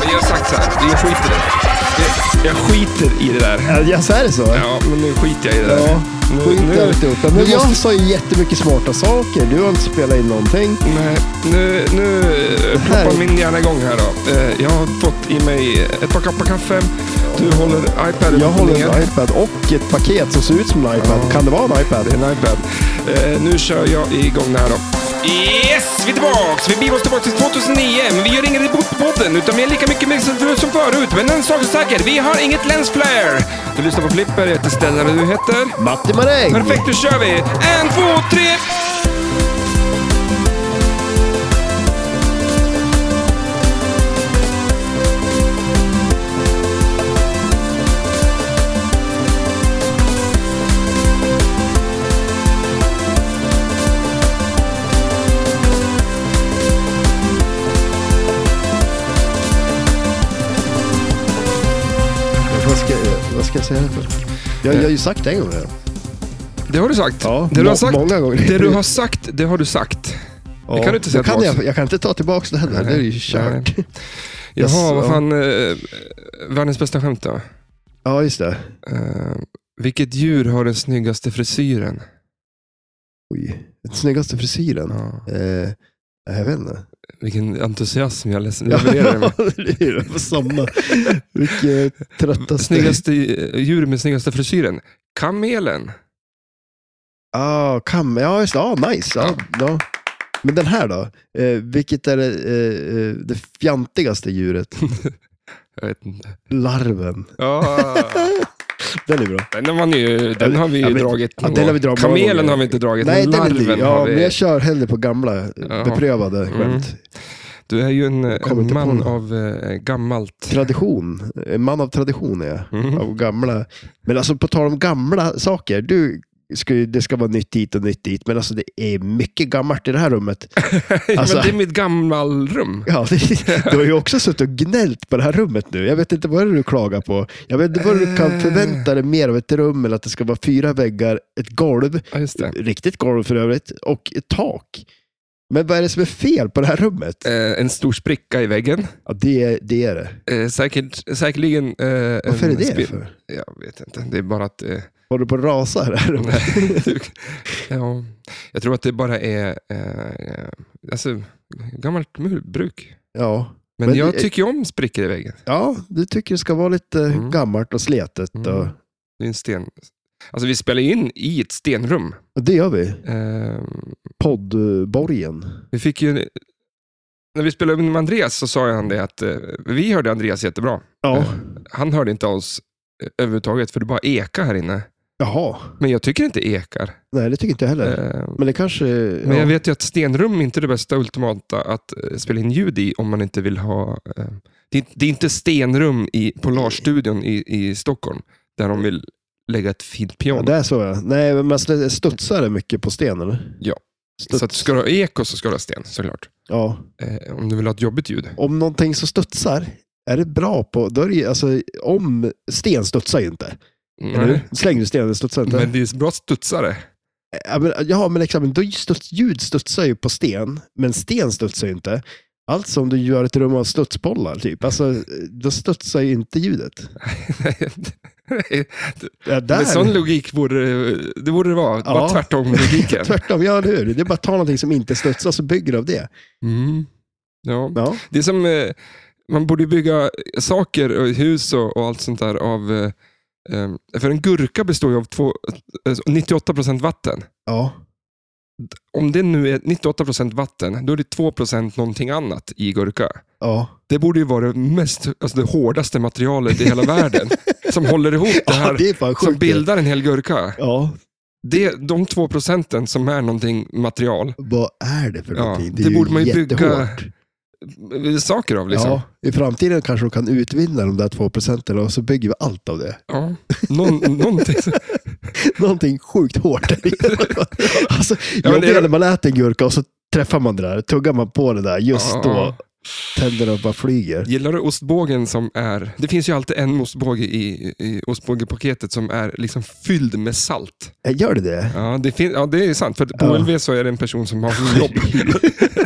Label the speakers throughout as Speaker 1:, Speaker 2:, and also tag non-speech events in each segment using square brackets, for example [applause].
Speaker 1: Men jag har sagt så här, jag skiter i det. Jag, jag skiter i det där.
Speaker 2: Äh, Ja, så är det så?
Speaker 1: Ja, men nu skiter jag i det där.
Speaker 2: Ja,
Speaker 1: Nu-
Speaker 2: skit
Speaker 1: nu-
Speaker 2: i alltihopa. Men
Speaker 1: nu
Speaker 2: jag
Speaker 1: måste-
Speaker 2: sa ju jättemycket smarta saker. Du har inte spelat in någonting.
Speaker 1: Nej, nu, nu eh,
Speaker 2: här
Speaker 1: ploppar
Speaker 2: är-
Speaker 1: min hjärna igång här då. Eh, Jag har fått i mig ett par koppar kaffe. Du håller iPaden
Speaker 2: Jag håller
Speaker 1: ner.
Speaker 2: en iPad och ett paket som ser ut som en iPad.
Speaker 1: Ja.
Speaker 2: Kan det vara en iPad?
Speaker 1: en iPad. Eh, nu kör jag igång det här då. Yes, vi är tillbaks! Vi beger oss tillbaks till 2009, men vi gör ingen reboot på podden, utan vi är lika mycket med som förut. Men en sak är säker, vi har inget lensflare! Du lyssnar på Flipper, jag heter Stellan, och du heter?
Speaker 2: Matti Maräng!
Speaker 1: Perfekt, då kör vi! En, två, tre!
Speaker 2: Vad ska, vad ska jag säga? Jag, jag har ju sagt det en gång redan.
Speaker 1: Det har du sagt.
Speaker 2: Ja,
Speaker 1: det, du
Speaker 2: må-
Speaker 1: har sagt
Speaker 2: många gånger.
Speaker 1: det du har sagt, det har du sagt. Det kan du inte säga
Speaker 2: Då kan
Speaker 1: tillbaks.
Speaker 2: jag, jag kan inte ta tillbaka det heller. Det är ju kört.
Speaker 1: Jaha, vad
Speaker 2: Så.
Speaker 1: fan. Eh, världens bästa skämt då.
Speaker 2: [laughs] Ja, just det.
Speaker 1: Eh, vilket djur har den snyggaste frisyren?
Speaker 2: Oj. Den snyggaste frisyren.
Speaker 1: Ja.
Speaker 2: Eh, jag vet inte.
Speaker 1: Vilken entusiasm jag läs- levererar
Speaker 2: [laughs]
Speaker 1: med.
Speaker 2: det är det på samma. Vilket tröttaste...
Speaker 1: Snyggaste eh, djur med snyggaste frisyren? Kamelen.
Speaker 2: Ah, kam... Ja, just det. Ah, nice. Ja, ja. Men den här då? Eh, vilket är det, eh, eh, det
Speaker 1: [laughs]
Speaker 2: fjantigaste djuret?
Speaker 1: Jag vet inte.
Speaker 2: Larven.
Speaker 1: Ja,
Speaker 2: Den är bra.
Speaker 1: [laughs] den, har ni, ju- den har vi ju
Speaker 2: Ja, men-
Speaker 1: dragit.
Speaker 2: ja,
Speaker 1: någon
Speaker 2: den har
Speaker 1: gång.
Speaker 2: vi dragit många
Speaker 1: Kamelen
Speaker 2: gånger.
Speaker 1: har vi inte dragit,
Speaker 2: Nej,
Speaker 1: men
Speaker 2: den är
Speaker 1: larven
Speaker 2: ny. Ja,
Speaker 1: har
Speaker 2: men
Speaker 1: vi.
Speaker 2: jag kör hellre på gamla, eh,
Speaker 1: Ja. Mm.
Speaker 2: beprövade skämt.
Speaker 1: Du är ju en,
Speaker 2: kommer
Speaker 1: en
Speaker 2: inte på
Speaker 1: man
Speaker 2: något.
Speaker 1: av eh, gammalt.
Speaker 2: Tradition. En man av tradition är jag.
Speaker 1: Mm.
Speaker 2: Av gamla. Men alltså på tal om gamla saker. Du, ska, ju- det ska vara nytt hit och nytt dit, men alltså det är mycket gammalt i det här rummet.
Speaker 1: [laughs]
Speaker 2: Alltså-
Speaker 1: men det är mitt gammalrum.
Speaker 2: Ja, [laughs] det, du har ju också suttit och gnällt på det här rummet nu. Jag vet inte vad det är du klagar på. Jag vet inte vad du
Speaker 1: Eh.
Speaker 2: kan förvänta dig mer av ett rum eller att det ska vara fyra väggar, ett golv,
Speaker 1: Ja, just det.
Speaker 2: riktigt golv för övrigt, och ett tak. Men vad är det som är fel på det här rummet?
Speaker 1: Eh, en stor spricka i väggen.
Speaker 2: Ja, det, det är det.
Speaker 1: Eh, säkert, säkerligen... Eh,
Speaker 2: Varför
Speaker 1: en
Speaker 2: är det
Speaker 1: spe-
Speaker 2: för?
Speaker 1: Jag vet inte. Det är bara att... Eh, [laughs]
Speaker 2: Håller du på att rasa i det här rummet?
Speaker 1: du, ja, jag tror att det bara är eh, alltså, gammalt murbruk.
Speaker 2: Ja.
Speaker 1: Men,
Speaker 2: Men
Speaker 1: jag
Speaker 2: det-
Speaker 1: tycker ju om sprickor i väggen.
Speaker 2: ja, du tycker det ska vara lite
Speaker 1: Mm.
Speaker 2: gammalt och sletet.
Speaker 1: Mm.
Speaker 2: Och,
Speaker 1: Det är en sten. Alltså vi spelar ju in i ett stenrum.
Speaker 2: och det gör vi.
Speaker 1: Eh,
Speaker 2: Poddborgen.
Speaker 1: vi fick ju... en- När vi spelade in med Andreas så sa han det att eh, vi hörde Andreas jättebra.
Speaker 2: Ja.
Speaker 1: Han hörde inte oss eh, överhuvudtaget för det bara eka här inne.
Speaker 2: Jaha.
Speaker 1: Men jag tycker inte ekar.
Speaker 2: Nej, det tycker inte jag heller.
Speaker 1: Eh,
Speaker 2: Men det kanske...
Speaker 1: Men
Speaker 2: ja.
Speaker 1: jag vet ju att stenrum är inte det bästa ultimata att eh, spela in ljud i om man inte vill ha... eh, Det är, det är inte stenrum i Polarstudion i, i Stockholm där de vill lägga ett fint
Speaker 2: Ja,
Speaker 1: piano.
Speaker 2: det är så ja. Nej, men man sl- studsar det mycket på sten eller?
Speaker 1: Ja.
Speaker 2: Studs.
Speaker 1: så att ska du ha eko så ska du ha sten såklart.
Speaker 2: ja.
Speaker 1: Eh, om du vill ha ett jobbigt ljud.
Speaker 2: Om någonting som studsar, är det bra på... Då är det, ju- alltså, om sten studsar ju inte.
Speaker 1: Nej.
Speaker 2: Eller hur? Slänger du sten, den studsar inte.
Speaker 1: Mm. Men det är bra studsare. [laughs]
Speaker 2: Ja, men, ja, men liksom, då studs, ljud studsar ju på sten, men sten studsar ju inte. Alltså om du gör ett rum av studsbollar, typ. Alltså, då studsar ju inte ljudet. Ja, där.
Speaker 1: Med sån logik borde det- det borde det vara. Bara
Speaker 2: Ja.
Speaker 1: tvärtom
Speaker 2: [laughs]
Speaker 1: logiken.
Speaker 2: Tvärtom, ja eller hur? Det är bara att ta någonting som inte studsar, så bygger du av det.
Speaker 1: Mm. Ja.
Speaker 2: Ja,
Speaker 1: Det är som, eh, man borde bygga saker, och hus och, och allt sånt där av... eh, eh, För en gurka består ju av två, eh, 98% vatten.
Speaker 2: ja.
Speaker 1: Om det nu är 98% vatten, då är det 2% någonting annat i gurka.
Speaker 2: ja.
Speaker 1: Det borde ju vara det, mest, alltså det hårdaste materialet i hela
Speaker 2: [laughs]
Speaker 1: världen som håller ihop det
Speaker 2: ja
Speaker 1: här,
Speaker 2: det är fan
Speaker 1: som
Speaker 2: sjukt.
Speaker 1: bildar en hel gurka.
Speaker 2: Ja,
Speaker 1: Det, de 2% som är någonting material,
Speaker 2: Vad är det för
Speaker 1: Ja,
Speaker 2: någonting?
Speaker 1: det
Speaker 2: är
Speaker 1: borde man ju bygga
Speaker 2: jättehårt.
Speaker 1: eh, saker av liksom.
Speaker 2: Ja, I framtiden kanske de kan utvinna de där två procenten och så bygger vi allt av det.
Speaker 1: Ja. Någon, någonting som,
Speaker 2: Någonting sjukt hårt.
Speaker 1: [laughs]
Speaker 2: alltså,
Speaker 1: men
Speaker 2: jag
Speaker 1: det är-
Speaker 2: när man äter en gurka och så träffar man det där, tuggar man på det där, just då tänderna bara flyger.
Speaker 1: Gillar du ostbågen som är... Det finns ju alltid en ostbåge i, i ostbågepaketet som är liksom fylld med salt.
Speaker 2: Äh, Gör det [laughs] det?
Speaker 1: Ja, det, fin- ja, det är sant. För på
Speaker 2: Ja. [laughs]
Speaker 1: OLV så är det en person som har som jobb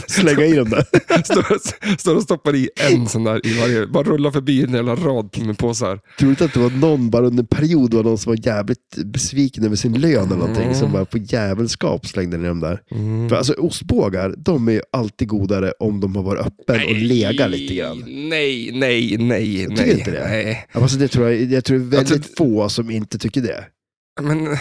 Speaker 2: slänga i dem där.
Speaker 1: Står, står och stoppar i en sån där i varje, bara rullar förbi en jävla rad med påsar.
Speaker 2: Tror du inte att det var någon, bara under en period, var någon som var jävligt besviken över sin lön eller någonting, som
Speaker 1: Mm.
Speaker 2: bara på jävelskap slängde ner dem där. För alltså ostbågar, de är ju alltid godare om de har varit öppen och legat lite grann.
Speaker 1: Nej, nej, nej,
Speaker 2: Jag tycker
Speaker 1: nej.
Speaker 2: inte det.
Speaker 1: nej.
Speaker 2: Ja, Alltså det tror jag, jag tror det är väldigt
Speaker 1: Alltså-
Speaker 2: få som inte tycker det.
Speaker 1: Men nej.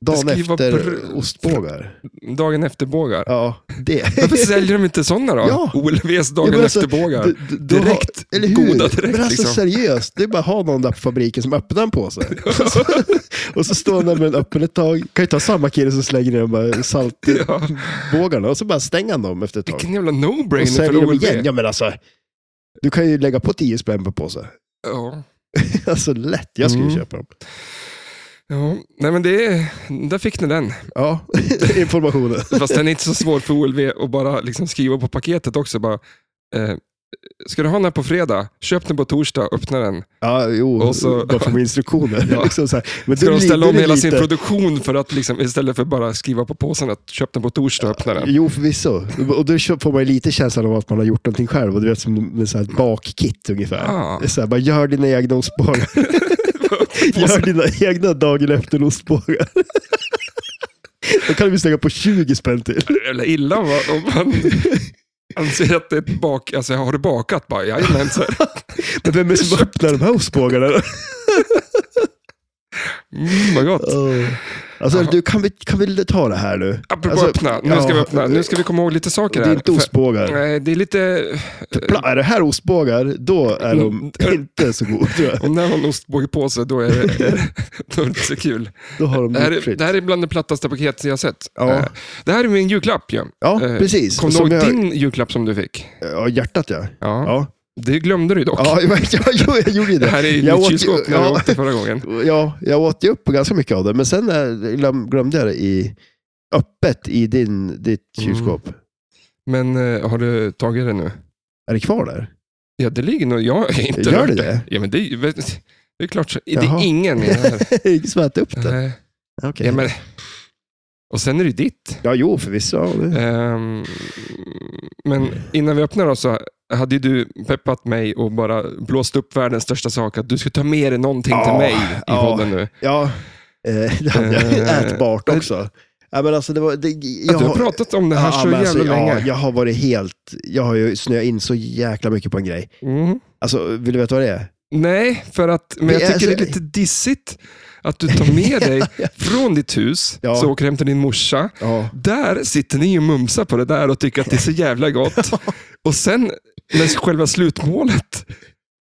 Speaker 1: Det
Speaker 2: Dagen
Speaker 1: ska ju vara
Speaker 2: efter
Speaker 1: brö-
Speaker 2: ostbågar.
Speaker 1: Dagen efter bågar.
Speaker 2: Ja, det.
Speaker 1: [laughs] Varför säljer de inte sådana då?
Speaker 2: [laughs] Ja.
Speaker 1: OLVs
Speaker 2: Ja,
Speaker 1: dagen
Speaker 2: men alltså,
Speaker 1: efter bågar. [laughs]
Speaker 2: d- d- då har-
Speaker 1: direkt.
Speaker 2: Eller hur?
Speaker 1: Goda direkt
Speaker 2: Men alltså
Speaker 1: liksom.
Speaker 2: seriöst, det är bara att ha någon där på fabriken som öppnar en påse.
Speaker 1: [laughs]
Speaker 2: Och så- [laughs] och så står han där med den öppen ett tag. Kan ju ta samma kille som slänger ner de här
Speaker 1: Ja.
Speaker 2: saltbågarna och så bara stänger han dem efter ett tag.
Speaker 1: Vilken jävla
Speaker 2: Och
Speaker 1: no-brainer för
Speaker 2: säljer dem
Speaker 1: OLV.
Speaker 2: igen. Ja men alltså, du kan ju lägga på 10 spänn per påse. [laughs]
Speaker 1: Ja.
Speaker 2: Alltså lätt, jag skulle ju
Speaker 1: Mm.
Speaker 2: köpa dem.
Speaker 1: Ja. Nej, men det är, där fick ni den.
Speaker 2: Ja, [laughs] informationen.
Speaker 1: Fast den är inte så svår för OLV att bara liksom skriva på paketet också. Bara, eh, ska du ha den här på fredag? Köp den på torsdag, öppna den.
Speaker 2: Ja, jo,
Speaker 1: Och så-
Speaker 2: bara få med instruktioner.
Speaker 1: [laughs] Ja.
Speaker 2: liksom så här. Men
Speaker 1: Ska
Speaker 2: då
Speaker 1: de ställa om
Speaker 2: ligger det
Speaker 1: hela sin
Speaker 2: lite-
Speaker 1: produktion för att liksom, istället för bara skriva på påsen att köp den på torsdag och öppna den?
Speaker 2: Jo, förvisso. Och då kö- får man ju lite känslan av att man har gjort någonting själv. Och du vet, som med så här ett bakkit ungefär.
Speaker 1: Ah.
Speaker 2: Det är Så här, bara, gör dina
Speaker 1: [laughs]
Speaker 2: egna ostbågar. gör dina egna dagen
Speaker 1: [laughs]
Speaker 2: efter ostbågar. då kan vi slänga på 20 spänn till.
Speaker 1: Eller illa va? om man anser att det är ett bak... Alltså, har du bakat? Bara, jajamän. Så här.
Speaker 2: Men vem är det som öppnar de här ostbågarna?
Speaker 1: Mm, vad gott.
Speaker 2: Åh. Alltså, du, kan, vi, kan vi ta det här nu?
Speaker 1: Apropå
Speaker 2: Alltså,
Speaker 1: öppna. Nu
Speaker 2: ja,
Speaker 1: ska vi öppna. Nu ska vi komma ihåg lite saker
Speaker 2: Det
Speaker 1: här.
Speaker 2: är inte
Speaker 1: För,
Speaker 2: ostbågar.
Speaker 1: nej, det är lite...
Speaker 2: Pla- Är det här ostbågar, då är
Speaker 1: [laughs]
Speaker 2: de inte så goda tror jag.
Speaker 1: Om det här var en ostbåge på sig, då är
Speaker 2: [laughs]
Speaker 1: det, då är det inte så kul.
Speaker 2: Då har de
Speaker 1: Det här,
Speaker 2: gjort
Speaker 1: är,
Speaker 2: fritt.
Speaker 1: det här är bland det plattaste paketet jag har sett.
Speaker 2: Ja.
Speaker 1: Eh, Det här är min julklapp ju.
Speaker 2: Ja,
Speaker 1: eh,
Speaker 2: precis.
Speaker 1: Kommer
Speaker 2: Och
Speaker 1: du ihåg
Speaker 2: som jag,
Speaker 1: din julklapp som du fick?
Speaker 2: Ja, hjärtat ja.
Speaker 1: Ja.
Speaker 2: Ja,
Speaker 1: Det glömde du ju dock.
Speaker 2: ja [laughs] jag, jag, jag, jag gjorde ju det.
Speaker 1: Det här är i
Speaker 2: jag
Speaker 1: ditt
Speaker 2: åt ju-
Speaker 1: kylskåp när du
Speaker 2: ja,
Speaker 1: åkte förra gången.
Speaker 2: [laughs] ja, jag åt ju upp ganska mycket av det, men sen eh, glöm- glömde jag det i, öppet i din, ditt
Speaker 1: Mm.
Speaker 2: kylskåp.
Speaker 1: Men eh, har du tagit det nu?
Speaker 2: Är det kvar där?
Speaker 1: Ja, det ligger nog... Jag har inte
Speaker 2: Gör
Speaker 1: rört
Speaker 2: det det?
Speaker 1: Ja, men det, är ju- vet- det är klart. så- Det
Speaker 2: Jaha.
Speaker 1: är ingen i det
Speaker 2: [laughs]
Speaker 1: här.
Speaker 2: Ingen som äter upp det?
Speaker 1: Nej.
Speaker 2: Okay.
Speaker 1: Ja, men, och sen är det ju ditt.
Speaker 2: ja, jo förvisso. Ja, det-
Speaker 1: Ehm, men innan vi öppnar då så hade ju du peppat mig och bara blåst upp världens största sak. Att du ska ta med dig någonting
Speaker 2: Ja,
Speaker 1: till mig i
Speaker 2: ja.
Speaker 1: podden nu.
Speaker 2: ja [laughs] eh, det hade jag ju
Speaker 1: Eh,
Speaker 2: ätbart också. Ja, men alltså, det var, det, jag,
Speaker 1: Att du har pratat om det här så
Speaker 2: men alltså,
Speaker 1: jävla
Speaker 2: ja,
Speaker 1: länge.
Speaker 2: jag har varit helt... Jag har ju snöat in så jäkla mycket på en grej.
Speaker 1: Mm.
Speaker 2: Alltså, vill du veta vad det är?
Speaker 1: Nej, för att, men
Speaker 2: Det
Speaker 1: jag
Speaker 2: är alltså-
Speaker 1: tycker det är
Speaker 2: så-
Speaker 1: lite dissigt att du tar med
Speaker 2: [laughs]
Speaker 1: dig från ditt hus,
Speaker 2: Ja.
Speaker 1: så åker du hem till din morsa.
Speaker 2: Ja.
Speaker 1: Där sitter ni och mumsar på det där och tycker att det är så jävla
Speaker 2: [laughs]
Speaker 1: gott. Och sen, när själva slutmålet,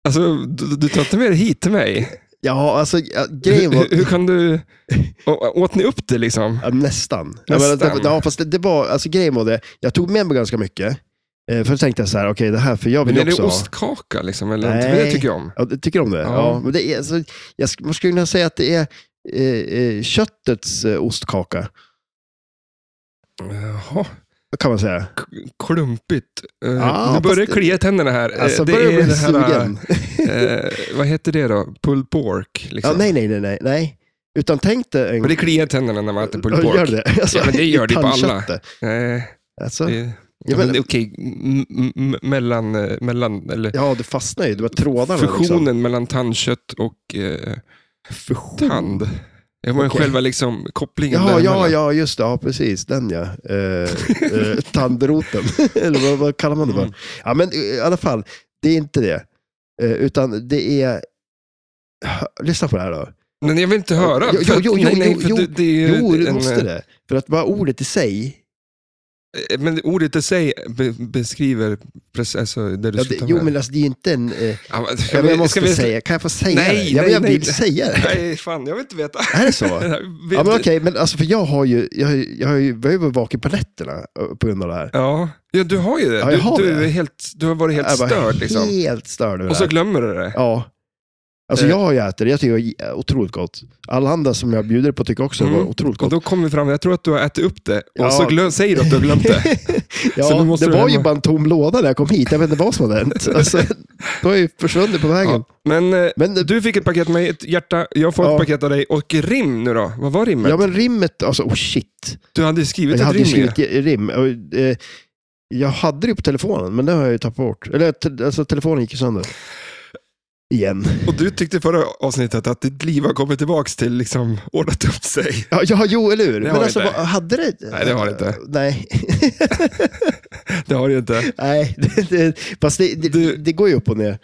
Speaker 1: alltså, du, du tar inte med det hit till mig.
Speaker 2: Ja, alltså ja, grejen
Speaker 1: Hur,
Speaker 2: var...
Speaker 1: [laughs] hur- hur kan du... å- Åt ni upp det liksom?
Speaker 2: Ja, nästan. Ja, men,
Speaker 1: Nästan.
Speaker 2: det, ja, fast det, det var, alltså grejen var det, jag tog med mig ganska mycket. Eh, för då tänkte jag så här, okej det här, för jag vill
Speaker 1: Men är
Speaker 2: också
Speaker 1: det
Speaker 2: ha.
Speaker 1: ostkaka liksom? Eller
Speaker 2: Nej.
Speaker 1: Nej. Det tycker jag om.
Speaker 2: Ja, du tycker om det? Ja.
Speaker 1: Ja.
Speaker 2: men det är, alltså, jag sk- man skulle kunna säga att det är eh, eh, köttets eh, ostkaka,
Speaker 1: Jaha,
Speaker 2: kan man säga.
Speaker 1: klumpigt. Eh,
Speaker 2: Ah,
Speaker 1: nu börjar
Speaker 2: fast-
Speaker 1: det klia i tänderna här. Eh,
Speaker 2: Alltså,
Speaker 1: det
Speaker 2: börjar jag
Speaker 1: är
Speaker 2: bli
Speaker 1: det här,
Speaker 2: sugen.
Speaker 1: eh, vad heter det då? Pulled pork?
Speaker 2: Ja,
Speaker 1: Liksom.
Speaker 2: nej, nej, nej, nej, nej. Utan tänk dig en...
Speaker 1: Men det kliar i tänderna när man äter pulled pork.
Speaker 2: Gör det? Alltså,
Speaker 1: Ja, men det
Speaker 2: i
Speaker 1: gör det ju på alla.
Speaker 2: pannköttet.
Speaker 1: Nej,
Speaker 2: Alltså,
Speaker 1: det,
Speaker 2: Ja,
Speaker 1: ja,
Speaker 2: men-
Speaker 1: men, okej, m- m- m- mellan, eh, mellan eller
Speaker 2: ja, det fastnar ju. Det var trådarna.
Speaker 1: fusionen mellan tandkött och eh,
Speaker 2: Liksom. Fusion.
Speaker 1: tand. Ja, men
Speaker 2: Okej.
Speaker 1: själva liksom kopplingen
Speaker 2: Ja, ja,
Speaker 1: däremellan.
Speaker 2: ja, just det. Ja, precis. Den ja. Eh, eh,
Speaker 1: [laughs]
Speaker 2: tandroten. [laughs] Eller vad, vad kallar man det för?
Speaker 1: Mm.
Speaker 2: Ja, men eh, i alla fall. Det är inte det. Eh, utan det är... Hö- Lyssna på det här då.
Speaker 1: Men jag vill inte höra.
Speaker 2: Jo,
Speaker 1: för att-
Speaker 2: jo, jo,
Speaker 1: nej, nej,
Speaker 2: jo,
Speaker 1: för
Speaker 2: jo,
Speaker 1: det, det är ju
Speaker 2: Jo, det
Speaker 1: en,
Speaker 2: måste det. För att bara ordet i sig.
Speaker 1: eh, Men ordet i sig be, beskriver precis alltså, det du
Speaker 2: Ja,
Speaker 1: ska
Speaker 2: det,
Speaker 1: ta
Speaker 2: jo,
Speaker 1: med.
Speaker 2: men alltså, det är ju inte en... Eh,
Speaker 1: Ja, men,
Speaker 2: ja,
Speaker 1: ska
Speaker 2: men
Speaker 1: vi-
Speaker 2: jag måste
Speaker 1: ska vi-
Speaker 2: säga, kan jag få säga
Speaker 1: Nej,
Speaker 2: det? Ja,
Speaker 1: nej,
Speaker 2: men jag
Speaker 1: nej,
Speaker 2: vill
Speaker 1: nej.
Speaker 2: säga det.
Speaker 1: Nej, fan, jag vill inte veta.
Speaker 2: Är
Speaker 1: [laughs]
Speaker 2: det så? Ja, men okej, men alltså, för jag har ju, jag har ju, jag har ju, jag har ju varit vaken på nätterna eh, på grund av det här.
Speaker 1: Ja. ja, du har ju det.
Speaker 2: Ja, jag
Speaker 1: du,
Speaker 2: har
Speaker 1: du,
Speaker 2: det.
Speaker 1: Är helt, du har varit helt
Speaker 2: jag var
Speaker 1: störd. Liksom.
Speaker 2: Helt störd över
Speaker 1: Och
Speaker 2: det
Speaker 1: så
Speaker 2: här.
Speaker 1: glömmer du det.
Speaker 2: Ja. Alltså
Speaker 1: Eh.
Speaker 2: jag har ju ätit det, jag tycker det är otroligt gott. Alla andra som jag bjuder på tycker också det var
Speaker 1: Mm.
Speaker 2: otroligt
Speaker 1: Och
Speaker 2: gott.
Speaker 1: då kommer vi fram, jag tror att du har ätit upp det. Och
Speaker 2: Ja.
Speaker 1: så glö- säger du att du har glömt
Speaker 2: [laughs]
Speaker 1: det. så
Speaker 2: ja,
Speaker 1: nu måste
Speaker 2: det
Speaker 1: du
Speaker 2: var ju
Speaker 1: hemma.
Speaker 2: bara en tom låda när jag kom hit, jag vet inte vad som hade
Speaker 1: [laughs]
Speaker 2: hänt. Alltså, det har ju försvunnit på vägen.
Speaker 1: Ja. Men, eh,
Speaker 2: Men, eh,
Speaker 1: du fick ett paket med ett hjärta, jag får
Speaker 2: Ja.
Speaker 1: ett paket av dig. Och rim nu då? Vad var rimmet?
Speaker 2: ja men rimmet, alltså oh shit.
Speaker 1: Du hade ju skrivit
Speaker 2: Jag
Speaker 1: ett
Speaker 2: hade
Speaker 1: rim
Speaker 2: ju
Speaker 1: ju.
Speaker 2: skrivit rim. Och, eh, Jag hade det på telefonen, men det har jag ju tappat bort. Eller te- alltså, telefonen gick ju sönder. Igen.
Speaker 1: Och du tyckte i förra avsnittet att ditt liv har kommit tillbaka till liksom ordnat upp sig.
Speaker 2: Ja, ja jo, eller hur?
Speaker 1: Det
Speaker 2: Men
Speaker 1: har det
Speaker 2: alltså,
Speaker 1: inte.
Speaker 2: vad- hade det...
Speaker 1: Nej, det har det inte.
Speaker 2: Nej,
Speaker 1: Det har du inte.
Speaker 2: nej. [laughs] Det, det, fast det, det,
Speaker 1: Du-
Speaker 2: det går ju upp och ner.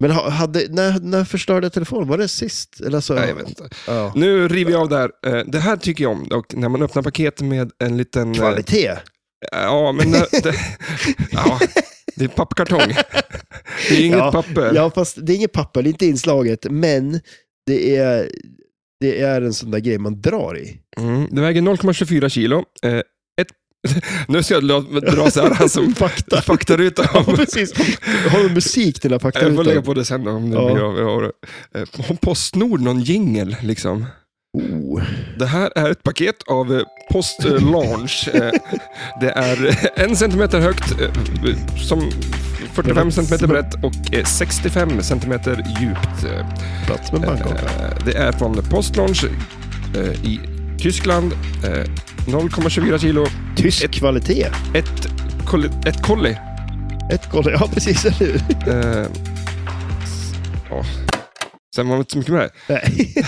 Speaker 2: Men ha- hade, när, när förstörde jag telefonen? Var det sist? Eller alltså,
Speaker 1: Nej, jag vet inte. Mm,
Speaker 2: Ja.
Speaker 1: Nu river jag av där. Eh, Det här tycker jag om, och när man öppnar paket med en liten... eh,
Speaker 2: Kvalitet?
Speaker 1: Ja, men... när- det, ja, det är pappkartong. Det är inget
Speaker 2: Ja,
Speaker 1: papper.
Speaker 2: Ja, fast det är inget papper, det är inte inslaget, men det är, det är en sån där grej man drar i.
Speaker 1: Mm, det väger 0,24 kilo. Eh, ett, nu ska jag dra- dra så här, alltså,
Speaker 2: [laughs]
Speaker 1: [laughs]
Speaker 2: fakta.
Speaker 1: faktaruta.
Speaker 2: Ja,
Speaker 1: om-
Speaker 2: precis. Har du musik till den här
Speaker 1: Jag får lägga
Speaker 2: faktarutan?
Speaker 1: på det sen om det
Speaker 2: Ja.
Speaker 1: blir av. Jag har, eh, har Postnord någon jingel liksom?
Speaker 2: Oh.
Speaker 1: Det här är ett paket av eh, Post eh, Launch. Eh, Det är eh, en centimeter högt, eh, som 45 centimeter brett och eh, 65 centimeter djupt. Eh,
Speaker 2: Plats med Bangkok.
Speaker 1: Eh, Det är från Postlaunch eh, i Tyskland. Eh, 0,24 kilo.
Speaker 2: Tysk
Speaker 1: ett-
Speaker 2: kvalitet.
Speaker 1: Ett, kolli, ett kolli.
Speaker 2: Ett koll. Ja, precis. Eller hur? [laughs]
Speaker 1: Eh, s- ja. Sen var det inte så mycket med det.
Speaker 2: Nej.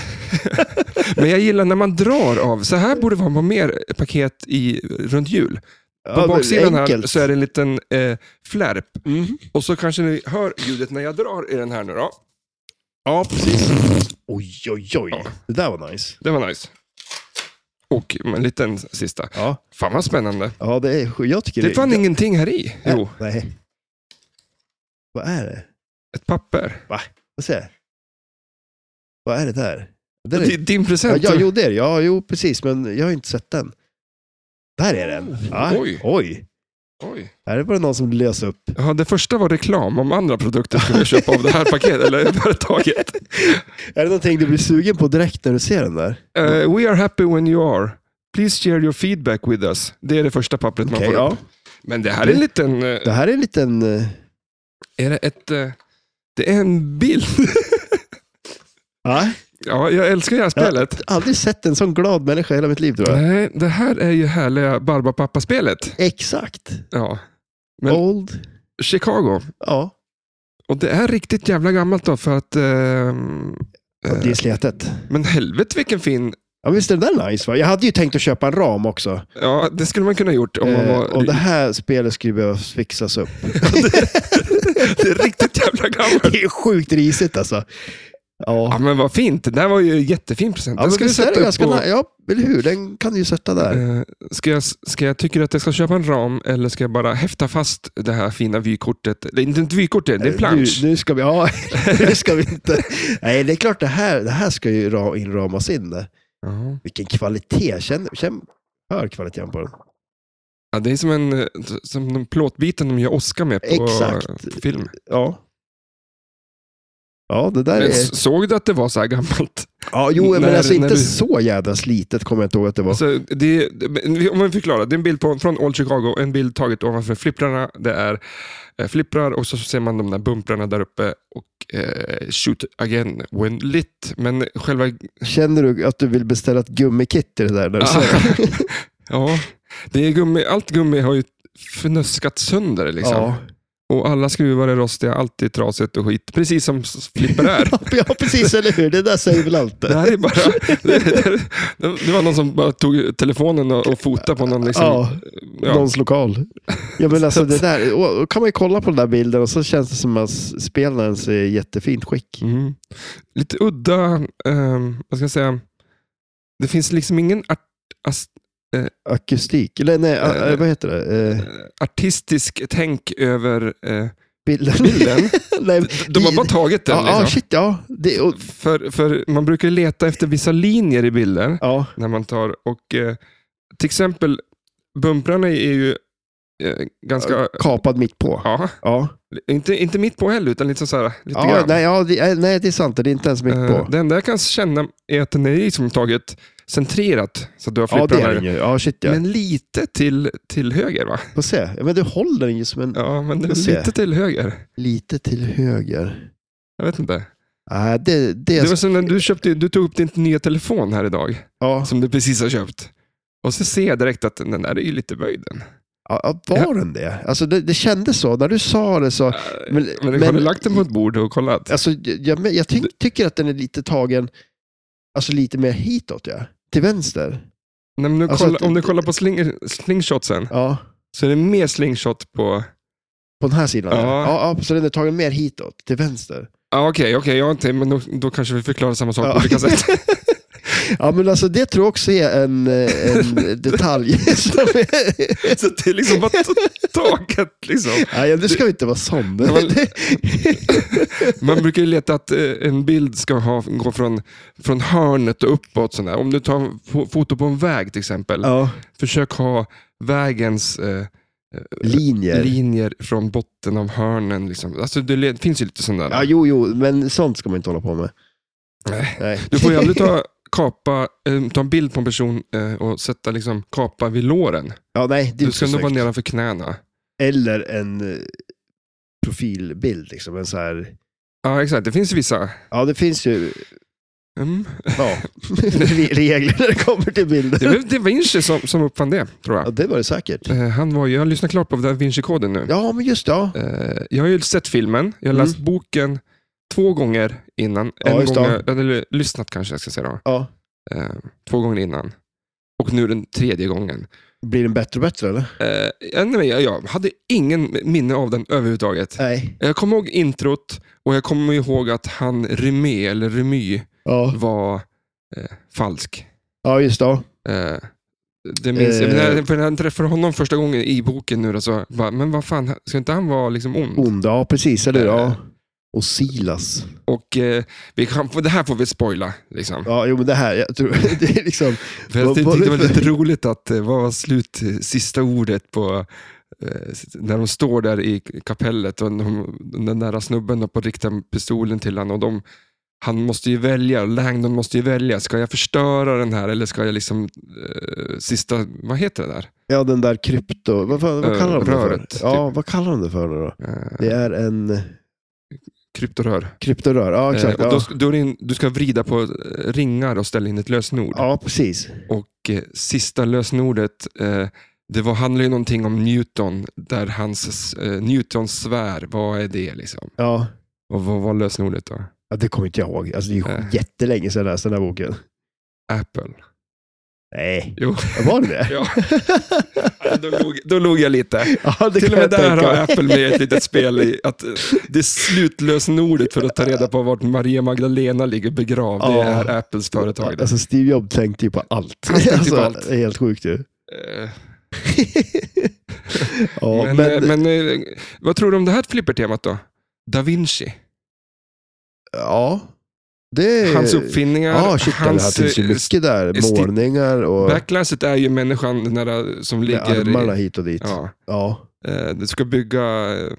Speaker 1: Men jag gillar när man drar av. Så här borde det vara på mer paket i, runt jul. På
Speaker 2: Ja, men
Speaker 1: baksidan här
Speaker 2: enkelt.
Speaker 1: så är det en liten eh, flärp.
Speaker 2: Mm.
Speaker 1: Och så kanske ni hör ljudet när jag drar i den här nu då.
Speaker 2: Ja, precis. Oj, oj, oj. Det där var nice.
Speaker 1: Det var nice. Och en liten sista.
Speaker 2: Ja,
Speaker 1: Fan vad spännande.
Speaker 2: ja det är, jag tycker
Speaker 1: Det fann ingenting här i. Jo,
Speaker 2: Nej. Vad är det?
Speaker 1: ett papper.
Speaker 2: Vad säger jag? Vad är det där?
Speaker 1: Det
Speaker 2: Det där
Speaker 1: är typ. din
Speaker 2: Ja,
Speaker 1: present.
Speaker 2: ja, jo, det är det. Ja, jo, precis. Men jag har inte sett den. Där är den. Ja,
Speaker 1: Ah, Oj.
Speaker 2: oj.
Speaker 1: Oj.
Speaker 2: Här var det någon som lös upp.
Speaker 1: Ja, det första var reklam om andra produkter skulle jag köpa av det här paketet, eller [laughs] företaget.
Speaker 2: Är det någonting du blir sugen på direkt när du ser den där?
Speaker 1: Eh, we are happy when you are. Please share your feedback with us. Det är det första pappret man
Speaker 2: Okej,
Speaker 1: får upp.
Speaker 2: ja.
Speaker 1: Men det här är en liten... eh,
Speaker 2: Det här är en liten... eh,
Speaker 1: Är det ett... eh, Det är en bild. [laughs] Ah.
Speaker 2: Ja,
Speaker 1: Ja, jag älskar det här spelet.
Speaker 2: jag har aldrig sett en sån glad människa i hela mitt liv tror jag.
Speaker 1: Nej, det här är ju härliga Barbapappa-spelet.
Speaker 2: Exakt.
Speaker 1: Ja. Men-
Speaker 2: Old.
Speaker 1: Chicago.
Speaker 2: Ja.
Speaker 1: Och det är riktigt jävla gammalt då för att... ehm,
Speaker 2: ja, det är slätet.
Speaker 1: Men helvete vilken fin...
Speaker 2: Ja, visst är den där nice va? Jag hade ju tänkt att köpa en ram också.
Speaker 1: Ja, det skulle man kunna ha gjort om man
Speaker 2: Eh,
Speaker 1: var...
Speaker 2: och det här spelet skulle behöva fixas upp. [laughs]
Speaker 1: Det är [laughs] riktigt jävla gammalt.
Speaker 2: Det är sjukt risigt alltså.
Speaker 1: Ja,
Speaker 2: Ja,
Speaker 1: men vad fint. Det där var ju en jättefin present.
Speaker 2: ja
Speaker 1: Den
Speaker 2: men
Speaker 1: ska vi
Speaker 2: visst är
Speaker 1: sätta
Speaker 2: det
Speaker 1: upp
Speaker 2: ganska
Speaker 1: på...
Speaker 2: nice. Ja, eller hur? Den kan du ju sätta där.
Speaker 1: Eh, Ska jag, ska jag, tycker du att jag ska köpa en ram eller ska jag bara häfta fast det här fina vykortet? Det är inte ett vykort, det
Speaker 2: Eh,
Speaker 1: är en plansch.
Speaker 2: Nu, nu ska vi, ja, [laughs] nu ska vi inte. Nej, det är klart det här, det här ska ju ra- inramas in. Där.
Speaker 1: Ja.
Speaker 2: Vilken kvalitet, känn, känn hör kvaliteten på den.
Speaker 1: Ja, det är som, en, eh, som den plåtbiten de gör Oscar med på
Speaker 2: Exakt.
Speaker 1: film.
Speaker 2: Ja. Ja, det där
Speaker 1: Men
Speaker 2: är...
Speaker 1: s- såg du att det var så här gammalt?
Speaker 2: Ja, jo, men
Speaker 1: när-
Speaker 2: alltså
Speaker 1: när
Speaker 2: inte
Speaker 1: du-
Speaker 2: så jädra slitet kommer jag inte ihåg att det var.
Speaker 1: Alltså, det, det- om vi förklarar, det är en bild på, från Old Chicago, en bild taget ovanför flipprarna. Det är eh, flipprar och så ser man de där bumprarna där uppe och eh, shoot again when lit. Men själva...
Speaker 2: Känner du att du vill beställa ett gummikit till det där? När du
Speaker 1: Ah.
Speaker 2: ser det?
Speaker 1: [laughs] Ja, det är gummi, allt gummi har ju fnöskat sönder liksom.
Speaker 2: Ja.
Speaker 1: Och alla skruvar är rostiga, allt är trasigt och skit. Precis som s- flipper
Speaker 2: [laughs]
Speaker 1: är.
Speaker 2: ja, precis, eller hur? Det där säger väl allt.
Speaker 1: Det här är bara... [laughs] Det, det, det var någon som bara tog telefonen och, och fotade på någon. Liksom,
Speaker 2: Ja,
Speaker 1: ja.
Speaker 2: någons lokal. Ja, men alltså det där, och- och kan man ju kolla på den där bilden och så känns det som att spelen ens är i jättefint skick.
Speaker 1: Mm. Lite udda, ehm, vad ska jag säga? Det finns liksom ingen art, as,
Speaker 2: akustik. Eller nej, a-
Speaker 1: Eh,
Speaker 2: vad heter det? Eh,
Speaker 1: artistisk tänk över
Speaker 2: [laughs]
Speaker 1: eh,
Speaker 2: bilden.
Speaker 1: bilden.
Speaker 2: [laughs] nej,
Speaker 1: De har bara tagit den.
Speaker 2: ja, ja,
Speaker 1: Liksom.
Speaker 2: shit, ja. Det, och,
Speaker 1: För, för man brukar ju leta efter vissa linjer i bilder
Speaker 2: ja.
Speaker 1: när man tar och eh, till exempel bumprarna är ju eh, ganska,
Speaker 2: Kapad mitt på.
Speaker 1: ja,
Speaker 2: Ja.
Speaker 1: inte, inte mitt på heller utan lite så här, lite
Speaker 2: Ja,
Speaker 1: grann.
Speaker 2: nej, ja, det, eh, nej, det är sant. Det är inte ens mitt
Speaker 1: Eh,
Speaker 2: på.
Speaker 1: Det enda jag kan känna är att den är liksom taget centrerat så att du har
Speaker 2: Ja, det
Speaker 1: flipprarna
Speaker 2: är den ju. Ja, shit ja.
Speaker 1: Men lite till, till höger va?
Speaker 2: Får se. Ja, Men du håller den ju som en...
Speaker 1: Ja, men det
Speaker 2: Får
Speaker 1: är
Speaker 2: se.
Speaker 1: lite till höger.
Speaker 2: Lite till höger.
Speaker 1: Jag vet inte.
Speaker 2: Ah, det, det,
Speaker 1: Det var som när du, köpte, du tog upp din nya telefon här idag,
Speaker 2: ja.
Speaker 1: som du precis har köpt. Och så ser jag direkt att den där är ju lite böjd. den.
Speaker 2: Ja, ja, var den det? Alltså det, det kändes så. När du sa det så... Men,
Speaker 1: Men, har du lagt den på ett bord och kollat?
Speaker 2: alltså, jag, men jag ty- tycker att den är lite tagen, alltså lite mer hitåt ja. Till vänster.
Speaker 1: Nej, men nu
Speaker 2: alltså
Speaker 1: kolla,
Speaker 2: att-
Speaker 1: om du kollar på sling, slingshotsen
Speaker 2: Ja.
Speaker 1: så är det mer slingshot på...
Speaker 2: På den här sidan?
Speaker 1: Ja.
Speaker 2: Ja. Ja, ja, så den är tagen mer hitåt, till vänster.
Speaker 1: Ja, Okej, okej, jag har inte, men då, då kanske vi förklarar samma sak på
Speaker 2: Ja.
Speaker 1: olika sätt.
Speaker 2: Ja, men alltså det tror jag också är en, eh,
Speaker 1: [laughs]
Speaker 2: en detalj. som är...
Speaker 1: [laughs] så det är liksom bara [laughs] t- taget. Liksom.
Speaker 2: Nej, nu ska vi inte vara sån.
Speaker 1: Ja, men- Man brukar ju leta att eh, en bild ska ha, gå från, från hörnet och uppåt. Sådär. Om du tar fo- foto på en väg till exempel,
Speaker 2: [laughs] Ja,
Speaker 1: försök ha vägens eh,
Speaker 2: linjer.
Speaker 1: linjer från botten av hörnen. Liksom. Alltså, det le- finns ju lite sådana.
Speaker 2: Ja, jo, jo, men sånt ska man inte hålla på med.
Speaker 1: Nej.
Speaker 2: Nej.
Speaker 1: Du får ju aldrig ta, kapa, eh, ta en bild på en person eh, och sätta liksom, kapa vid låren.
Speaker 2: Ja, nej, det är
Speaker 1: Du
Speaker 2: inte
Speaker 1: ska
Speaker 2: så
Speaker 1: nog vara
Speaker 2: snyggt.
Speaker 1: nedanför knäna.
Speaker 2: Eller en eh, profilbild, liksom. En så här...
Speaker 1: Ja, exakt. Det finns ju vissa.
Speaker 2: Ja, det finns ju
Speaker 1: Mm.
Speaker 2: ja, [laughs] re- regler när det kommer till
Speaker 1: Det
Speaker 2: bilder.
Speaker 1: var det var Vinci som, som uppfann det, tror
Speaker 2: Ja,
Speaker 1: jag.
Speaker 2: det var det säkert.
Speaker 1: Eh, han var ju, jag lyssnar klart på Da Vinci-koden nu.
Speaker 2: Ja, men just det. Ja.
Speaker 1: Eh, jag har ju sett filmen, jag har
Speaker 2: Mm.
Speaker 1: läst boken två gånger innan.
Speaker 2: Ja,
Speaker 1: en
Speaker 2: just
Speaker 1: gång,
Speaker 2: det.
Speaker 1: eller lyssnat kanske jag ska säga då.
Speaker 2: ja.
Speaker 1: Eh, två gånger innan. Och nu den tredje gången.
Speaker 2: Blir den bättre och bättre, eller?
Speaker 1: Eh, ja, nej, jag, jag hade ingen minne av den överhuvudtaget.
Speaker 2: Nej.
Speaker 1: Jag kommer ihåg introt och jag kommer ihåg att han Remé, eller Remy,
Speaker 2: Ja.
Speaker 1: var eh, falsk.
Speaker 2: Ja, just det.
Speaker 1: Eh, det minns jag.
Speaker 2: Eh.
Speaker 1: Men när- För när jag träffade honom första gången i boken nu, då, så bara, men vad fan, ska inte han vara liksom ond?
Speaker 2: Onda, ja precis. Eller hur?
Speaker 1: Eh.
Speaker 2: Ja. Och Silas.
Speaker 1: Och eh, vi kan, det här får vi spoila. Liksom.
Speaker 2: Ja, jo men det här, jag tror, [laughs] det är liksom,
Speaker 1: För jag
Speaker 2: Vad-
Speaker 1: tyckte
Speaker 2: vad
Speaker 1: det
Speaker 2: är
Speaker 1: var
Speaker 2: det
Speaker 1: lite
Speaker 2: för-
Speaker 1: roligt att eh, vad var slut, eh, sista ordet på eh, när de står där i kapellet och de, den där snubben har på att rikta pistolen till honom. Och de, han måste ju välja, Langdon måste ju välja. Ska jag förstöra den här eller ska jag liksom eh, sista, vad heter det där?
Speaker 2: ja den där krypto, vad, fan,
Speaker 1: Eh,
Speaker 2: vad kallar de det för?
Speaker 1: röret, typ.
Speaker 2: Ja, vad kallar de det för nu då?
Speaker 1: Eh,
Speaker 2: Det är en
Speaker 1: Kryptorör.
Speaker 2: kryptorör, ja exakt.
Speaker 1: Eh, och då,
Speaker 2: Ja,
Speaker 1: ska- då är det in, du ska vrida på eh, ringar och ställa in ett lösenord.
Speaker 2: ja precis.
Speaker 1: Och eh, sista lösenordet, eh, det var, handlade ju någonting om Newton, där hans, eh, Newtons svär, vad är det liksom?
Speaker 2: Ja.
Speaker 1: Och vad var lösenordet då?
Speaker 2: ja, det kommer inte jag ihåg. Alltså det är
Speaker 1: Eh.
Speaker 2: ju jättelänge sedan jag läste den här boken.
Speaker 1: Apple.
Speaker 2: Nej,
Speaker 1: Jo, [laughs]
Speaker 2: var det det?
Speaker 1: ja, då, log, då log jag lite.
Speaker 2: ja, det
Speaker 1: Till och
Speaker 2: kan
Speaker 1: med
Speaker 2: jag
Speaker 1: där
Speaker 2: tänka
Speaker 1: har
Speaker 2: mig.
Speaker 1: Apple med ett litet spel i att eh, det är slutlösenordet för att ta reda på vart Maria Magdalena ligger begravd. Det
Speaker 2: Ja.
Speaker 1: är Apples företag. Där.
Speaker 2: Alltså Steve Jobs tänkte ju på allt. Alltså,
Speaker 1: Han tänkte på allt.
Speaker 2: Det är helt sjukt ju.
Speaker 1: Eh,
Speaker 2: Ja,
Speaker 1: men,
Speaker 2: men,
Speaker 1: eh, men eh, vad tror du om det här flippertemat då? Da Vinci.
Speaker 2: ja. Det...
Speaker 1: Hans uppfinningar,
Speaker 2: Ja, Eh, ah, shit, hans, det här
Speaker 1: hans
Speaker 2: finns ju
Speaker 1: eh,
Speaker 2: mycket där.
Speaker 1: sti-
Speaker 2: Målningar och
Speaker 1: Backlasset är ju människan den där som
Speaker 2: med
Speaker 1: ligger...
Speaker 2: armarna
Speaker 1: i,
Speaker 2: hit och dit. Ja.
Speaker 1: ja,
Speaker 2: Ja.
Speaker 1: eh, du ska bygga... eh,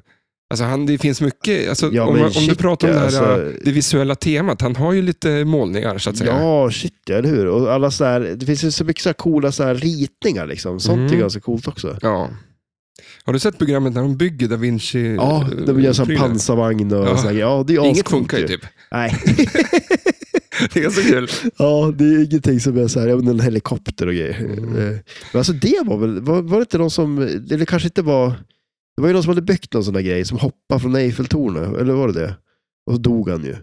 Speaker 1: Alltså han, det finns mycket. Alltså,
Speaker 2: Ja,
Speaker 1: om,
Speaker 2: men
Speaker 1: man- om du
Speaker 2: shit,
Speaker 1: pratar om det, här,
Speaker 2: alltså.
Speaker 1: eh, det visuella temat, han har ju lite målningar så att säga.
Speaker 2: shit ja, eller hur? Och alla så här, det finns ju så mycket så här coola så här ritningar liksom. Sånt
Speaker 1: Mm.
Speaker 2: är ganska coolt också.
Speaker 1: Ja. Har du sett programmet när de bygger da Vinci?
Speaker 2: Ja,
Speaker 1: eh,
Speaker 2: de gör sån
Speaker 1: prylar?
Speaker 2: pansarvagn och
Speaker 1: Ja.
Speaker 2: ja. sådär. Ja, det är
Speaker 1: Inget
Speaker 2: ascoolt
Speaker 1: funkar ju typ. [laughs]
Speaker 2: Nej,
Speaker 1: Det är ganska kul.
Speaker 2: ja, det är ingenting som är så här, ja men en helikopter och grejer.
Speaker 1: Mm.
Speaker 2: Eh, Men alltså det var väl, var, var det inte någon som, eller kanske inte var, det var ju någon som hade byggt någon sån där grej som hoppade från Eiffeltornet, eller var det det? Och så dog han ju.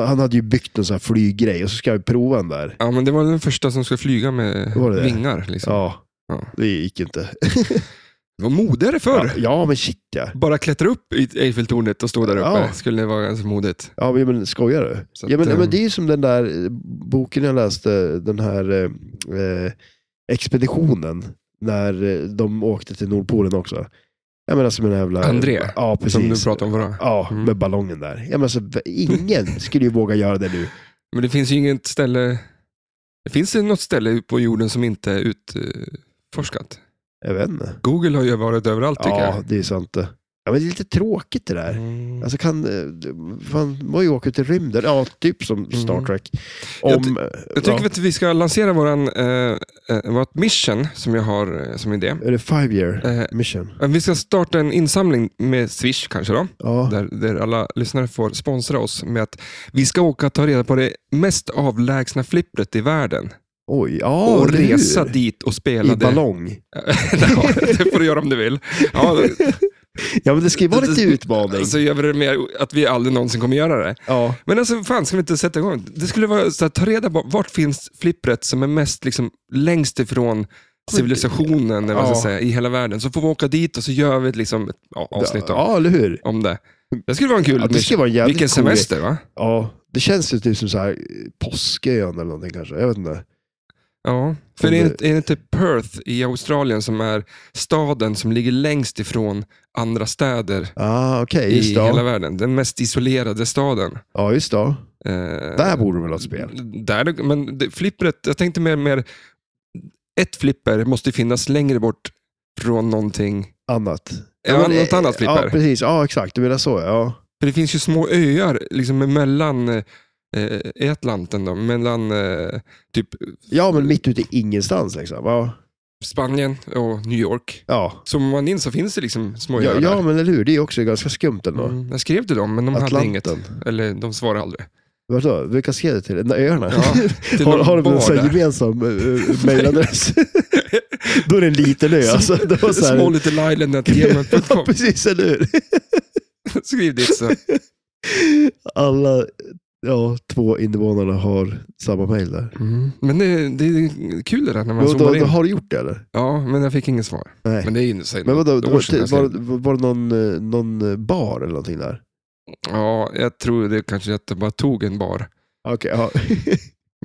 Speaker 2: Han hade ju byggt en sån här flyggrej och så ska jag prova den där.
Speaker 1: Ja, men det var den första som skulle flyga med
Speaker 2: Var det det?
Speaker 1: vingar. Liksom.
Speaker 2: Ja,
Speaker 1: Ja.
Speaker 2: det gick inte.
Speaker 1: Det var modigare förr.
Speaker 2: Ja, ja, men shit ja.
Speaker 1: Bara klättra upp i Eiffeltornet och stå där uppe
Speaker 2: Ja.
Speaker 1: skulle det vara ganska modigt.
Speaker 2: Ja, men- men skojar du?
Speaker 1: Så
Speaker 2: Ja,
Speaker 1: att,
Speaker 2: men, ja,
Speaker 1: ehm,
Speaker 2: men det är ju som den där eh, boken jag läste, den här eh, eh, expeditionen, när eh, de åkte till Nordpolen också. Jag menar som en jävla...
Speaker 1: André,
Speaker 2: Ja, precis.
Speaker 1: Som du pratade om förra.
Speaker 2: Ja,
Speaker 1: Mm.
Speaker 2: med ballongen där. Jag menar, alltså, v-
Speaker 1: [laughs]
Speaker 2: ingen skulle ju våga göra det nu.
Speaker 1: Men det finns ju inget ställe... Det finns det något ställe på jorden som inte är utforskat?
Speaker 2: Jag vet inte.
Speaker 1: Google har ju varit överallt tycker
Speaker 2: Ja,
Speaker 1: jag.
Speaker 2: det är sant det. Ja, men det är lite tråkigt det där.
Speaker 1: Mm.
Speaker 2: Alltså kan, eh, du- fan, man ju åka till rymden, ja typ som Star
Speaker 1: Mm.
Speaker 2: Trek. Om, eh,
Speaker 1: Jag ty- jag tycker
Speaker 2: ja,
Speaker 1: att vi ska lansera våran, eh, eh, vårt mission som jag har eh, som idé.
Speaker 2: Är det five year
Speaker 1: Eh,
Speaker 2: mission?
Speaker 1: vi ska starta en insamling med Swish kanske då,
Speaker 2: Ja.
Speaker 1: där, där alla lyssnare får sponsra oss med att vi ska åka och ta reda på det mest avlägsna flippret i världen.
Speaker 2: Oj, ja.
Speaker 1: och
Speaker 2: eller hur?
Speaker 1: resa dit och spela
Speaker 2: I
Speaker 1: det.
Speaker 2: ballong.
Speaker 1: [laughs] ja, det får du göra om du vill. Ja,
Speaker 2: Ja, men det ska ju vara lite utmaning.
Speaker 1: så gör vi det Alltså, mer att vi aldrig någonsin kommer göra det.
Speaker 2: Ja.
Speaker 1: Men alltså, fan ska vi inte sätta igång? Det skulle vara så att ta reda på, vart finns flippret som är mest liksom, längst ifrån civilisationen eller vad jag ska
Speaker 2: Ja.
Speaker 1: säga, i hela världen. Så får vi åka dit och så gör vi ett liksom, ett, ja, avsnitt om,
Speaker 2: Ja, eller hur?
Speaker 1: om det. Det skulle vara en kul
Speaker 2: Ja, det skulle vara en jävligt
Speaker 1: Vilken
Speaker 2: cool grej.
Speaker 1: semester va?
Speaker 2: Ja, det känns ju typ som så här eh, Påskeön eller någonting kanske. Jag vet inte.
Speaker 1: Ja, för
Speaker 2: Om
Speaker 1: är det,
Speaker 2: det-
Speaker 1: inte- är det inte Perth i Australien som är staden som ligger längst ifrån andra städer
Speaker 2: Ah, okej.
Speaker 1: i
Speaker 2: just det.
Speaker 1: hela
Speaker 2: ja.
Speaker 1: världen? Den mest isolerade staden.
Speaker 2: Ja, just det. ja.
Speaker 1: Eh,
Speaker 2: Där borde de väl ha ett spel?
Speaker 1: Där, men det, flippret, jag tänkte mer, mer, ett flipper måste ju finnas längre bort från någonting.
Speaker 2: Annat.
Speaker 1: Ja,
Speaker 2: men,
Speaker 1: något
Speaker 2: eh,
Speaker 1: annat flipper.
Speaker 2: Ja, precis. Ja, exakt. Du menar så, ja.
Speaker 1: För det finns ju små öar liksom mellan eh, eh, i Atlanten, då, mellan eh, typ
Speaker 2: Ja, men mitt ute i ingenstans liksom. Ja,
Speaker 1: Spanien och New York.
Speaker 2: ja.
Speaker 1: Som man in så finns det liksom små
Speaker 2: ja,
Speaker 1: öar
Speaker 2: ja
Speaker 1: där.
Speaker 2: men eller hur? Det är ju också ganska skumt ändå.
Speaker 1: Mm, jag skrev till dem, men de hade inget.
Speaker 2: Atlanten.
Speaker 1: Eller de svarade
Speaker 2: [laughs]
Speaker 1: aldrig.
Speaker 2: Vadå? Vilka skrev du till? Nej, Öarna?
Speaker 1: Ja, till
Speaker 2: har,
Speaker 1: någon
Speaker 2: har de
Speaker 1: bar
Speaker 2: en sån
Speaker 1: där.
Speaker 2: här
Speaker 1: [laughs]
Speaker 2: gemensam uh, mailadress? Då är det en liten ö alltså. Det var så här...
Speaker 1: Small little island at
Speaker 2: ja, [laughs]
Speaker 1: gmail.com.
Speaker 2: precis, eller hur?
Speaker 1: [laughs] Skriv dit så.
Speaker 2: Alla ja, två invånarna har samma mail där.
Speaker 1: Mm. Men det, det är kul det där när man
Speaker 2: Men då,
Speaker 1: zoomar
Speaker 2: då,
Speaker 1: in.
Speaker 2: har du gjort det eller?
Speaker 1: Ja, men jag fick inget svar.
Speaker 2: Nej.
Speaker 1: Men det är ju inte så
Speaker 2: Men vadå,
Speaker 1: något
Speaker 2: var,
Speaker 1: år sedan jag
Speaker 2: var,
Speaker 1: skrev.
Speaker 2: var, det någon, eh, någon eh, bar eller någonting där?
Speaker 1: Ja, jag tror det kanske att jag bara tog en bar.
Speaker 2: Okej, ja.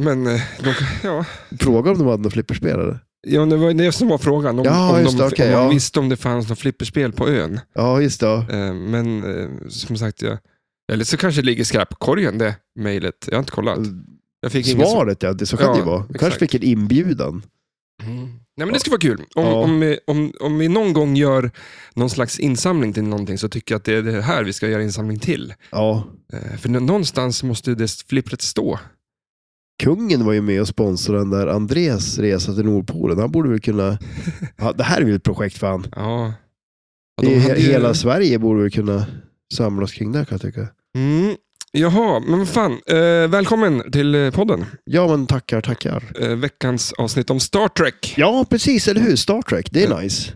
Speaker 1: Men eh, de, ja.
Speaker 2: [laughs] Fråga om de hade någon flipperspel eller?
Speaker 1: ja, det var det som var frågan. Om,
Speaker 2: Ja,
Speaker 1: om,
Speaker 2: just
Speaker 1: de,
Speaker 2: det, okej,
Speaker 1: om de
Speaker 2: ja.
Speaker 1: visste om det fanns något flipperspel på ön.
Speaker 2: Ja, just det. ja.
Speaker 1: Eh, Men eh, som sagt, jag, eller så kanske det ligger i skräpkorgen det mejlet. Jag har inte kollat.
Speaker 2: Mm.
Speaker 1: Jag fick inget svar.
Speaker 2: Svaret ja, det, så kan
Speaker 1: Ja,
Speaker 2: det ju vara. Du
Speaker 1: exakt.
Speaker 2: kanske fick en inbjudan.
Speaker 1: Mm. Nej, men det skulle vara kul. Om,
Speaker 2: Ja.
Speaker 1: om, vi, om, om vi någon gång gör någon slags insamling till någonting så tycker jag att det är det här vi ska göra insamling till.
Speaker 2: Ja,
Speaker 1: Eh, För nå- någonstans måste det flippret stå.
Speaker 2: Kungen var ju med och sponsrade den där Andres resa till Nordpolen. Han borde väl kunna... Ja, det här är väl ett projekt fan.
Speaker 1: Ja. Ja,
Speaker 2: Det
Speaker 1: de
Speaker 2: är-
Speaker 1: hade ju-
Speaker 2: Hela Sverige borde väl kunna samlas kring det här, kan jag tycka.
Speaker 1: Mm. Jaha, men vad fan. Eh, välkommen till eh, podden.
Speaker 2: Ja men tackar, tackar.
Speaker 1: Eh, veckans avsnitt om Star Trek.
Speaker 2: Ja precis, eller hur? Star Trek, det är nice.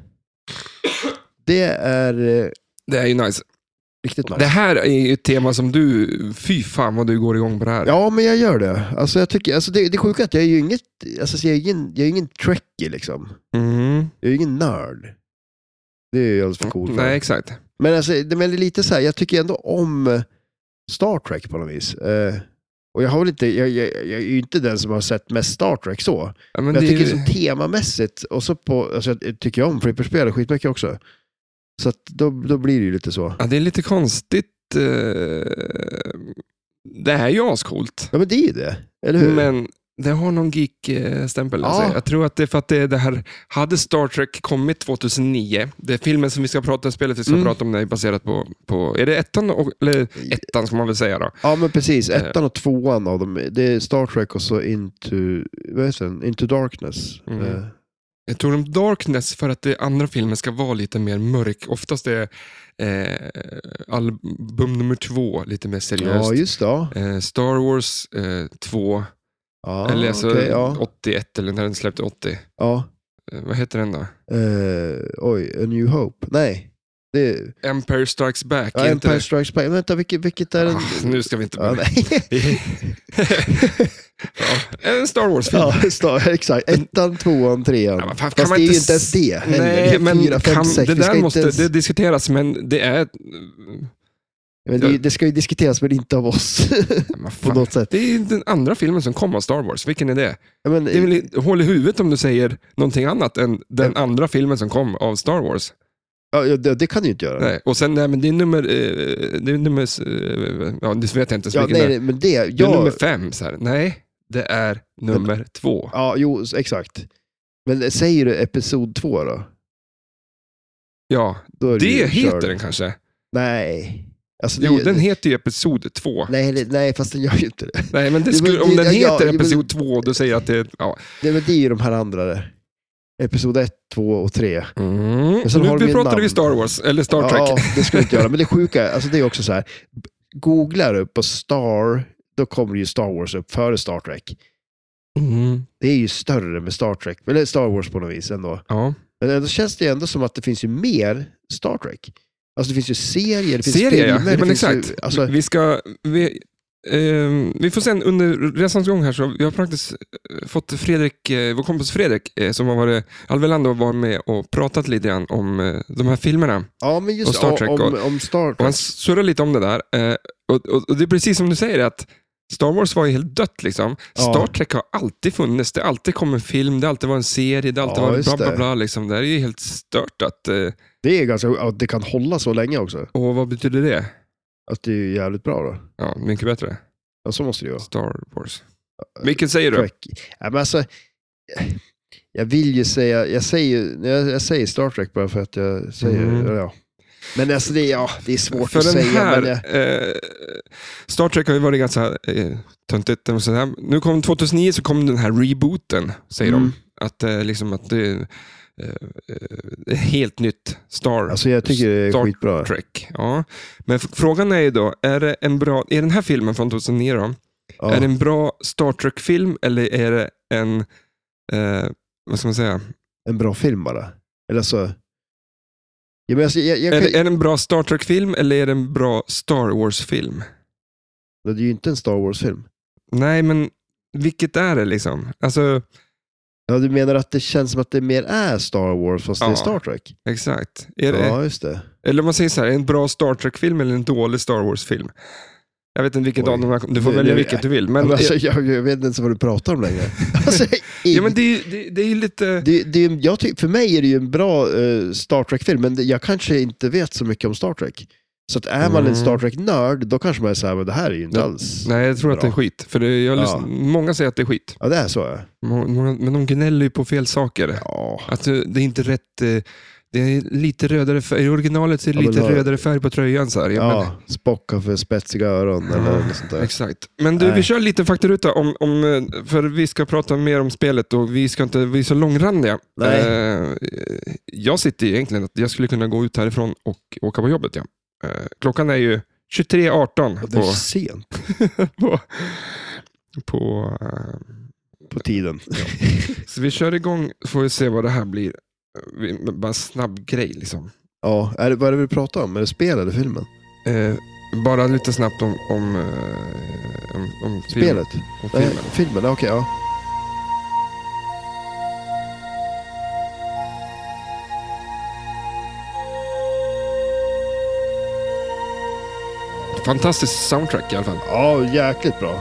Speaker 2: Det är eh,
Speaker 1: Det är ju nice.
Speaker 2: riktigt nice.
Speaker 1: Det här är ju ett tema som du, fy fan vad du går igång på det här.
Speaker 2: Ja men jag gör det. Alltså, jag tycker, alltså, det, det sjuka är att jag är ju inget, alltså, jag är ingen, jag är ingen trekkie liksom.
Speaker 1: Mm.
Speaker 2: Jag är ju ingen nörd. Det är ju alldeles för coolt. för.
Speaker 1: Nej, exakt.
Speaker 2: Men, alltså, det, men det är lite så här, jag tycker ändå om eh, Star Trek på något vis. Eh, och jag, har väl inte, jag, jag, jag är ju inte den som har sett mest Star Trek så.
Speaker 1: Ja, men
Speaker 2: Men jag
Speaker 1: det är
Speaker 2: tycker
Speaker 1: ju-
Speaker 2: så temamässigt, och så på, alltså jag tycker jag om flipperspel skitmycket också. Så att då, då blir det ju lite så.
Speaker 1: ja, det är lite konstigt. eh, Det är ju ascoolt,
Speaker 2: Ja men det är ju det, eller hur?
Speaker 1: men det har någon geek-stämpel.
Speaker 2: Eh. Ja.
Speaker 1: Alltså. Jag tror att det är för att det, är det här, hade Star Trek kommit 2009, det är filmen som vi ska prata om, spelet vi ska
Speaker 2: Mm.
Speaker 1: prata om, det är baserat på, på, är det ettan, och, eller ettan ska man väl säga då?
Speaker 2: Ja men precis,
Speaker 1: Eh.
Speaker 2: ettan och tvåan av dem, det är Star Trek och så Into, vad heter den? Into Darkness.
Speaker 1: Mm.
Speaker 2: Eh,
Speaker 1: Jag tror om Darkness för att det andra filmen ska vara lite mer mörk. Oftast är eh, album nummer två lite mer seriöst.
Speaker 2: ja just det, ja.
Speaker 1: eh, Star Wars 2,
Speaker 2: ja
Speaker 1: eller alltså
Speaker 2: okej, ja.
Speaker 1: 81, eller när den släppte 80.
Speaker 2: ja.
Speaker 1: Eh, vad heter den då?
Speaker 2: Eh, oj, A New Hope. Nej, det är
Speaker 1: Empire Strikes Back.
Speaker 2: ja,
Speaker 1: är inte
Speaker 2: Empire Strikes Back. Vänta, vilket, vilket är den?
Speaker 1: Ah, nu ska vi inte
Speaker 2: Ja,
Speaker 1: börja.
Speaker 2: nej. [laughs]
Speaker 1: ja, en Star Wars-film.
Speaker 2: Ja, Star, exakt. Ettan, tvåan, trean.
Speaker 1: Ja, men fan,
Speaker 2: Fast
Speaker 1: kan man
Speaker 2: det är ju
Speaker 1: inte
Speaker 2: inte ens det heller. det
Speaker 1: Nej,
Speaker 2: är
Speaker 1: men
Speaker 2: fyra, fem,
Speaker 1: kan,
Speaker 2: sex.
Speaker 1: det
Speaker 2: vi ska
Speaker 1: där
Speaker 2: inte
Speaker 1: måste
Speaker 2: ens,
Speaker 1: det diskuteras, men det är...
Speaker 2: men det, det ska ju diskuteras, men inte av oss [laughs]
Speaker 1: Men
Speaker 2: på
Speaker 1: fan.
Speaker 2: något sätt.
Speaker 1: Det är ju den andra filmen som kom av Star Wars. Vilken är det?
Speaker 2: Ja, Men,
Speaker 1: Det är väl hål i huvudet om du säger någonting annat än den andra filmen som kom av Star Wars.
Speaker 2: ja, ja, det, det kan du ju inte göra.
Speaker 1: Nej, och sen, nej men det är nummer, eh, det är nummer, eh, ja det vet jag inte så
Speaker 2: ja,
Speaker 1: mycket
Speaker 2: nej,
Speaker 1: där.
Speaker 2: nej, men det...
Speaker 1: Det är nummer
Speaker 2: Jag,
Speaker 1: fem, så här. nej det är nummer två.
Speaker 2: ja, jo, exakt. Men säger du episod två då?
Speaker 1: Ja,
Speaker 2: då är du ju
Speaker 1: det heter
Speaker 2: körd.
Speaker 1: den kanske.
Speaker 2: Nej. Alltså, det-
Speaker 1: Jo, den heter ju Episod två.
Speaker 2: Nej, det- nej, fast den gör ju inte det.
Speaker 1: [laughs] Nej, men det
Speaker 2: Jo, men
Speaker 1: skulle, om
Speaker 2: det-
Speaker 1: den
Speaker 2: ja,
Speaker 1: heter
Speaker 2: jo, men-
Speaker 1: Episod två, då säger jag att det är, ja.
Speaker 2: Det, men det är ju de här andra där. Episod ett, två och tre.
Speaker 1: Mm.
Speaker 2: Men sen
Speaker 1: Nu
Speaker 2: har de
Speaker 1: nu
Speaker 2: ju
Speaker 1: pratade
Speaker 2: namn.
Speaker 1: vi Star Wars, eller Star Trek.
Speaker 2: [laughs] Ja, det skulle du inte göra. Men det sjuka, är- alltså det är också så här. Googlar du på Star, då kommer ju Star Wars upp före Star Trek.
Speaker 1: Mm.
Speaker 2: Det är ju större med Star Trek, eller Star Wars på något vis ändå.
Speaker 1: Ja.
Speaker 2: Men ändå känns det ju ändå som att det finns ju mer Star Trek. Alltså det finns ju serier, det finns
Speaker 1: Serier, ja.
Speaker 2: filmer.
Speaker 1: ja
Speaker 2: det
Speaker 1: men
Speaker 2: finns
Speaker 1: exakt.
Speaker 2: Ju, alltså,
Speaker 1: Vi ska... Vi, ehm, vi får sen under resans gång här, så jag har faktiskt eh, fått Fredrik, eh, vår kompis Fredrik, eh, som har varit, Alvelander var med och pratat lite grann om eh, de här filmerna.
Speaker 2: ja, men just
Speaker 1: och Star Trek
Speaker 2: om, om,
Speaker 1: och-
Speaker 2: om Star
Speaker 1: Och han
Speaker 2: Trek.
Speaker 1: surrar lite om det där. Eh, och, och, och det är precis som du säger, att Star Wars var ju helt dött. Liksom.
Speaker 2: Ja.
Speaker 1: Star Trek har alltid funnits. Det har alltid kommit en film, det har alltid varit en serie, det har alltid
Speaker 2: Ja,
Speaker 1: varit
Speaker 2: just
Speaker 1: bla bla
Speaker 2: det.
Speaker 1: bla. Liksom. Det här är ju helt stört. Att, eh,
Speaker 2: Det är ganska, ja, det kan hålla så länge också.
Speaker 1: och vad betyder det?
Speaker 2: Att det är ju jävligt bra då.
Speaker 1: Ja, mycket bättre.
Speaker 2: Ja, så måste det ju vara.
Speaker 1: Star Wars. Vilken säger du?
Speaker 2: Trek. Ja, men alltså, jag vill ju säga, jag säger, ju- jag, jag säger Star Trek bara för att jag säger,
Speaker 1: Mhm.
Speaker 2: ja. Men alltså det, är- ja, det är svårt
Speaker 1: För
Speaker 2: att
Speaker 1: den
Speaker 2: säga.
Speaker 1: här,
Speaker 2: men jag,
Speaker 1: eh, Star Trek har ju varit ganska eh, töntigt. Och så här. Nu kom 2009 så kom den här rebooten, säger
Speaker 2: Mm.
Speaker 1: de. Att, eh, liksom, att det är eh, eh, helt nytt Star
Speaker 2: alltså jag tycker det är
Speaker 1: Star
Speaker 2: skitbra.
Speaker 1: Trek. Ja. Men f- frågan är ju då, är, det en bra, är den här filmen från 2009 då,
Speaker 2: Ja.
Speaker 1: är det en bra Star Trek-film eller är det en, eh, vad ska man säga,
Speaker 2: en bra film bara. Eller så... Ja, men alltså, jag, jag
Speaker 1: är,
Speaker 2: kan,
Speaker 1: det, är det en bra Star Trek-film eller är det en bra Star Wars-film?
Speaker 2: det... är ju inte en Star Wars-film.
Speaker 1: Nej, men vilket är det liksom? Alltså,
Speaker 2: Ja, du menar att det känns som att det mer är Star Wars fast det
Speaker 1: Ja.
Speaker 2: är Star Trek?
Speaker 1: exakt. Är det,
Speaker 2: Ja, just det.
Speaker 1: eller om man säger så här, är det en bra Star Trek-film eller en dålig Star Wars-film? Jag vet inte vilket
Speaker 2: Oj.
Speaker 1: av de här, du får
Speaker 2: Det-
Speaker 1: välja
Speaker 2: det-
Speaker 1: vilket du vill.
Speaker 2: Men,
Speaker 1: Men,
Speaker 2: alltså, jag, jag vet inte ens vad du pratar om längre. [laughs] Alltså,
Speaker 1: ja, men det, är ju- det, det är ju lite...
Speaker 2: det, det, är ju- jag ty- för mig är det ju en bra eh, Star Trek-film, men det- jag kanske inte vet så mycket om Star Trek. Så att är man
Speaker 1: Mm.
Speaker 2: en Star Trek-nörd, då kanske man är så här, men det här är ju inte
Speaker 1: Ja.
Speaker 2: alls...
Speaker 1: Nej, jag tror att det är
Speaker 2: Bra.
Speaker 1: skit. För det, jag
Speaker 2: Ja.
Speaker 1: lyssn- Många säger att det är skit.
Speaker 2: Ja, det är så. ja.
Speaker 1: Må- många- Men de gnäller ju på fel saker.
Speaker 2: Ja.
Speaker 1: Att det det är inte rätt... eh, Det är lite rödare färg. I originalet så är det
Speaker 2: Ja, men
Speaker 1: lite
Speaker 2: vad-
Speaker 1: rödare färg på tröjan. Så här. Ja,
Speaker 2: Ja, Spock har för spetsiga öron eller något sånt
Speaker 1: men,
Speaker 2: där.
Speaker 1: exakt. Men du, vi
Speaker 2: Nej.
Speaker 1: kör en liten faktaruta. Om, om, eh, för vi ska prata mer om spelet och vi ska inte bli så långrandiga.
Speaker 2: Nej.
Speaker 1: Eh, Jag sitter ju egentligen att jag skulle kunna gå ut härifrån och åka på jobbet. Ja. Eh, Klockan är ju 23.18
Speaker 2: Och Det är
Speaker 1: på,
Speaker 2: sent
Speaker 1: på, på eh,
Speaker 2: på tiden.
Speaker 1: Så vi kör igång, får vi se vad det här blir. Vi, bara en snabb grej liksom.
Speaker 2: Ja, är det, vad är det vi pratar om? Är det spel eller filmen?
Speaker 1: Eh, bara lite snabbt om, om, eh, om, om film-
Speaker 2: Spelet? Eh.
Speaker 1: Om
Speaker 2: Nej,
Speaker 1: filmen.
Speaker 2: filmen, okej. ja.
Speaker 1: Fantastisk soundtrack i alla fall.
Speaker 2: ja, jäkligt bra.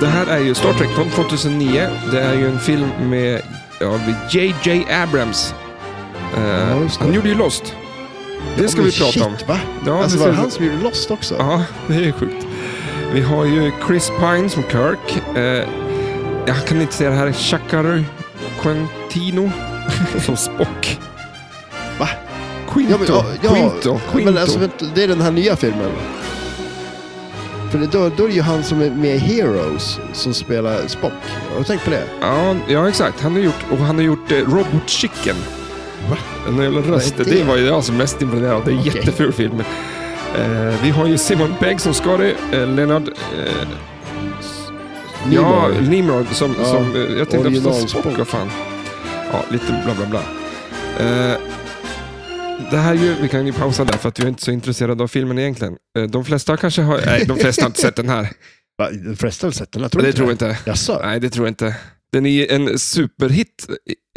Speaker 1: Det här är ju Star Trek från 2009. Det är ju en film med ja, med J.J. Abrams. Eh,
Speaker 2: Ja, just det.
Speaker 1: han gjorde ju Lost. Det ska
Speaker 2: Ja, men
Speaker 1: vi prata
Speaker 2: shit,
Speaker 1: om.
Speaker 2: Va?
Speaker 1: Ja,
Speaker 2: alltså,
Speaker 1: det
Speaker 2: var det
Speaker 1: ska-
Speaker 2: han som gjorde Lost också?
Speaker 1: Ja, det är ju sjukt. Vi har ju Chris Pine som Kirk. Eh, jag kan inte säga det här. Chakar Quintino [laughs] som Spock.
Speaker 2: Va?
Speaker 1: Quinto.
Speaker 2: Ja, men, ja, ja,
Speaker 1: Quinto. Quinto.
Speaker 2: Men alltså, vänta, det är den här nya filmen. För det, då, då är det ju han som är med i Heroes som spelar Spock. Har du tänkt på det?
Speaker 1: ja, ja, exakt. Han har gjort, och han har gjort eh, Robot Chicken.
Speaker 2: Va?
Speaker 1: Den jävla rösten.
Speaker 2: det?
Speaker 1: Det var ju jag som mest imponerad av. Det är en
Speaker 2: Okej.
Speaker 1: jätteful film. Eh, vi har ju Simon Pegg som Scotty. Eh, Leonard... Eh, Ja,
Speaker 2: Nimoy.
Speaker 1: Nimrod som...
Speaker 2: Ja,
Speaker 1: som eh, jag tänkte
Speaker 2: original
Speaker 1: förstås Spock,
Speaker 2: Spock.
Speaker 1: vad fan. Ja, lite bla bla bla. Eh, det här är ju, vi kan ju pausa där för att vi är inte så intresserade av filmen egentligen. Eh, de flesta kanske har, nej de flesta har inte sett den
Speaker 2: [laughs]
Speaker 1: här.
Speaker 2: Va? De flesta har väl sett den? Jag tror
Speaker 1: Det
Speaker 2: inte
Speaker 1: tror jag inte.
Speaker 2: Jaså?
Speaker 1: Nej, det tror jag inte. Den är ju en superhit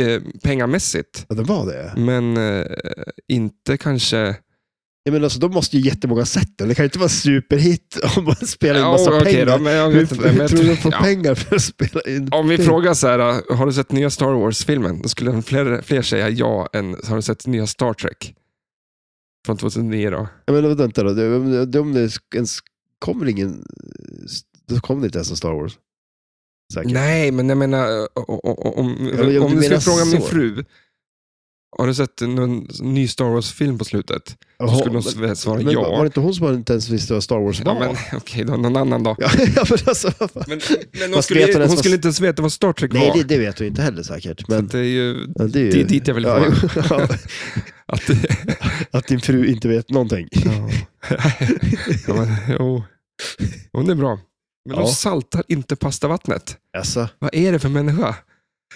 Speaker 1: eh, pengamässigt,
Speaker 2: Ja, den var det?
Speaker 1: men eh, inte kanske...
Speaker 2: Ja, men alltså, då måste ju jättemånga ha sett den. Det kan ju inte vara superhit [laughs] om man spelar in
Speaker 1: Ja,
Speaker 2: massa
Speaker 1: okej
Speaker 2: pengar.
Speaker 1: då, men jag
Speaker 2: hur
Speaker 1: vet inte. Men
Speaker 2: hur
Speaker 1: jag
Speaker 2: tror du de får
Speaker 1: ja.
Speaker 2: pengar för att spela in?
Speaker 1: Om vi
Speaker 2: film?
Speaker 1: frågar så här, eh, har du sett nya Star Wars-filmen? Då skulle fler, fler säga ja än, har du sett nya Star Trek? Från 2009 då.
Speaker 2: Ja, men vänta då, det, om det- om det ens kommer ingen... Då kommer det inte ens en Star Wars. Säkert.
Speaker 1: Nej, men jag menar, eh, o- o- o- om,
Speaker 2: Ja, men jag-
Speaker 1: om
Speaker 2: du
Speaker 1: du skulle
Speaker 2: menar
Speaker 1: fråga min
Speaker 2: så.
Speaker 1: fru, har du sett någon ny Star Wars-film på slutet? Då
Speaker 2: Jaha,
Speaker 1: skulle hon
Speaker 2: men-
Speaker 1: sv- svara
Speaker 2: men Var det
Speaker 1: ja.
Speaker 2: inte hon som inte ens visste vad Star Wars var?
Speaker 1: Ja, men [laughs] okej då, någon annan då.
Speaker 2: [laughs] Ja, men alltså,
Speaker 1: [laughs]
Speaker 2: vad fan.
Speaker 1: Men, men hon,
Speaker 2: Fast vet
Speaker 1: skulle,
Speaker 2: hon ens
Speaker 1: hon
Speaker 2: vad-
Speaker 1: skulle inte ens veta vad Star Trek
Speaker 2: Nej,
Speaker 1: var.
Speaker 2: det, det vet hon inte heller säkert.
Speaker 1: Så
Speaker 2: Men,
Speaker 1: att det är ju
Speaker 2: ja, det är ju...
Speaker 1: det är dit jag vill
Speaker 2: ja,
Speaker 1: komma.
Speaker 2: jo, [laughs] ja,
Speaker 1: att,
Speaker 2: att din fru inte vet någonting. [laughs]
Speaker 1: ja. [laughs] ja, men, jo. Hon är bra. Men de
Speaker 2: Ja.
Speaker 1: saltar inte pastavattnet.
Speaker 2: Alltså,
Speaker 1: Vad är det för människa?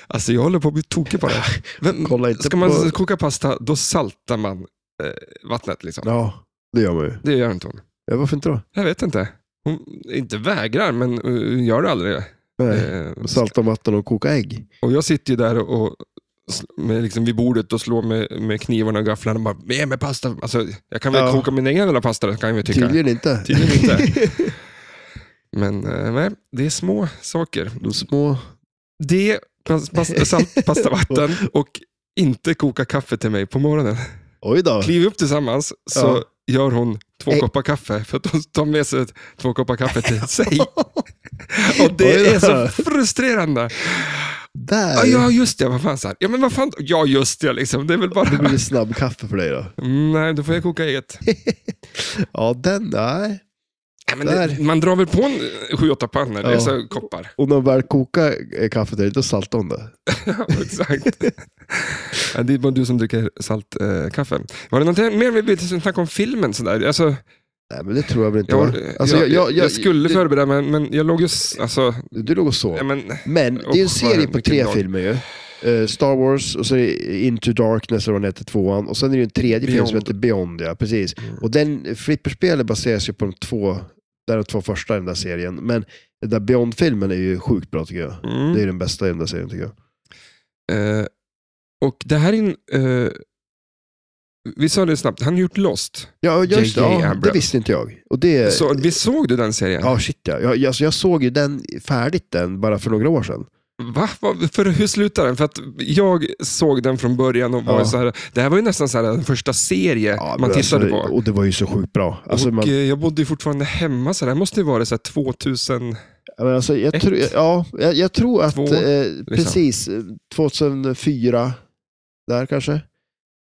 Speaker 1: Alltså jag håller på att bli tokig på det. Vem,
Speaker 2: kolla inte
Speaker 1: ska man
Speaker 2: på...
Speaker 1: koka pasta, då saltar man eh, vattnet. Liksom.
Speaker 2: Ja, det gör man ju.
Speaker 1: Det gör inte hon.
Speaker 2: Ja, varför inte då?
Speaker 1: Jag vet inte. Hon inte vägrar, men eh, hon gör det aldrig.
Speaker 2: Nej.
Speaker 1: Eh,
Speaker 2: Salta vatten och koka ägg.
Speaker 1: och jag sitter ju där och, och sl- med, liksom, vid bordet och slår med, med knivarna och gafflarna. och Bara, Ge mig pasta. Alltså, jag kan väl
Speaker 2: Ja.
Speaker 1: koka min egen jävla pasta, kan jag väl tycka.
Speaker 2: Tydligen inte.
Speaker 1: Tydligen inte. Men eh, nej, det är små saker.
Speaker 2: [laughs] De små...
Speaker 1: Det, pas, pas,
Speaker 2: [laughs]
Speaker 1: salt, pasta, vatten och inte koka kaffe till mig på morgonen.
Speaker 2: Oj då.
Speaker 1: Kliv upp tillsammans så
Speaker 2: Ja. Eh.
Speaker 1: gör hon två
Speaker 2: Ä-
Speaker 1: koppar kaffe. För att hon tar med sig två koppar kaffe
Speaker 2: [laughs]
Speaker 1: till sig. Och det
Speaker 2: Oj
Speaker 1: är
Speaker 2: då.
Speaker 1: så frustrerande. Ja,
Speaker 2: Där!
Speaker 1: ja just det. Vad fan, så här. Ja, men vad fan. Ja, just det. Liksom. Det är väl
Speaker 2: [laughs] Det
Speaker 1: bara...
Speaker 2: blir snabb kaffe för dig då.
Speaker 1: Mm, Nej, då får jag koka eget.
Speaker 2: Ja, den, nej.
Speaker 1: Ja, men det,
Speaker 2: Där.
Speaker 1: man drar väl på en eh, sju, åtta pannor,
Speaker 2: Ja.
Speaker 1: alltså koppar.
Speaker 2: Och när man väl kokar eh, kaffet där, då saltar hon det.
Speaker 1: Ja, [laughs] exakt. Ja, det är bara du som dricker saltkaffe. Eh, kaffe. var det något mer vi ville snacka om filmen? Sådär? Alltså,
Speaker 2: Nej, men det tror jag väl inte.
Speaker 1: jag,
Speaker 2: va? Alltså,
Speaker 1: jag, jag, eh, jag,
Speaker 2: jag-
Speaker 1: skulle förbereda mig, men jag låg ju... s- Alltså,
Speaker 2: Du, du låg och
Speaker 1: ja,
Speaker 2: sov.
Speaker 1: men,
Speaker 2: Men det är ju en
Speaker 1: Usch, vad-
Speaker 2: serie på
Speaker 1: vilken
Speaker 2: tre
Speaker 1: dag.
Speaker 2: filmer ju. Eh, Star Wars, och så är det Into Darkness, eller vad den heter, tvåan. Och sen är det ju en tredje film som
Speaker 1: Beyond. Mm.
Speaker 2: heter Beyond, ja. Precis. Och den, flipperspelet baseras ju på de två, där de två första i den där serien. Men den där Beyond-filmen är ju sjukt bra tycker jag.
Speaker 1: mm.
Speaker 2: Det är ju den bästa i den där serien tycker jag.
Speaker 1: Eh, och det här är en... eh, vi sa det snabbt, han har gjort Lost.
Speaker 2: Ja, just
Speaker 1: J.J.
Speaker 2: det. Ja, det
Speaker 1: Abrams.
Speaker 2: visste inte jag. Och det,
Speaker 1: Så, vi såg du den serien?
Speaker 2: Eh. Ja, shit ja. Jag, jag- alltså, jag såg ju den färdigt den bara för några år sedan.
Speaker 1: Va? Vad- För hur slutar den? För att jag såg den från början och var
Speaker 2: Ja.
Speaker 1: så här, det här var ju nästan så här, den första serie
Speaker 2: Ja, men
Speaker 1: man tittade
Speaker 2: alltså,
Speaker 1: på.
Speaker 2: Och det var ju så sjukt bra. Alltså,
Speaker 1: och
Speaker 2: man,
Speaker 1: eh, jag bodde ju fortfarande hemma, så det här måste ju vara så här 2000...
Speaker 2: ja, men alltså, jag,
Speaker 1: ett,
Speaker 2: tror- ja, jag, jag tror att
Speaker 1: två, liksom.
Speaker 2: eh, precis eh, 2004, där kanske.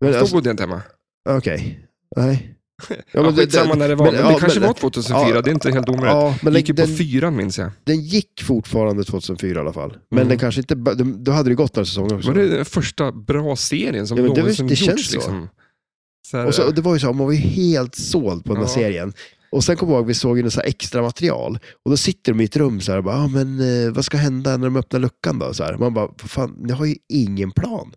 Speaker 2: Men,
Speaker 1: då
Speaker 2: alltså,
Speaker 1: bodde jag inte hemma.
Speaker 2: Okej, nej.
Speaker 1: [laughs] Ja,
Speaker 2: men det-
Speaker 1: skitsamma
Speaker 2: den-
Speaker 1: när det var, men,
Speaker 2: men- ja,
Speaker 1: det kanske
Speaker 2: men-
Speaker 1: var 2004,
Speaker 2: ja,
Speaker 1: det är inte helt omöjligt.
Speaker 2: ja, men
Speaker 1: det gick ju
Speaker 2: den,
Speaker 1: på
Speaker 2: den,
Speaker 1: fyran minns jag.
Speaker 2: den gick fortfarande 2004 i alla fall. Men
Speaker 1: Mm.
Speaker 2: den kanske inte, ba- de- då hade det gått några säsonger också.
Speaker 1: Var det den första bra serien som
Speaker 2: Ja, men det-
Speaker 1: någonsin
Speaker 2: det
Speaker 1: gjorts?
Speaker 2: känns så.
Speaker 1: liksom. så här,
Speaker 2: Och, så, och det var ju så, här, man var ju helt såld på den här
Speaker 1: Ja.
Speaker 2: serien. Och sen kommer jag ihåg, vi såg ju något så här extra material. Och då sitter de i ett rum så här och bara, ah, men eh, vad ska hända när de öppnar luckan då? Så här. Man bara, "Vad fan, ni har ju ingen plan.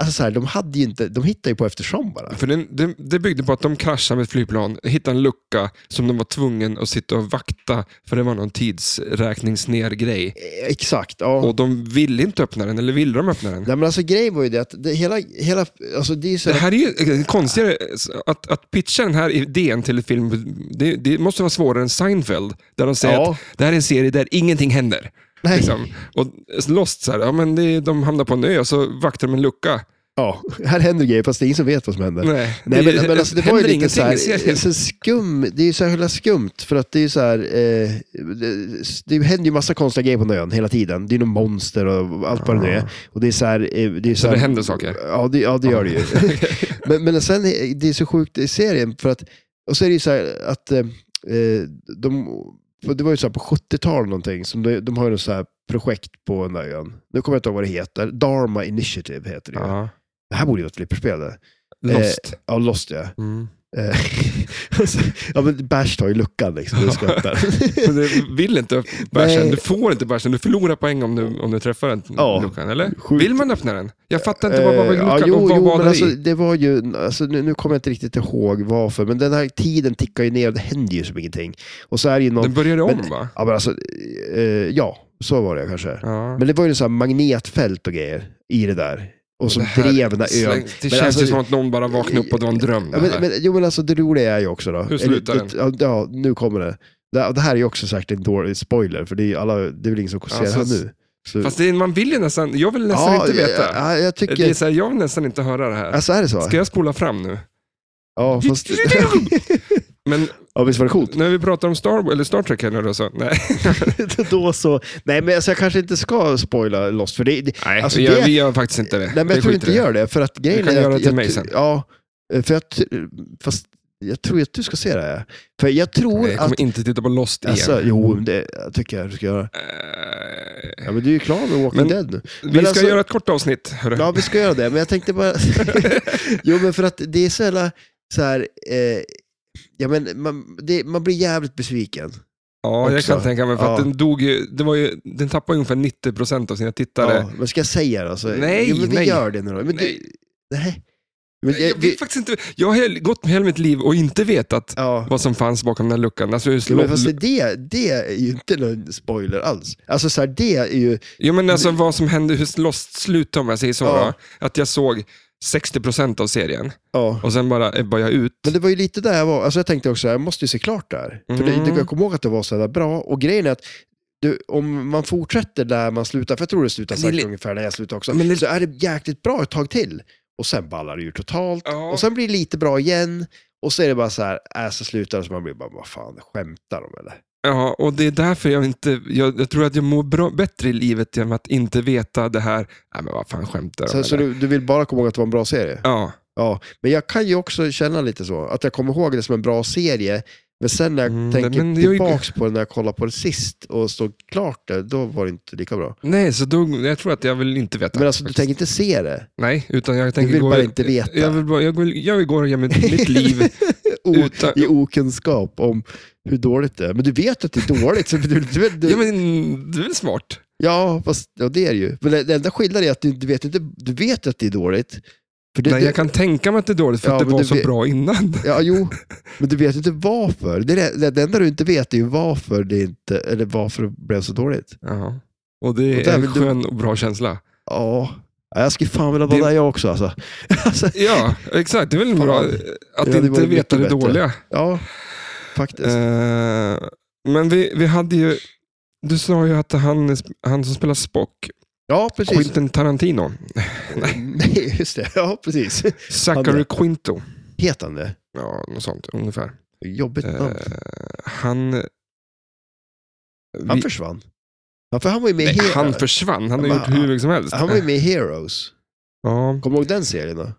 Speaker 2: Alltså så här, de hade ju inte, de hittade ju på eftersom bara.
Speaker 1: För den, den, det byggde på att de kraschade med ett flygplan, hittade en lucka som de var tvungna att sitta och vakta för det var någon tidsräkningsner-grej.
Speaker 2: Eh, Exakt, ja.
Speaker 1: Och de ville inte öppna den, eller ville de öppna den?
Speaker 2: Nej men alltså grejen var ju det att det, hela, hela, alltså det är ju så
Speaker 1: Det
Speaker 2: här,
Speaker 1: här är ju eh, konstigare, att, att pitcha den här idén till ett film, det, det måste vara svårare än Seinfeld, där de säger
Speaker 2: Ja.
Speaker 1: att det här är en serie där ingenting händer.
Speaker 2: nej.
Speaker 1: Liksom. Och Lost, så här, ja, men det, de hamnar på en ö och så vaktar de en lucka.
Speaker 2: Ja, här händer grejer fast det är ingen som vet vad som händer.
Speaker 1: Nej,
Speaker 2: Nej, men, men alltså, det var ju
Speaker 1: händer
Speaker 2: lite så
Speaker 1: ingenting i
Speaker 2: här,
Speaker 1: serien.
Speaker 2: så skum, det är ju så himla skumt för att det är ju så här, eh, det, det händer ju massa konstiga grejer på den ön hela tiden. Det är någon monster och allt vad det nu är. Och det är så här, eh, det är så,
Speaker 1: Så
Speaker 2: här,
Speaker 1: det händer saker?
Speaker 2: Ja, det, ja, det gör det ju. men, men sen, är- det är så sjukt i serien för att, och så är det ju så här att eh, eh, de, för det var ju så här på 70-talet någonting, som de, de har ju något så här projekt på den där ön. Nu kommer jag inte ihåg vad det heter. Dharma Initiative heter det ju.
Speaker 1: [laughs]
Speaker 2: [laughs]
Speaker 1: Ja.
Speaker 2: Det här borde ju vara ett flipperspel. det.
Speaker 1: Lost.
Speaker 2: Ja, Lost ja.
Speaker 1: Mm.
Speaker 2: Eh, [laughs] alltså, ja men Bash tar ju luckan liksom,
Speaker 1: [laughs]
Speaker 2: det skrattar.
Speaker 1: Men du vill inte öppna bärsen,
Speaker 2: Nej.
Speaker 1: du får inte bärsen, du förlorar poäng om du, om du träffar den
Speaker 2: Ja.
Speaker 1: luckan, eller?
Speaker 2: Sjukt.
Speaker 1: Vill man öppna den? Jag fattar inte, vad var
Speaker 2: Eh, ja,
Speaker 1: luckan och
Speaker 2: jo,
Speaker 1: vad
Speaker 2: jo,
Speaker 1: var
Speaker 2: men
Speaker 1: det
Speaker 2: alltså,
Speaker 1: i?
Speaker 2: det var ju, alltså, nu, nu kommer jag inte riktigt ihåg varför, men den här tiden tickar ju ner och det händer ju som ingenting. Och så är det ju någon,
Speaker 1: Den började om
Speaker 2: men-
Speaker 1: va?
Speaker 2: ja men alltså, eh, ja, så var det kanske.
Speaker 1: Ja.
Speaker 2: Men det var ju så här magnetfält och grejer i det där. Och som
Speaker 1: Det här
Speaker 2: drev den där
Speaker 1: släng-
Speaker 2: ön.
Speaker 1: Det
Speaker 2: Men
Speaker 1: känns
Speaker 2: alltså-
Speaker 1: ju som att någon bara vaknade upp och det var en dröm.
Speaker 2: Ja, men, men, jo, men alltså det roliga är ju också då.
Speaker 1: Hur slutar
Speaker 2: Eller, det- Ja, ja, nu kommer det. det. Det här är ju också säkert en dålig spoiler, för det är, ju alla, det är väl ingen som ser
Speaker 1: Alltså,
Speaker 2: det här nu. Så-
Speaker 1: Fast det, är- man vill ju nästan, jag vill nästan inte veta.
Speaker 2: Ja, ja, jag tycker...
Speaker 1: det är så här, jag vill nästan inte höra det här.
Speaker 2: alltså är det så?
Speaker 1: Ska jag spola fram nu?
Speaker 2: Ja, fast...
Speaker 1: Men
Speaker 2: [laughs] Ja, visst var det coolt?
Speaker 1: När vi pratar om Star, eller Star Trek eller så. Nej,
Speaker 2: [laughs] Då så. Nej, men alltså, jag kanske inte ska spoila Lost, för det, det,
Speaker 1: Nej
Speaker 2: Alltså,
Speaker 1: vi, gör,
Speaker 2: det-
Speaker 1: vi gör faktiskt inte det.
Speaker 2: Nej, men
Speaker 1: Vi
Speaker 2: jag tror
Speaker 1: skiter
Speaker 2: inte
Speaker 1: i
Speaker 2: jag gör det. För att grejen
Speaker 1: kan
Speaker 2: är
Speaker 1: göra
Speaker 2: att,
Speaker 1: till
Speaker 2: jag,
Speaker 1: mig sen.
Speaker 2: Ja, för jag, tr- fast jag tror att du ska se det. här. För jag tror
Speaker 1: Nej, Jag
Speaker 2: att...
Speaker 1: kommer inte titta på Lost igen.
Speaker 2: Alltså, jo, det tycker jag du ska göra.
Speaker 1: Eh,
Speaker 2: Ja, men du är ju klar med Walking
Speaker 1: Men-
Speaker 2: Dead nu.
Speaker 1: vi
Speaker 2: men
Speaker 1: ska
Speaker 2: alltså-
Speaker 1: göra ett kort avsnitt. hörru.
Speaker 2: Ja, vi ska göra det, men jag
Speaker 1: [laughs]
Speaker 2: tänkte bara... jo, men för att det är så jävla... Så här, eh, ja, men man, det, man blir jävligt besviken.
Speaker 1: Ja, jag
Speaker 2: också.
Speaker 1: kan tänka mig. För att
Speaker 2: Ja.
Speaker 1: den dog ju, det var ju, den tappade ungefär 90% av sina tittare.
Speaker 2: Ja, men ska jag säga det? Alltså,
Speaker 1: Nej,
Speaker 2: jo, men vi
Speaker 1: nej.
Speaker 2: gör det nu då. Men
Speaker 1: Nej.
Speaker 2: Du, nej. Men, jag,
Speaker 1: jag vet
Speaker 2: vi,
Speaker 1: faktiskt inte. Jag har hel- gått hela mitt liv och inte vetat
Speaker 2: ja.
Speaker 1: vad som fanns bakom den här luckan. Alltså,
Speaker 2: Jo,
Speaker 1: slå,
Speaker 2: men fast det, det är ju inte någon spoiler alls. Alltså så här, det är ju...
Speaker 1: jo, men alltså vad som hände, hur lost slutet om jag säger så.
Speaker 2: Ja.
Speaker 1: va? Att jag såg 60% av serien
Speaker 2: Ja.
Speaker 1: och sen bara ebbade jag ut.
Speaker 2: Men det var ju lite där jag var. Alltså jag tänkte också, jag måste ju se klart där. För det,
Speaker 1: Mm.
Speaker 2: jag kommer ihåg att det var så här bra. Och grejen är att du, om man fortsätter där man slutar, för jag tror det slutar
Speaker 1: Men det är
Speaker 2: sagt
Speaker 1: li-
Speaker 2: ungefär när jag slutade också,
Speaker 1: Men det-
Speaker 2: så är det jäkligt bra ett tag till. Och sen ballar det ju totalt.
Speaker 1: Ja.
Speaker 2: Och sen blir det lite bra igen. Och så är det bara så här, äh, så slutar det så man blir bara, vad fan, skämtar de eller?
Speaker 1: Ja, och det är därför jag inte, jag, jag tror att jag mår bra, bättre i livet genom att inte veta det här, nej men vad fan skämtar de
Speaker 2: Så, så
Speaker 1: eller?
Speaker 2: du, du vill bara komma ihåg att det var en bra serie?
Speaker 1: Ja,
Speaker 2: Ja, men jag kan ju också känna lite så, att jag kommer ihåg det som en bra serie, men sen när jag
Speaker 1: Mm,
Speaker 2: tänker
Speaker 1: men det är ju-
Speaker 2: tillbaks på det när jag kollade på det sist och stod klart det, då var det inte lika bra.
Speaker 1: nej så då, jag tror att jag vill inte veta.
Speaker 2: Men alltså, du
Speaker 1: faktiskt.
Speaker 2: tänker inte se det?
Speaker 1: Nej, utan jag tänker
Speaker 2: vill
Speaker 1: gå,
Speaker 2: bara inte veta.
Speaker 1: Jag vill, bara, jag vill, jag vill gå igenom mitt
Speaker 2: [laughs]
Speaker 1: mitt liv
Speaker 2: O,
Speaker 1: utan...
Speaker 2: I okunskap om hur dåligt det är. Men du vet att det är dåligt. så du, du, du,
Speaker 1: Ja,
Speaker 2: ja,
Speaker 1: men det är väl smart?
Speaker 2: fast, ja, det är det ju. Men det, det enda skillnaden är att du, du, vet, inte, du vet att det är dåligt. För det,
Speaker 1: Nej, jag kan tänka mig att det är dåligt för
Speaker 2: Ja,
Speaker 1: att det
Speaker 2: men
Speaker 1: var
Speaker 2: du
Speaker 1: så
Speaker 2: vet-
Speaker 1: bra innan.
Speaker 2: Ja, jo, men du vet inte varför. Det, är det, det enda du inte vet är ju varför det, inte, eller varför det blev så dåligt.
Speaker 1: Ja. Och det
Speaker 2: Och där
Speaker 1: är en
Speaker 2: vill du-
Speaker 1: skön och bra känsla.
Speaker 2: Ja, jag skulle fan vilja vara
Speaker 1: Det-
Speaker 2: där jag också alltså. [laughs] alltså
Speaker 1: Ja, exakt. Det är väl
Speaker 2: Fan.
Speaker 1: bra att
Speaker 2: Ja, det var
Speaker 1: inte
Speaker 2: ju
Speaker 1: veta det
Speaker 2: mycket bättre.
Speaker 1: dåliga.
Speaker 2: ja, faktiskt.
Speaker 1: Eh, men vi, vi hade ju... Du sa ju att han, han som spelar Spock,
Speaker 2: ja, precis.
Speaker 1: Quentin Tarantino,
Speaker 2: Nej, just det. Ja, precis.
Speaker 1: Zachary Quinto,
Speaker 2: Heter han det?
Speaker 1: ja, något sånt ungefär.
Speaker 2: Jobbigt
Speaker 1: Eh,
Speaker 2: namn.
Speaker 1: han...
Speaker 2: Han
Speaker 1: vi-
Speaker 2: försvann. Ja, för han var ju med, i
Speaker 1: nej,
Speaker 2: He-
Speaker 1: han försvann. Han har
Speaker 2: Men
Speaker 1: gjort hur
Speaker 2: han-
Speaker 1: mycket som helst.
Speaker 2: han var ju med i Heroes.
Speaker 1: ja,
Speaker 2: Kommer du ihåg den serien då?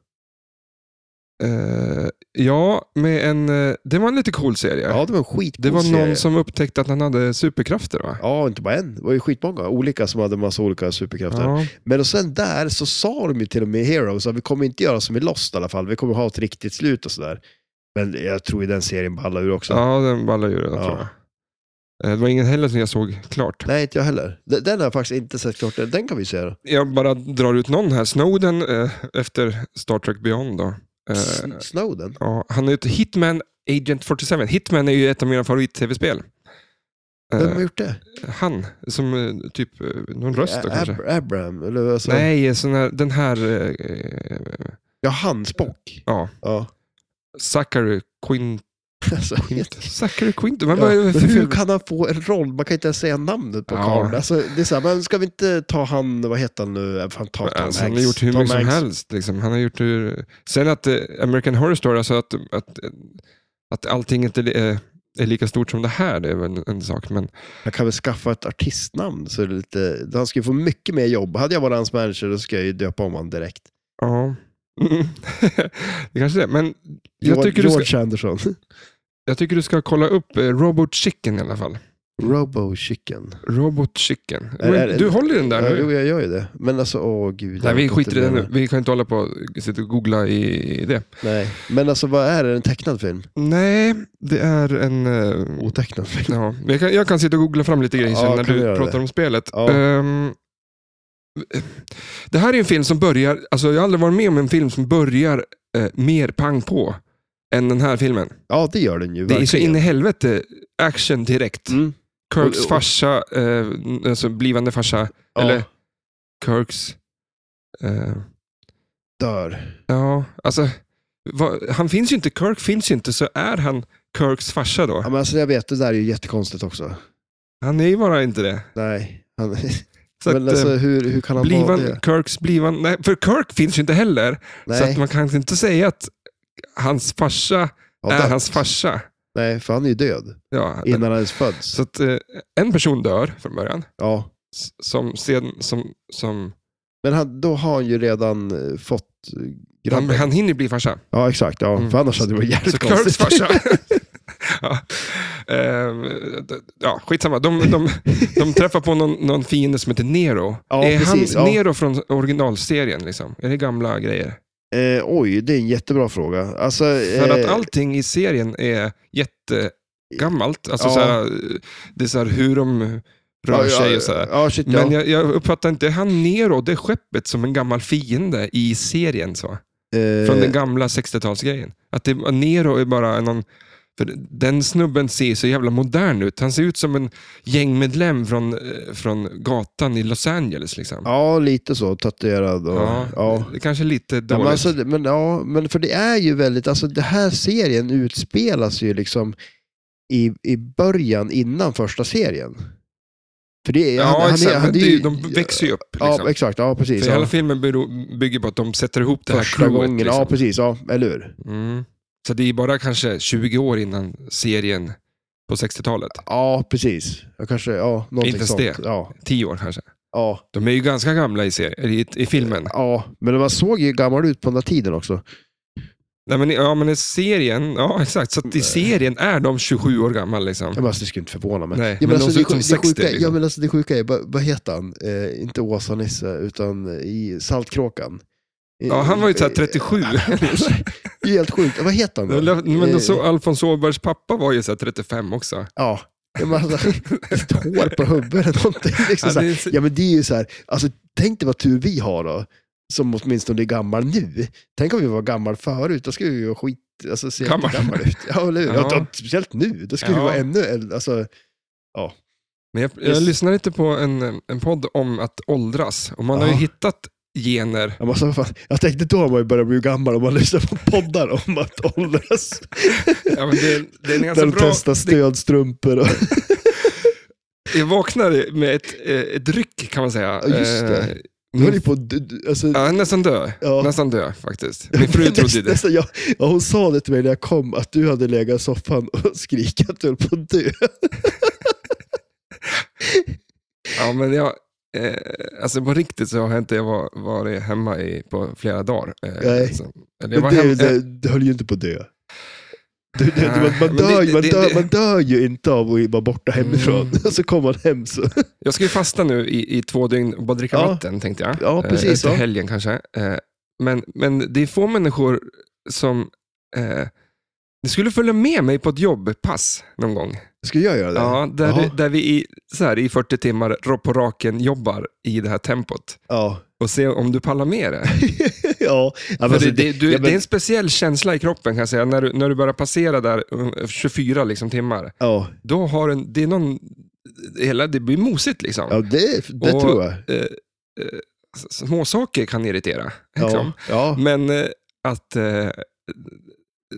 Speaker 1: eh, ja, med en... eh, Det var en lite cool serie.
Speaker 2: Ja, det var en skitcool
Speaker 1: Det var någon
Speaker 2: serie.
Speaker 1: som upptäckte att han hade superkrafter va?
Speaker 2: Ja, inte bara en. Det var ju skitmånga. Olika som hade massa olika superkrafter.
Speaker 1: Ja.
Speaker 2: Men och sen där så sa de ju till och med i Heroes att vi kommer inte göra som i Lost i alla fall. Vi kommer ha ett riktigt slut och sådär. Men jag tror ju den serien ballar ur också.
Speaker 1: ja, den ballar ju redan
Speaker 2: Ja.
Speaker 1: tror jag. Eh, Det var ingen heller som jag såg klart.
Speaker 2: Nej, inte jag heller. Den, den har jag faktiskt inte sett klart. Den, den kan vi se då.
Speaker 1: Jag bara drar ut någon här. Snowden eh, efter Star Trek Beyond. Då. Eh,
Speaker 2: Sn- Snowden?
Speaker 1: ja, han är ju ett Hitman Agent 47. Hitman är ju ett av mina favorit-tv-spel.
Speaker 2: Vem har
Speaker 1: Eh,
Speaker 2: gjort det?
Speaker 1: han, som eh, typ eh, någon röst då,
Speaker 2: Ab-
Speaker 1: kanske.
Speaker 2: Abraham? Eller alltså,
Speaker 1: Nej, sån här, den här eh, eh,
Speaker 2: Ja, han Spock.
Speaker 1: ja,
Speaker 2: Ja. [laughs]
Speaker 1: Zachary Quint. [laughs]
Speaker 2: Alltså,
Speaker 1: Quint Zachary Quint. Men
Speaker 2: ja.
Speaker 1: vad är det
Speaker 2: Men
Speaker 1: för
Speaker 2: hur
Speaker 1: ful?
Speaker 2: kan han få en roll? Man kan inte ens säga namnet på
Speaker 1: Ja.
Speaker 2: karln. Alltså, det är så här, men ska vi inte ta han, vad heter han nu? Fan, ta Tom
Speaker 1: Alltså, han har
Speaker 2: Hanks.
Speaker 1: gjort hur
Speaker 2: Tom
Speaker 1: mycket som
Speaker 2: Hanks.
Speaker 1: helst. Liksom. Han har gjort hur... Sen att eh, American Horror Story, alltså att, att, att allting inte är, är lika stort som det här, det är väl en, en sak. Men
Speaker 2: Jag kan väl skaffa ett artistnamn. Så det är lite, han ska ju få mycket mer jobb. Hade jag varit hans manager då ska jag ju döpa om honom direkt.
Speaker 1: ja, [laughs] Mm. det kanske det är. Men jag
Speaker 2: George,
Speaker 1: tycker, du ska,
Speaker 2: George Anderson. [laughs]
Speaker 1: jag tycker du ska kolla upp eh, Robot Chicken i alla fall.
Speaker 2: Robo Chicken.
Speaker 1: Robot Chicken.
Speaker 2: Är- är
Speaker 1: Men
Speaker 2: det-
Speaker 1: du håller i den där
Speaker 2: Ja, jo,
Speaker 1: nu?
Speaker 2: jag gör ju det. Men alltså, åh gud.
Speaker 1: Nej,
Speaker 2: jag
Speaker 1: vi
Speaker 2: vet
Speaker 1: skiter i
Speaker 2: inte
Speaker 1: det
Speaker 2: vad
Speaker 1: nu.
Speaker 2: jag
Speaker 1: Vi kan inte hålla på och sitta och googla i i det.
Speaker 2: menar. Nej. Men alltså, vad är det? En tecknad film?
Speaker 1: Nej, det är en... eh,
Speaker 2: Otecknad film?
Speaker 1: Ja, men jag, kan, jag kan sitta och googla fram lite grejer
Speaker 2: Ja,
Speaker 1: sen när
Speaker 2: kan vi
Speaker 1: du
Speaker 2: göra
Speaker 1: pratar
Speaker 2: det?
Speaker 1: om spelet.
Speaker 2: Ja.
Speaker 1: Ehm, det här är en film som börjar, alltså jag har aldrig varit med om en film som börjar eh, mer pang på än den här filmen.
Speaker 2: Ja, det gör den ju.
Speaker 1: Det är så
Speaker 2: verkligen.
Speaker 1: in i helvete action direkt.
Speaker 2: Mm.
Speaker 1: Kirks
Speaker 2: Och- och-
Speaker 1: farsa, eh, alltså blivande farsa,
Speaker 2: Ja,
Speaker 1: eller Kirks... Eh,
Speaker 2: dör.
Speaker 1: ja, alltså vad- han finns ju inte, Kirk finns ju inte, så är han Kirks farsa
Speaker 2: Ja,
Speaker 1: då?
Speaker 2: men alltså, jag vet, det där är ju jättekonstigt också.
Speaker 1: Han är ju bara inte det.
Speaker 2: Nej. Han, [laughs]
Speaker 1: Så
Speaker 2: men
Speaker 1: att, eh,
Speaker 2: alltså, hur, hur kan han vara
Speaker 1: Blivan,
Speaker 2: det?
Speaker 1: Kirks blivan, nej, för Kirk finns ju inte heller, så
Speaker 2: Nej.
Speaker 1: att man kan inte säga att hans farsa
Speaker 2: Ja,
Speaker 1: är
Speaker 2: dött.
Speaker 1: hans farsa.
Speaker 2: Nej, för han är ju död
Speaker 1: Ja,
Speaker 2: innan han ens föds.
Speaker 1: Så att eh, en person dör från början,
Speaker 2: Ja.
Speaker 1: s- som sedan, som, som
Speaker 2: Men han, då har han ju redan eh, fått eh,
Speaker 1: han,
Speaker 2: grabben.
Speaker 1: han hinner bli farsa.
Speaker 2: Ja, exakt. Ja,
Speaker 1: Mm.
Speaker 2: För annars hade det varit jävligt
Speaker 1: Så Clarks
Speaker 2: konstigt. [laughs]
Speaker 1: farsa. ja. Ehm, d- ja, skitsamma. De, de, de träffar på någon, någon fiende som heter Nero.
Speaker 2: Ja,
Speaker 1: är
Speaker 2: precis,
Speaker 1: han
Speaker 2: ja.
Speaker 1: Nero från originalserien? Liksom? Är det gamla grejer?
Speaker 2: Eh, oj, det är en jättebra fråga. Alltså,
Speaker 1: För att
Speaker 2: eh,
Speaker 1: allting i serien är jättegammalt. Alltså,
Speaker 2: Ja.
Speaker 1: såhär, det är såhär hur de rör
Speaker 2: ja,
Speaker 1: sig
Speaker 2: ja,
Speaker 1: och sådär.
Speaker 2: Ja, shit, ja.
Speaker 1: Men jag, jag uppfattar inte, är han Nero, det skeppet, som en gammal fiende i serien? så?
Speaker 2: Eh,
Speaker 1: Från den gamla 60-talsgrejen. Att det, Nero är bara någon... För den snubben ser så jävla modern ut. Han ser ut som en gängmedlem från, eh, från gatan i Los Angeles. Liksom.
Speaker 2: Ja, lite så. Tatuerad och... Ja. ja.
Speaker 1: Det kanske är lite dåligt.
Speaker 2: men, alltså, det- men, ja, men för det är ju väldigt, alltså den här serien utspelas ju liksom i, i början innan första serien. För det är,
Speaker 1: ja,
Speaker 2: han, han,
Speaker 1: exakt,
Speaker 2: är,
Speaker 1: men
Speaker 2: han är
Speaker 1: det är
Speaker 2: ju...
Speaker 1: ju, de växer ju upp. Liksom.
Speaker 2: Ja, exakt. Ja, precis.
Speaker 1: För hela
Speaker 2: Ja.
Speaker 1: filmen beror- bygger på att de sätter ihop det här
Speaker 2: Första
Speaker 1: crewet.
Speaker 2: gången.
Speaker 1: liksom.
Speaker 2: Ja, precis. Ja, eller hur?
Speaker 1: mm. Så det är bara kanske 20 år innan serien på 60-talet.
Speaker 2: Ja, precis. Jag kanske, ja, någonting
Speaker 1: Inte ens
Speaker 2: sånt.
Speaker 1: det.
Speaker 2: Ja,
Speaker 1: 10 år kanske.
Speaker 2: ja.
Speaker 1: De är ju ganska gamla i, serien, i, i filmen.
Speaker 2: Ja, men man såg ju gammal ut på den där tiden också.
Speaker 1: Nej, men, i- ja, men i serien, ja exakt. Så
Speaker 2: Mm.
Speaker 1: att i serien är de 27 år gammal liksom.
Speaker 2: Jag bara, alltså, det skulle inte förvåna mig.
Speaker 1: Nej,
Speaker 2: ja, alltså,
Speaker 1: men de ser
Speaker 2: det,
Speaker 1: ut som
Speaker 2: det
Speaker 1: 60,
Speaker 2: sjuka,
Speaker 1: liksom.
Speaker 2: ja, men alltså det sjuka är, vad- vad heter han? Eh, inte Åsa-Nisse, utan i Saltkråkan. I-
Speaker 1: Ja, han var ju såhär
Speaker 2: eh, [laughs]
Speaker 1: 37.
Speaker 2: Det är helt sjukt. Vad heter han då?
Speaker 1: Men då så,
Speaker 2: Eh,
Speaker 1: Alfons Åbergs pappa var ju såhär 35 också.
Speaker 2: Ja. Ja, men alltså, [laughs] ett hår på huvudet eller någonting.
Speaker 1: [laughs]
Speaker 2: Liksom
Speaker 1: Ja,
Speaker 2: så här.
Speaker 1: det är så-
Speaker 2: ja, men det är ju så här, alltså, tänk dig vad tur vi har då, som åtminstone är gammal nu. Tänk om vi var gammal förut, då skulle vi ju vara skit, alltså, se
Speaker 1: Gammal.
Speaker 2: gammal. gammal ut. Ja, eller hur? Ja.
Speaker 1: Ja.
Speaker 2: speciellt nu, då skulle
Speaker 1: Ja.
Speaker 2: vi vara ännu äldre. Alltså,
Speaker 1: Men jag, jag
Speaker 2: Visst.
Speaker 1: lyssnade lite på en, en podd om att åldras och man har ju
Speaker 2: Ja.
Speaker 1: hittat gener.
Speaker 2: jag, måste, fan, jag tänkte då har man ju börjat bli gammal om man lyssnar på poddar om att åldras.
Speaker 1: Ja, men det, det Mm. är en
Speaker 2: Där
Speaker 1: ganska
Speaker 2: de
Speaker 1: bra...
Speaker 2: testar stödstrumpor och... [laughs]
Speaker 1: Jag vaknade med ett, eh, ett ryck kan man säga.
Speaker 2: Ja, just det.
Speaker 1: Eh,
Speaker 2: Du höll ju
Speaker 1: Min,
Speaker 2: på att dö- dö- alltså,
Speaker 1: ja, nästan dö.
Speaker 2: Ja.
Speaker 1: Nästan dö faktiskt. Min
Speaker 2: [laughs]
Speaker 1: fru trodde ju det.
Speaker 2: Nästan, jag, ja, hon sa det till mig när jag kom, att du hade legat i soffan och [laughs] skrikit att du höll på att dö.
Speaker 1: Ja, men jag, eh, alltså på riktigt så har jag inte var, varit hemma i, på flera dagar. Eh,
Speaker 2: Nej.
Speaker 1: så- Eller jag var
Speaker 2: Men
Speaker 1: hem,
Speaker 2: det,
Speaker 1: eh,
Speaker 2: det, det höll ju inte på att dö. Du, du,
Speaker 1: Nej,
Speaker 2: man,
Speaker 1: men
Speaker 2: man, dör,
Speaker 1: det-
Speaker 2: ju- man,
Speaker 1: det-
Speaker 2: dör,
Speaker 1: det-
Speaker 2: man dör ju inte av att vara borta hemifrån. [laughs]
Speaker 1: Mm.
Speaker 2: Och så kommer man hem så...
Speaker 1: jag ska ju fasta nu i, i två dygn och bara dricka
Speaker 2: Ja.
Speaker 1: vatten, tänkte jag.
Speaker 2: Ja,
Speaker 1: Eh,
Speaker 2: precis,
Speaker 1: Efter
Speaker 2: ja.
Speaker 1: helgen kanske. Eh, men, men det är få människor som... Eh, det skulle följa med mig på ett jobbpass någon gång.
Speaker 2: Ska jag göra det?
Speaker 1: Ja, där,
Speaker 2: Jaha.
Speaker 1: det- där vi i, så här, i 40 timmar ro- på raken jobbar i det här tempot.
Speaker 2: Ja. [laughs]
Speaker 1: Och se om du pallar med det.
Speaker 2: ja. ja, men
Speaker 1: För
Speaker 2: alltså,
Speaker 1: det, det, du,
Speaker 2: ja, men-
Speaker 1: det är en speciell känsla i kroppen kan jag säga. När du, när du börjar passera där eh, 24 liksom, timmar,
Speaker 2: ja,
Speaker 1: då har en, det är någon, hela, det blir mosigt liksom.
Speaker 2: ja, det, det
Speaker 1: Och-
Speaker 2: tror jag.
Speaker 1: Eh, eh, s- små saker kan irritera. Liksom.
Speaker 2: Ja, ja.
Speaker 1: Men eh, att, eh,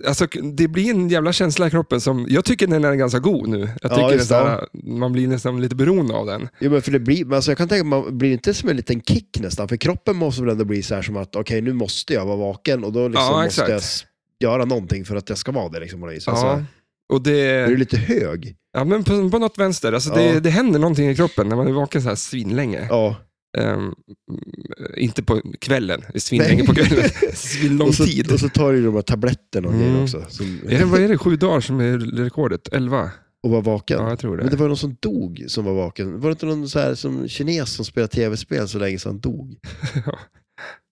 Speaker 1: alltså, k- det blir en jävla känsla i kroppen som, jag tycker den är ganska god nu. Jag
Speaker 2: Ja,
Speaker 1: tycker
Speaker 2: just
Speaker 1: den, så här, man blir nästan lite beroende av den.
Speaker 2: Jo, men för det blir, men alltså jag kan tänka mig, man blir inte som en liten kick nästan? För kroppen måste väl ändå bli så här som att, okej nu måste jag vara vaken och då liksom
Speaker 1: Ja,
Speaker 2: måste
Speaker 1: exakt.
Speaker 2: jag s- göra någonting för att jag ska vara det. Liksom, på något vis.
Speaker 1: Ja. eh.
Speaker 2: alltså,
Speaker 1: Och
Speaker 2: är du
Speaker 1: det,
Speaker 2: lite hög?
Speaker 1: ja, men på, på något vänster, alltså det,
Speaker 2: Ja.
Speaker 1: det händer någonting i kroppen när man är vaken så här svinlänge.
Speaker 2: Ja.
Speaker 1: Ehm, inte på kvällen, det är svinlänge på
Speaker 2: [laughs]
Speaker 1: kvällen. Svinlång
Speaker 2: Och så,
Speaker 1: tid.
Speaker 2: och så tar du de här tabletterna och grejer
Speaker 1: Mm.
Speaker 2: också. Som,
Speaker 1: Är det, vad är det, sju dagar som är rekordet? Elva?
Speaker 2: och vara vaken.
Speaker 1: Ja, jag tror
Speaker 2: men det
Speaker 1: det.
Speaker 2: var ju någon som dog som var vaken. Var det inte någon så här, som kines som spelade tv-spel så länge som han dog?
Speaker 1: [laughs] Ja.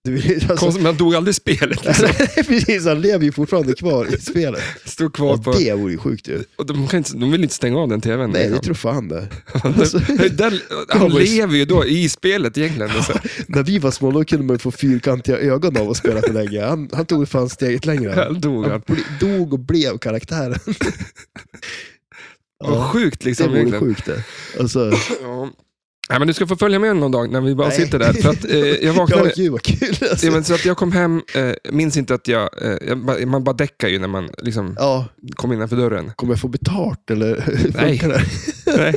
Speaker 2: Du, alltså,
Speaker 1: Konstigt, men han dog aldrig i spelet.
Speaker 2: [laughs]
Speaker 1: Liksom.
Speaker 2: precis, han lever ju fortfarande kvar i spelet.
Speaker 1: Stod kvar
Speaker 2: Och
Speaker 1: på... Mm.
Speaker 2: det vore ju sjukt ju.
Speaker 1: Och de, kan inte, de vill inte stänga av den tvn.
Speaker 2: Nej, det
Speaker 1: liksom.
Speaker 2: tror
Speaker 1: [laughs]
Speaker 2: fan det.
Speaker 1: Alltså, där, han
Speaker 2: Ja, men-
Speaker 1: lever ju då i spelet egentligen. Alltså. [laughs]
Speaker 2: När vi var små då kunde man ju få fyrkantiga ögon av att spela för länge. Han, han tog fan steget längre. Han
Speaker 1: Han dog han.
Speaker 2: ble- dog och blev karaktären.
Speaker 1: Vad
Speaker 2: Ja,
Speaker 1: sjukt
Speaker 2: det
Speaker 1: liksom.
Speaker 2: vore
Speaker 1: egentligen.
Speaker 2: sjukt det. Alltså,
Speaker 1: Ja. Nej, men du ska få följa med någon dag när vi bara
Speaker 2: Nej.
Speaker 1: sitter där. För att, eh, jag
Speaker 2: [laughs] ja,
Speaker 1: vaknade,
Speaker 2: gud vad kul. Alltså.
Speaker 1: ja, men, så att jag kom hem, eh, minns inte att jag, eh, jag... bara- Man bara däckar ju när man liksom,
Speaker 2: Ja,
Speaker 1: kom innanför dörren.
Speaker 2: kommer jag få betalt eller?
Speaker 1: Nej.
Speaker 2: Funkar det?
Speaker 1: Nej.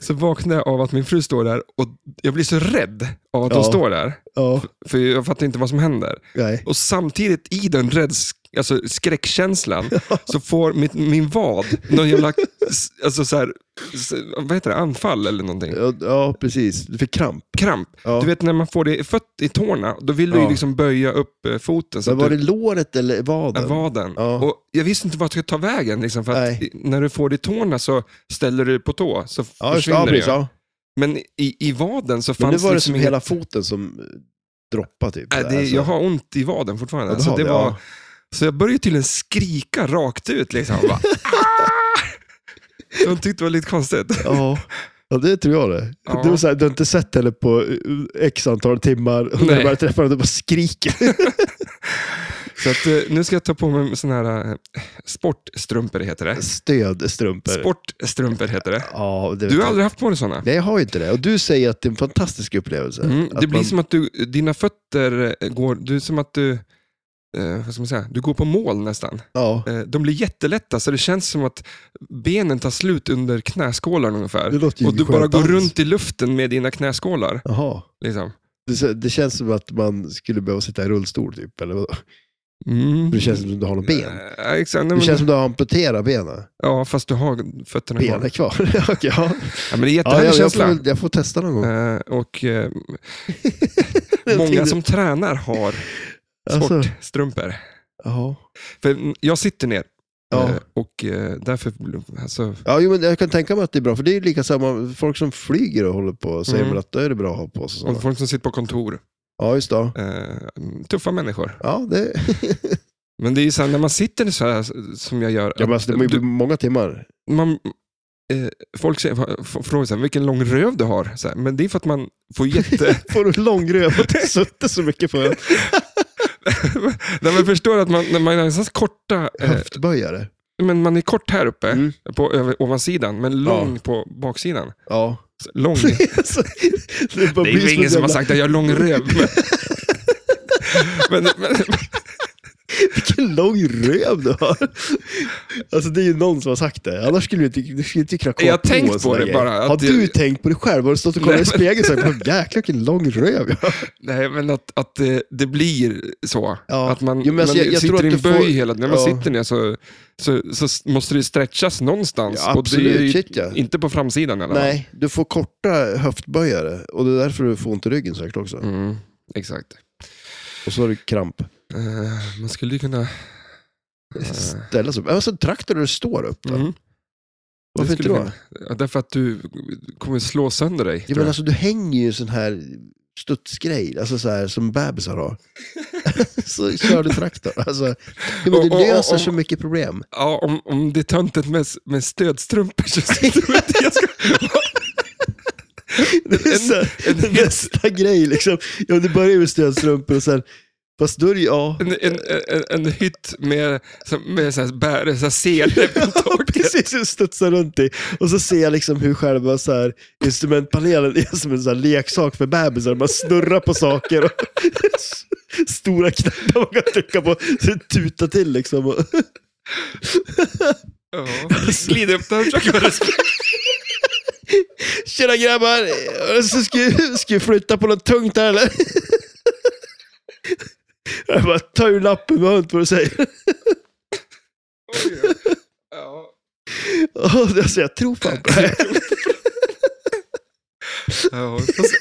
Speaker 1: Så vaknade jag av att min fru står där och jag blir så rädd av att hon
Speaker 2: Ja.
Speaker 1: står där.
Speaker 2: Ja,
Speaker 1: För jag fattar inte vad som händer.
Speaker 2: nej.
Speaker 1: Och samtidigt i den räds- alltså skräckkänslan, så får mitt, min vad någon jävla s- alltså så här, s- vad heter det, anfall eller någonting.
Speaker 2: Ja, ja, precis. Du fick kramp.
Speaker 1: Kramp.
Speaker 2: Ja.
Speaker 1: Du vet när man får det i fött i tårna, då vill du ju
Speaker 2: Ja.
Speaker 1: liksom böja upp eh, foten. Så
Speaker 2: Men
Speaker 1: att
Speaker 2: var
Speaker 1: du,
Speaker 2: det låret eller vaden?
Speaker 1: Ja, vaden.
Speaker 2: Ja.
Speaker 1: Och jag visste inte vart jag skulle ta vägen. Liksom, för att
Speaker 2: Nej.
Speaker 1: i- när du får det i tårna så ställer du dig på tå, så
Speaker 2: Ja, just det.
Speaker 1: försvinner
Speaker 2: ja,
Speaker 1: det ju.
Speaker 2: precis, ja.
Speaker 1: Men i, i vaden så
Speaker 2: Men
Speaker 1: fanns liksom
Speaker 2: nu var det som
Speaker 1: inget-
Speaker 2: hela foten som eh, droppade typ.
Speaker 1: Nej,
Speaker 2: där,
Speaker 1: det,
Speaker 2: alltså.
Speaker 1: jag har ont i vaden fortfarande.
Speaker 2: Ja, du
Speaker 1: så,
Speaker 2: har
Speaker 1: det
Speaker 2: det,
Speaker 1: var,
Speaker 2: ja.
Speaker 1: så jag började tydligen skrika rakt ut. Liksom. Bara, "Ah!" [laughs] De tyckte det var lite konstigt.
Speaker 2: Ja. Ja, det tror jag det.
Speaker 1: Ja.
Speaker 2: Du, är så här, du har inte sett henne på eh, x antal timmar och när
Speaker 1: Nej.
Speaker 2: du bara träffar henne, du bara
Speaker 1: [laughs]
Speaker 2: skriker.
Speaker 1: Så att, eh, nu ska jag ta på mig såna här eh, sportstrumpor, heter det.
Speaker 2: Stödstrumpor.
Speaker 1: Sportstrumpor heter det.
Speaker 2: Ja, det
Speaker 1: Du har aldrig haft på dig sådana?
Speaker 2: Nej, jag har ju inte det. Och du säger att det är en fantastisk upplevelse.
Speaker 1: Mm,
Speaker 2: Att
Speaker 1: det blir
Speaker 2: man-
Speaker 1: som att du, dina fötter eh, går, du är som att du, eh, vad ska man säga, du går på mål nästan.
Speaker 2: Ja.
Speaker 1: Eh, de blir jättelätta så det känns som att benen tar slut under knäskålarna ungefär.
Speaker 2: Det låter ju
Speaker 1: Och du
Speaker 2: skönt
Speaker 1: bara går
Speaker 2: alls.
Speaker 1: runt i luften med dina knäskålar.
Speaker 2: Jaha.
Speaker 1: Liksom.
Speaker 2: Det, så- det känns som att man skulle behöva sitta i rullstol typ. Eller vadå?
Speaker 1: Mm.
Speaker 2: Det känns som att du har något ben.
Speaker 1: Eh, exakt, nej,
Speaker 2: Det
Speaker 1: men,
Speaker 2: känns som att du har amputerat benen.
Speaker 1: Ja, fast du har fötterna kvar.
Speaker 2: Benen kvar. [laughs] Okej, ja.
Speaker 1: Ja, men det är en
Speaker 2: Ja,
Speaker 1: jättehärlig
Speaker 2: jag, jag, får,
Speaker 1: känsla.
Speaker 2: väl- jag får testa någon gång.
Speaker 1: Eh,
Speaker 2: [laughs]
Speaker 1: och eh, många
Speaker 2: tänkte-
Speaker 1: som tränar har
Speaker 2: Alltså,
Speaker 1: sportstrumpor.
Speaker 2: ja.
Speaker 1: För mm, jag sitter ner
Speaker 2: Ja.
Speaker 1: eh, och eh, därför... Alltså,
Speaker 2: Ja, jo, men jag kan tänka mig att det är bra, för det är ju lika samma, folk som flyger och håller på säger
Speaker 1: Mm.
Speaker 2: väl att då är det bra att ha på sig
Speaker 1: Och
Speaker 2: sådana.
Speaker 1: folk som sitter på kontor.
Speaker 2: Ja, just det.
Speaker 1: Eh, tuffa människor.
Speaker 2: Ja,
Speaker 1: [laughs]
Speaker 2: det,
Speaker 1: Men det är ju så här, när man sitter så här s- som jag gör.
Speaker 2: ja, men alltså, det blir
Speaker 1: du,
Speaker 2: många timmar.
Speaker 1: man, eh, folk säger, f- frågar så här, vilken lång röv du har. Så här, men det är för att man får [laughs] jätte...
Speaker 2: [laughs] Får du långröv och inte suttit så mycket på en
Speaker 1: när man förstår att man, när man är så här korta... Eh,
Speaker 2: höftböjare?
Speaker 1: men man är kort här uppe,
Speaker 2: Mm.
Speaker 1: på över, ovansidan, men lång på baksidan. [laughs]
Speaker 2: Ja.
Speaker 1: Så Lång.
Speaker 2: Det är [laughs] så- det bara
Speaker 1: Det
Speaker 2: blir
Speaker 1: är ju ingen
Speaker 2: en
Speaker 1: som har
Speaker 2: jävla-
Speaker 1: sagt att jag har lång röv. Men, [laughs] men, men,
Speaker 2: Vilken lång röv du har. Alltså det är ju någon som har sagt det. Annars skulle du inte, du skulle inte kunna komma
Speaker 1: Jag har
Speaker 2: på
Speaker 1: tänkt
Speaker 2: en sån
Speaker 1: på
Speaker 2: här
Speaker 1: det
Speaker 2: grej.
Speaker 1: bara, att
Speaker 2: Har du
Speaker 1: jag-
Speaker 2: tänkt på det själv? Har du stått och kollat i spegeln och sagt "Men jäklar vilken lång röv jag har?
Speaker 1: Nej, men att, att eh, det blir så.
Speaker 2: Ja.
Speaker 1: Att man,
Speaker 2: Jo, men alltså,
Speaker 1: man
Speaker 2: jag- jag
Speaker 1: sitter
Speaker 2: tror
Speaker 1: i
Speaker 2: att
Speaker 1: en
Speaker 2: du
Speaker 1: böj
Speaker 2: får-
Speaker 1: hela tiden. När man
Speaker 2: Ja.
Speaker 1: sitter ner så, så, så s- måste det stretchas någonstans.
Speaker 2: Ja,
Speaker 1: och det är ju
Speaker 2: absolut, shit, ja.
Speaker 1: Inte på framsidan i alla fall.
Speaker 2: Nej, du får korta höftböjare och det är därför du får ont i ryggen säkert också.
Speaker 1: Mm, exakt.
Speaker 2: Och så har du kramp.
Speaker 1: Eh, man skulle ju kunna... eh,
Speaker 2: Ställa sig upp. Alltså traktor där du står upp. Då.
Speaker 1: mm,
Speaker 2: Varför
Speaker 1: det
Speaker 2: inte
Speaker 1: skulle
Speaker 2: då?
Speaker 1: kunna- Ja, därför att du kommer slå sönder dig.
Speaker 2: Ja,
Speaker 1: tror
Speaker 2: men
Speaker 1: jag.
Speaker 2: alltså, du hänger ju i sån här studsgrej, alltså så här, som bebisar har. [laughs] så kör du traktor. Alltså, ja, men det
Speaker 1: Och- och- och-
Speaker 2: löser så
Speaker 1: om-
Speaker 2: mycket
Speaker 1: [laughs]
Speaker 2: problem.
Speaker 1: ja, om, om det är töntigt med, s- med stödstrumpor så
Speaker 2: [laughs]
Speaker 1: tror jag inte jag ska...
Speaker 2: Det är så här,
Speaker 1: en-
Speaker 2: den bästa grej liksom. Ja, men det börjar med stödstrumpor och sen, fast då är det ju, ja.
Speaker 1: En, en, en, en hytt med, som- med så här, bär, så här sele
Speaker 2: [laughs]
Speaker 1: på taket.
Speaker 2: Precis, jag studsar runt i. Och så ser jag liksom hur själva så här, instrumentpanelen är som en så här leksak för bebisar. Man snurrar på saker och [laughs] stora knappar man kan trycka på. Så det tutar till liksom. Och,
Speaker 1: Ja, glid upp där och försök
Speaker 2: [laughs]
Speaker 1: vara respekt.
Speaker 2: Tjena grabbar, så ska, ska vi flytta på något tungt här eller? Jag bara, ta ur lappen, jag hör inte vad du säger.
Speaker 1: Ja.
Speaker 2: Och, alltså, jag tror fan på det här.
Speaker 1: Ja, fast-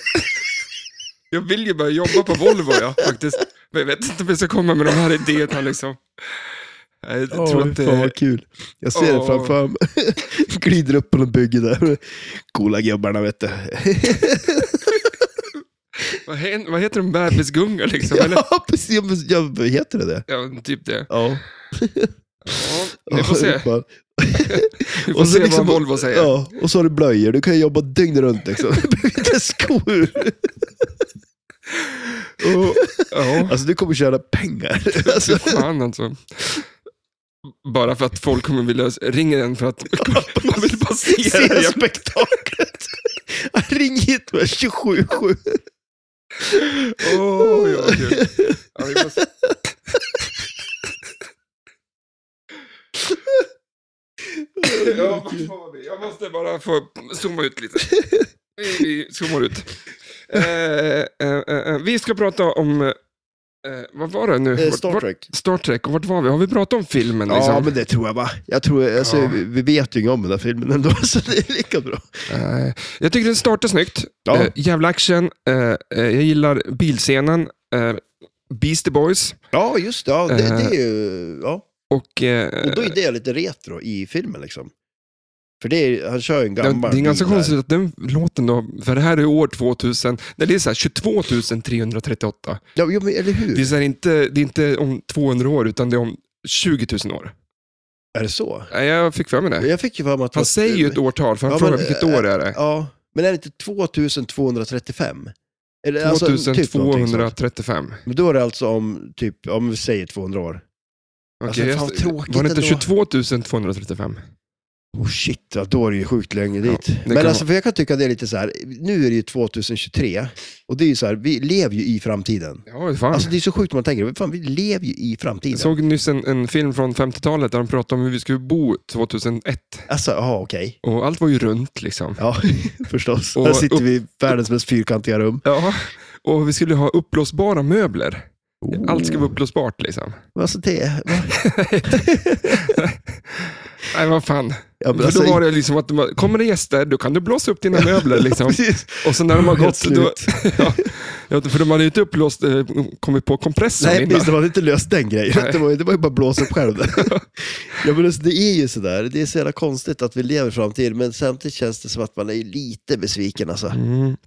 Speaker 1: Jag vill ju börja jobba på Volvo, ja, faktiskt. Men jag vet inte om jag ska komma med de här idéerna. Liksom. Jag tror
Speaker 2: Oj,
Speaker 1: att eh,
Speaker 2: Fan
Speaker 1: det...
Speaker 2: vad kul. Jag ser det
Speaker 1: Åh.
Speaker 2: framför mig. [laughs] Glider upp på något bygge där. Coola gubbarna vet du.
Speaker 1: Vad, he- vad heter de? Bebisgunga, liksom? Eller?
Speaker 2: Ja, [laughs] precis. Ja, men- Ja, vad heter det det?
Speaker 1: Ja, typ det.
Speaker 2: Ja.
Speaker 1: Ja, vi får se.
Speaker 2: Fan.
Speaker 1: Vi får
Speaker 2: Och så
Speaker 1: se
Speaker 2: liksom-
Speaker 1: vad Volvo säger.
Speaker 2: Ja, och så har du blöjor. Du kan jobba dygnet
Speaker 1: [laughs]
Speaker 2: runt liksom. Du behöver inte skor.
Speaker 1: Och, ja.
Speaker 2: Alltså du kommer tjäna
Speaker 1: [laughs]
Speaker 2: pengar. Alltså,
Speaker 1: Fy fan alltså. Bara för att folk kommer vilja ringa en för att man vill bara [laughs] se det.
Speaker 2: se
Speaker 1: Jag-
Speaker 2: spektaklet. Ring hit med 27-7.
Speaker 1: Åh, ja, gud. Ja, vi får se. Ja, vart var vi? Jag måste bara få zooma ut lite. Vi, vi zoomar ut. Eh, eh, eh, eh, vi ska prata om Eh, vad var det nu?
Speaker 2: Eh,
Speaker 1: Vart-
Speaker 2: Star
Speaker 1: vart-
Speaker 2: Trek.
Speaker 1: Star Trek, och vart var vi? Har vi pratat om filmen? Liksom?
Speaker 2: Ja, men det tror jag va. Jag tror, alltså,
Speaker 1: Ja.
Speaker 2: vi- Vi vet ju inget om den där filmen ändå, [laughs] så det är lika bra.
Speaker 1: Eh, jag tycker den startar snyggt.
Speaker 2: Ja.
Speaker 1: Eh, jävla action. Eh, eh, jag gillar bilscenen. Eh, Beastie Boys.
Speaker 2: Ja, just det. Ja, det,
Speaker 1: Eh.
Speaker 2: det är ju, ja.
Speaker 1: Och, eh,
Speaker 2: Och då är det lite retro i filmen liksom. För det är, han kör ju en
Speaker 1: det,
Speaker 2: gammal
Speaker 1: det är ganska
Speaker 2: bil där.
Speaker 1: konstigt att den låten då, för det här är år 2000, nej, det är så här 22 338.
Speaker 2: Ja, jo, men, eller hur?
Speaker 1: Det är, så här inte, det är inte om 200 år, utan det är om 20 000 år.
Speaker 2: Är det så?
Speaker 1: Nej, Jag fick för mig det.
Speaker 2: Jag fick ju för mig att...
Speaker 1: Han säger ju ett årtal, för han
Speaker 2: Ja,
Speaker 1: frågar
Speaker 2: men,
Speaker 1: vilket
Speaker 2: eh,
Speaker 1: år är det
Speaker 2: Ja, men är det inte 2235? Eller, alltså, typ någonting sånt.
Speaker 1: 2235.
Speaker 2: men då är det alltså om, typ, om vi säger 200 år. Alltså,
Speaker 1: Okej,
Speaker 2: fan,
Speaker 1: jag-
Speaker 2: vad tråkigt
Speaker 1: var det inte
Speaker 2: ändå.
Speaker 1: 22 235?
Speaker 2: Oh shit, ja, då är det ju sjukt länge
Speaker 1: Ja,
Speaker 2: dit.
Speaker 1: det
Speaker 2: men
Speaker 1: kan
Speaker 2: alltså,
Speaker 1: vara.
Speaker 2: för jag kan tycka det är lite så här, nu är det ju 2023 och det är ju så här, vi lever ju i framtiden.
Speaker 1: Ja, fan.
Speaker 2: Alltså det är så sjukt man tänker, fan, vi lever ju i framtiden.
Speaker 1: Jag såg nyss en, en film från 50-talet där de pratade om hur vi skulle bo 2001.
Speaker 2: Alltså, ja okej.
Speaker 1: Och allt var ju runt liksom.
Speaker 2: Ja, [laughs] förstås.
Speaker 1: Och
Speaker 2: Här sitter
Speaker 1: upp-
Speaker 2: vi i världens mest fyrkantiga rum.
Speaker 1: Ja, och vi skulle ha uppblåsbara möbler. Allt ska vara uppblåsbart liksom.
Speaker 2: Alltså det... va?
Speaker 1: Nej, vad fan.
Speaker 2: Ja, men
Speaker 1: För
Speaker 2: alltså,
Speaker 1: då var det liksom att, de var, kommer det gäster, då kan du blåsa upp dina möbler. Liksom.
Speaker 2: [laughs] Precis.
Speaker 1: Och sen när de har
Speaker 2: Helt
Speaker 1: gått, då, [laughs] ja, ja, för de hade ju inte uppblåst, eh, kommit på kompressorn
Speaker 2: Nej,
Speaker 1: innan.
Speaker 2: precis. De hade inte löst den grejen.
Speaker 1: Nej.
Speaker 2: Det var, ju- det var ju bara att blåsa
Speaker 1: [laughs]
Speaker 2: upp själv. ja, men alltså, det är ju sådär. Det är så jävla konstigt att vi lever i framtiden, men samtidigt känns det som att man är lite besviken. Alltså.
Speaker 1: Mm.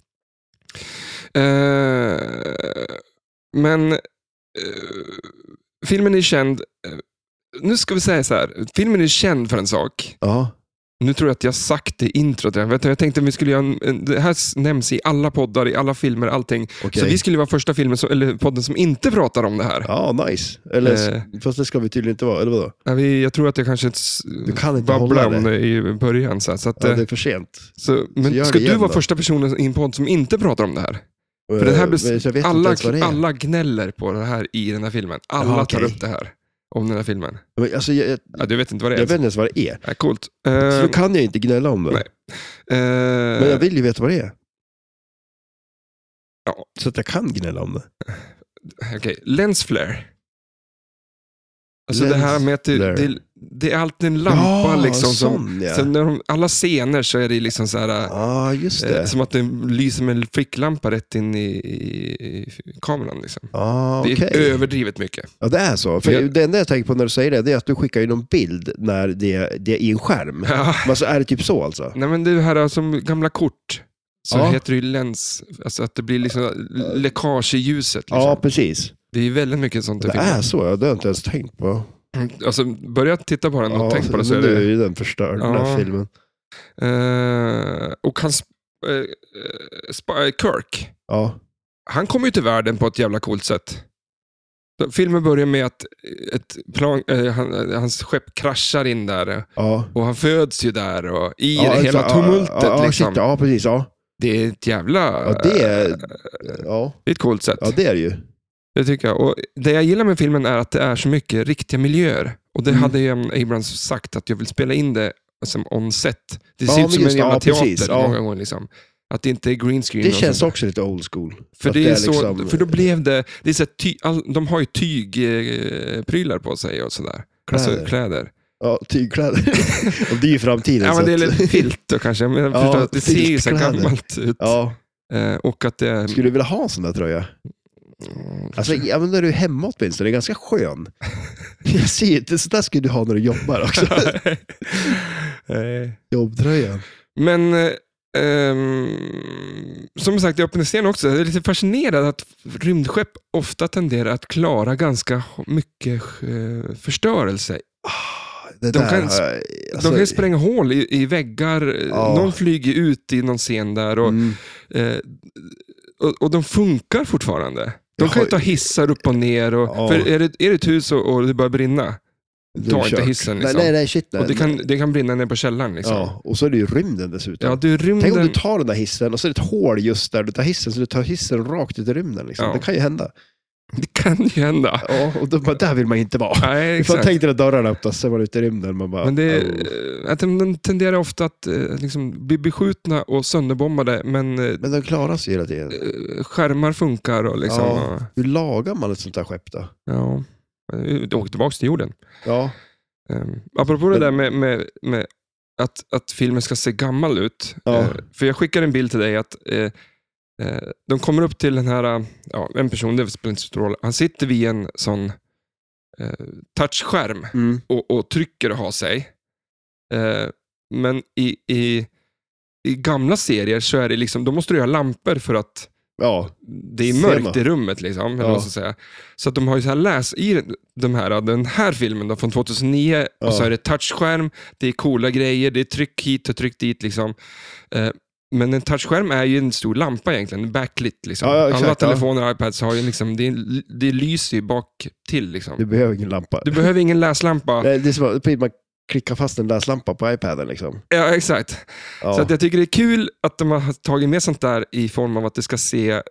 Speaker 1: Eh, men eh, filmen är känd, eh, nu ska vi säga så här, filmen är känd för en sak.
Speaker 2: Ja.
Speaker 1: Nu tror jag att jag sagt det i introt redan. Vet du, Jag tänkte att vi skulle göra en, en, det här s- nämns i alla poddar, i alla filmer, allting.
Speaker 2: Okej.
Speaker 1: Så vi skulle vara första filmen som, eller podden som inte pratar om det här.
Speaker 2: ja, nice. Eller,
Speaker 1: Eh.
Speaker 2: Fast det ska vi tydligen inte vara, eller vadå?
Speaker 1: Nej, vi- Jag tror att jag kanske s-
Speaker 2: Du kan inte
Speaker 1: babblade
Speaker 2: hålla
Speaker 1: om
Speaker 2: det.
Speaker 1: det i början. Så, här, så att,
Speaker 2: Ja,
Speaker 1: eh,
Speaker 2: det är för sent.
Speaker 1: så, men
Speaker 2: gör det
Speaker 1: ska du
Speaker 2: igen
Speaker 1: vara
Speaker 2: då.
Speaker 1: första personen i en podd som inte pratar om det här? För det här
Speaker 2: Eh,
Speaker 1: bes-
Speaker 2: men jag vet inte
Speaker 1: alla,
Speaker 2: ens vad det är.
Speaker 1: alla gnäller på det här i den här filmen. Alla
Speaker 2: Ja,
Speaker 1: tar
Speaker 2: okej.
Speaker 1: upp det här om den här filmen.
Speaker 2: Men, alltså, jag, jag,
Speaker 1: Ja, du vet inte vad det
Speaker 2: jag
Speaker 1: är?
Speaker 2: vet inte ens vad det är.
Speaker 1: Ja, coolt.
Speaker 2: Så
Speaker 1: Eh,
Speaker 2: då kan jag inte gnälla om det.
Speaker 1: Nej. eh,
Speaker 2: Men jag vill ju veta vad det är.
Speaker 1: Ja.
Speaker 2: Så att jag kan gnälla om det.
Speaker 1: Okej, lens flare. Alltså
Speaker 2: Lens
Speaker 1: det här med att det,
Speaker 2: flare.
Speaker 1: det, det är alltid en lampa liksom. Som,
Speaker 2: sån, ja.
Speaker 1: så när de, alla scener så är det liksom så här, eh,
Speaker 2: Ja, just det.
Speaker 1: som att det lyser med en ficklampa rätt in i, i, i kameran. Liksom.
Speaker 2: Ja, okej.
Speaker 1: Det är överdrivet
Speaker 2: [laughs]
Speaker 1: mycket.
Speaker 2: Ja, det är så. För
Speaker 1: Jag-
Speaker 2: Det enda jag tänker på när du säger det, det är att du skickar in en bild när det, det är i en skärm.
Speaker 1: Ja.
Speaker 2: Men alltså, är det typ så alltså?
Speaker 1: Nej, men det här är som gamla kort. Så
Speaker 2: Ja.
Speaker 1: heter det ju lens, alltså att det blir liksom läckage i ljuset. Liksom.
Speaker 2: Ja, precis.
Speaker 1: Det är väldigt mycket sånt. i
Speaker 2: Det
Speaker 1: filmen.
Speaker 2: är så, ja. det har jag inte ens tänkt på.
Speaker 1: Alltså, börja titta på den och
Speaker 2: Ja,
Speaker 1: tänk på det. Så är
Speaker 2: men
Speaker 1: det...
Speaker 2: nu är ju den förstörd, den
Speaker 1: Ja.
Speaker 2: här filmen.
Speaker 1: Eh, och han, sp- eh, eh, sp- eh, Kirk,
Speaker 2: Ja.
Speaker 1: han kommer ju till världen på ett jävla coolt sätt. Filmen börjar med att ett plan, eh, han, hans skepp kraschar in där
Speaker 2: Ja.
Speaker 1: och han föds ju där och i
Speaker 2: ja,
Speaker 1: det hela
Speaker 2: alltså, ja,
Speaker 1: tumultet.
Speaker 2: ja, ja,
Speaker 1: liksom. Eh,
Speaker 2: shit, ja, precis. Ja.
Speaker 1: Det är ett jävla...
Speaker 2: Ja, det är, ja.
Speaker 1: det är ett coolt sätt.
Speaker 2: ja, det är det ju.
Speaker 1: Det tycker jag. Och det jag gillar med filmen är att det är så mycket riktiga miljöer. Och det
Speaker 2: Mm.
Speaker 1: hade ju Abrams sagt att jag vill spela in det som on set. Det
Speaker 2: Ja,
Speaker 1: ser
Speaker 2: men
Speaker 1: ut som en
Speaker 2: just det.
Speaker 1: jävla
Speaker 2: Ja,
Speaker 1: teater
Speaker 2: precis. Ja.
Speaker 1: många gånger. Liksom. Att det inte är green screen.
Speaker 2: Det
Speaker 1: och
Speaker 2: känns
Speaker 1: sånt.
Speaker 2: också lite old school.
Speaker 1: För,
Speaker 2: att
Speaker 1: det är
Speaker 2: det är
Speaker 1: så,
Speaker 2: liksom-
Speaker 1: för då blev det... det är så här ty, all, de har ju tygprylar på sig och sådär. Kläder. Alltså,
Speaker 2: Kläder.
Speaker 1: kläder.
Speaker 2: Ja, tygkläder. [laughs] Och det är ju framtiden.
Speaker 1: Ja, men
Speaker 2: så
Speaker 1: det är
Speaker 2: att-
Speaker 1: lite filt då kanske. Men jag
Speaker 2: Ja,
Speaker 1: förstår att det ser ju så här
Speaker 2: filtkläder.
Speaker 1: gammalt ut.
Speaker 2: [laughs] Ja,
Speaker 1: Eh, och att det är... Mm.
Speaker 2: skulle du vilja ha en sån där tröja?
Speaker 1: [laughs]
Speaker 2: Alltså, [laughs] ja, men när du är hemma åtminstone, det är ganska skön. Jag ser inte, så där skulle du ha när du
Speaker 1: [laughs]
Speaker 2: jobbar också.
Speaker 1: Eh,
Speaker 2: Jobbtröjan.
Speaker 1: Men eh, ehm, som sagt, jag öppnade scenen också. Jag är lite fascinerad att rymdskepp ofta tenderar att klara ganska mycket eh, förstörelse.
Speaker 2: Ah, Det
Speaker 1: De
Speaker 2: där
Speaker 1: kan
Speaker 2: har jag- alltså,
Speaker 1: De kan ju spränga hål i, i väggar, eh,
Speaker 2: Ja.
Speaker 1: någon flyger ut i någon scen där och,
Speaker 2: mm,
Speaker 1: eh, och, och de funkar fortfarande. De
Speaker 2: Jag
Speaker 1: kan ju
Speaker 2: har-
Speaker 1: ta hissar upp och ner. Och,
Speaker 2: Ja.
Speaker 1: För är det, är det ett hus och, och det börjar brinna,
Speaker 2: det
Speaker 1: ta
Speaker 2: är
Speaker 1: inte
Speaker 2: kört.
Speaker 1: hissen,
Speaker 2: Nej,
Speaker 1: liksom.
Speaker 2: nej, nej, shit. Nej.
Speaker 1: och det, kan, det kan brinna ner på källaren. Liksom. Ja.
Speaker 2: ja, och så är det ju rymden dessutom.
Speaker 1: Ja, du
Speaker 2: Tänk om
Speaker 1: rymden...
Speaker 2: du tar den där hissen och så är det ett hål just där du tar hissen, så du tar hissen rakt ut i rymden. Liksom.
Speaker 1: Ja.
Speaker 2: Det kan ju hända.
Speaker 1: Det [laughs] kan ju hända.
Speaker 2: Ja, och då bara, där vill man inte vara.
Speaker 1: Nej,
Speaker 2: Fan,
Speaker 1: exakt.
Speaker 2: tänk dig när dörrarna öppnas, sen var det ute i rymden. Man bara,
Speaker 1: Men det,
Speaker 2: "Oh."
Speaker 1: eh, att de, de tenderar ofta att eh, liksom, bli beskjutna och sönderbombade, men eh,
Speaker 2: Men de klarar sig hela tiden.
Speaker 1: skärmar funkar och liksom...
Speaker 2: Ja.
Speaker 1: Och,
Speaker 2: Hur lagar man ett sånt här skepp då?
Speaker 1: ja. Eh, De åkte tillbaka till jorden.
Speaker 2: Ja,
Speaker 1: Um, apropå det
Speaker 2: Men-
Speaker 1: där med, med, med att, att filmen ska se gammal ut.
Speaker 2: Ja.
Speaker 1: Eh, för jag skickar en bild till dig att eh, eh, de kommer upp till den här, eh, ja, en person, det spelar inte så stor roll. Han sitter vid en sån eh, touchskärm
Speaker 2: mm.
Speaker 1: och, och trycker och har sig. Eh, men i, i, i gamla serier så är det liksom, då måste du ha lampor för att
Speaker 2: ja.
Speaker 1: det är
Speaker 2: Ser
Speaker 1: mörkt
Speaker 2: man.
Speaker 1: i rummet. Liksom, eller
Speaker 2: Ja.
Speaker 1: vad man ska säga. Så att de har ju så här läs i de här, den här filmen då, från 2009
Speaker 2: Ja.
Speaker 1: och så är det touchskärm, det är coola grejer, det är tryck hit och tryck dit. Liksom. Eh, men en touchskärm är ju en stor lampa egentligen, en backlit. Liksom.
Speaker 2: Ja, ja, exakt,
Speaker 1: Alla
Speaker 2: ja.
Speaker 1: telefoner och iPads har ju liksom, det, är- det lyser ju bak till.
Speaker 2: du
Speaker 1: Liksom.
Speaker 2: behöver ingen lampa.
Speaker 1: Du behöver ingen läslampa.
Speaker 2: Nej, Det är som att man klickar fast en läslampa på iPaden. Liksom.
Speaker 1: Ja, exakt.
Speaker 2: Ja.
Speaker 1: Så att jag tycker det är kul att de har tagit med sånt där i form av att det ska se eh,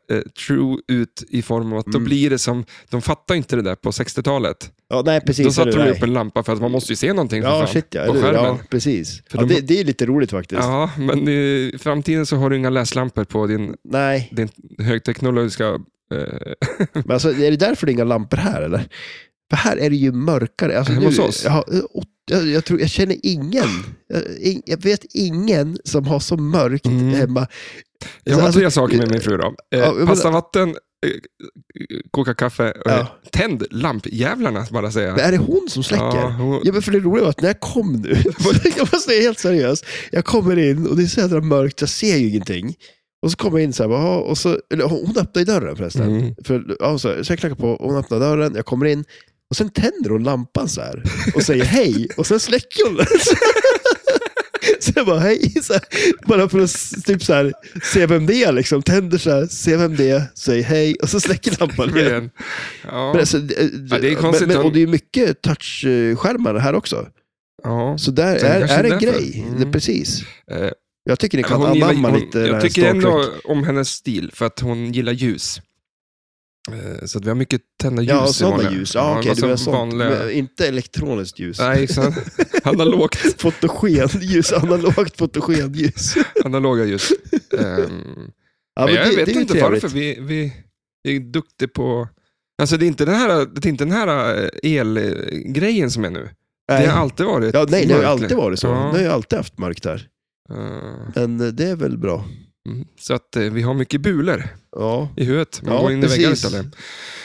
Speaker 1: true ut i form av att då
Speaker 2: Mm.
Speaker 1: blir det som, de fattar inte det där på 60-talet.
Speaker 2: ja, nej, precis.
Speaker 1: då satte
Speaker 2: eller
Speaker 1: de
Speaker 2: nej.
Speaker 1: upp en lampa för att man måste ju se någonting för
Speaker 2: Ja,
Speaker 1: fan,
Speaker 2: shit ja.
Speaker 1: på
Speaker 2: eller hur?
Speaker 1: skärmen.
Speaker 2: ja precis.
Speaker 1: För
Speaker 2: ja,
Speaker 1: de-
Speaker 2: det, det är lite roligt faktiskt.
Speaker 1: Ja, men i framtiden så har du inga läslampor på din,
Speaker 2: Nej,
Speaker 1: din högteknologiska... Eh, [laughs]
Speaker 2: men alltså, är det därför det är inga lampor här eller? För här är det ju mörkare. Alltså,
Speaker 1: Hemma
Speaker 2: nu,
Speaker 1: hos oss?
Speaker 2: Ja, och- jag, jag, tror, jag känner ingen, jag, ing- jag vet ingen som har så mörkt
Speaker 1: Mm.
Speaker 2: hemma.
Speaker 1: jag har
Speaker 2: Alltså,
Speaker 1: tre saker med min fru då. Eh,
Speaker 2: ja, men-
Speaker 1: pasta vatten, eh, koka kaffe, eh,
Speaker 2: alltså, Ja.
Speaker 1: tänd lampjävlarna bara säga.
Speaker 2: Men är det hon som släcker?
Speaker 1: Ja,
Speaker 2: Ja.
Speaker 1: hon-
Speaker 2: men för det roliga var att när jag kom nu, [laughs] jag måste säga helt seriöst, jag kommer in och det är så jädra mörkt, jag ser ju ingenting. Och så kommer jag in så här, "Jaha", och så, eller hon hon öppnar ju dörren förresten. [laughs]
Speaker 1: Mm.
Speaker 2: För, ja, så, här, så jag knackar på, hon öppnar dörren, jag kommer in och sen tänder hon lampan så här och säger hej och sen släcker hon den. [laughs] Så jag bara hej, så här, bara för att s- typ så här, se vem det är. Liksom. Tänder så här, se vem det är, säger hej och så
Speaker 1: [laughs]
Speaker 2: släcker lampan igen.
Speaker 1: Men- Ja.
Speaker 2: Men alltså, det,
Speaker 1: det är konstigt
Speaker 2: men, men,
Speaker 1: om-
Speaker 2: och det är mycket touchskärmar här också.
Speaker 1: Ja.
Speaker 2: Så där
Speaker 1: Så det
Speaker 2: är,
Speaker 1: kanske är
Speaker 2: är en
Speaker 1: därför.
Speaker 2: grej.
Speaker 1: Mm.
Speaker 2: Det, precis.
Speaker 1: Eh,
Speaker 2: Jag tycker ni kan
Speaker 1: Hon gillar-
Speaker 2: anamma
Speaker 1: hon-
Speaker 2: lite det här
Speaker 1: Jag tycker
Speaker 2: Star
Speaker 1: ändå
Speaker 2: Trek.
Speaker 1: om hennes stil, för att hon gillar ljus. Eh, Så att vi har mycket tända ljus.
Speaker 2: Ja,
Speaker 1: i
Speaker 2: sådana
Speaker 1: vanliga-
Speaker 2: ljus. Ja, okej,
Speaker 1: alltså
Speaker 2: du är sånt.
Speaker 1: vanliga-
Speaker 2: Men inte elektroniskt ljus.
Speaker 1: Nej, exakt. [laughs] Analogt.
Speaker 2: [laughs] Fotogenljus, analogt fotogenljus.
Speaker 1: Analoga
Speaker 2: [laughs]
Speaker 1: ljus. Ehm,
Speaker 2: Ja,
Speaker 1: men jag
Speaker 2: det-
Speaker 1: vet
Speaker 2: det är ju
Speaker 1: inte
Speaker 2: trevligt.
Speaker 1: varför. Vi, vi, vi är duktiga på... Alltså det är inte den här, det är inte den här eh, elgrejen som är nu.
Speaker 2: Nej.
Speaker 1: Det har alltid varit
Speaker 2: Ja, nej, det har ju
Speaker 1: mörkt.
Speaker 2: alltid varit så.
Speaker 1: Ja.
Speaker 2: Det har ju alltid haft mörkt här.
Speaker 1: Eh,
Speaker 2: Men eh, det är väl bra.
Speaker 1: mm. Så att eh, vi har mycket bulor
Speaker 2: Ja,
Speaker 1: i huvudet. Man
Speaker 2: Ja,
Speaker 1: går in i väggar
Speaker 2: precis.
Speaker 1: utan det.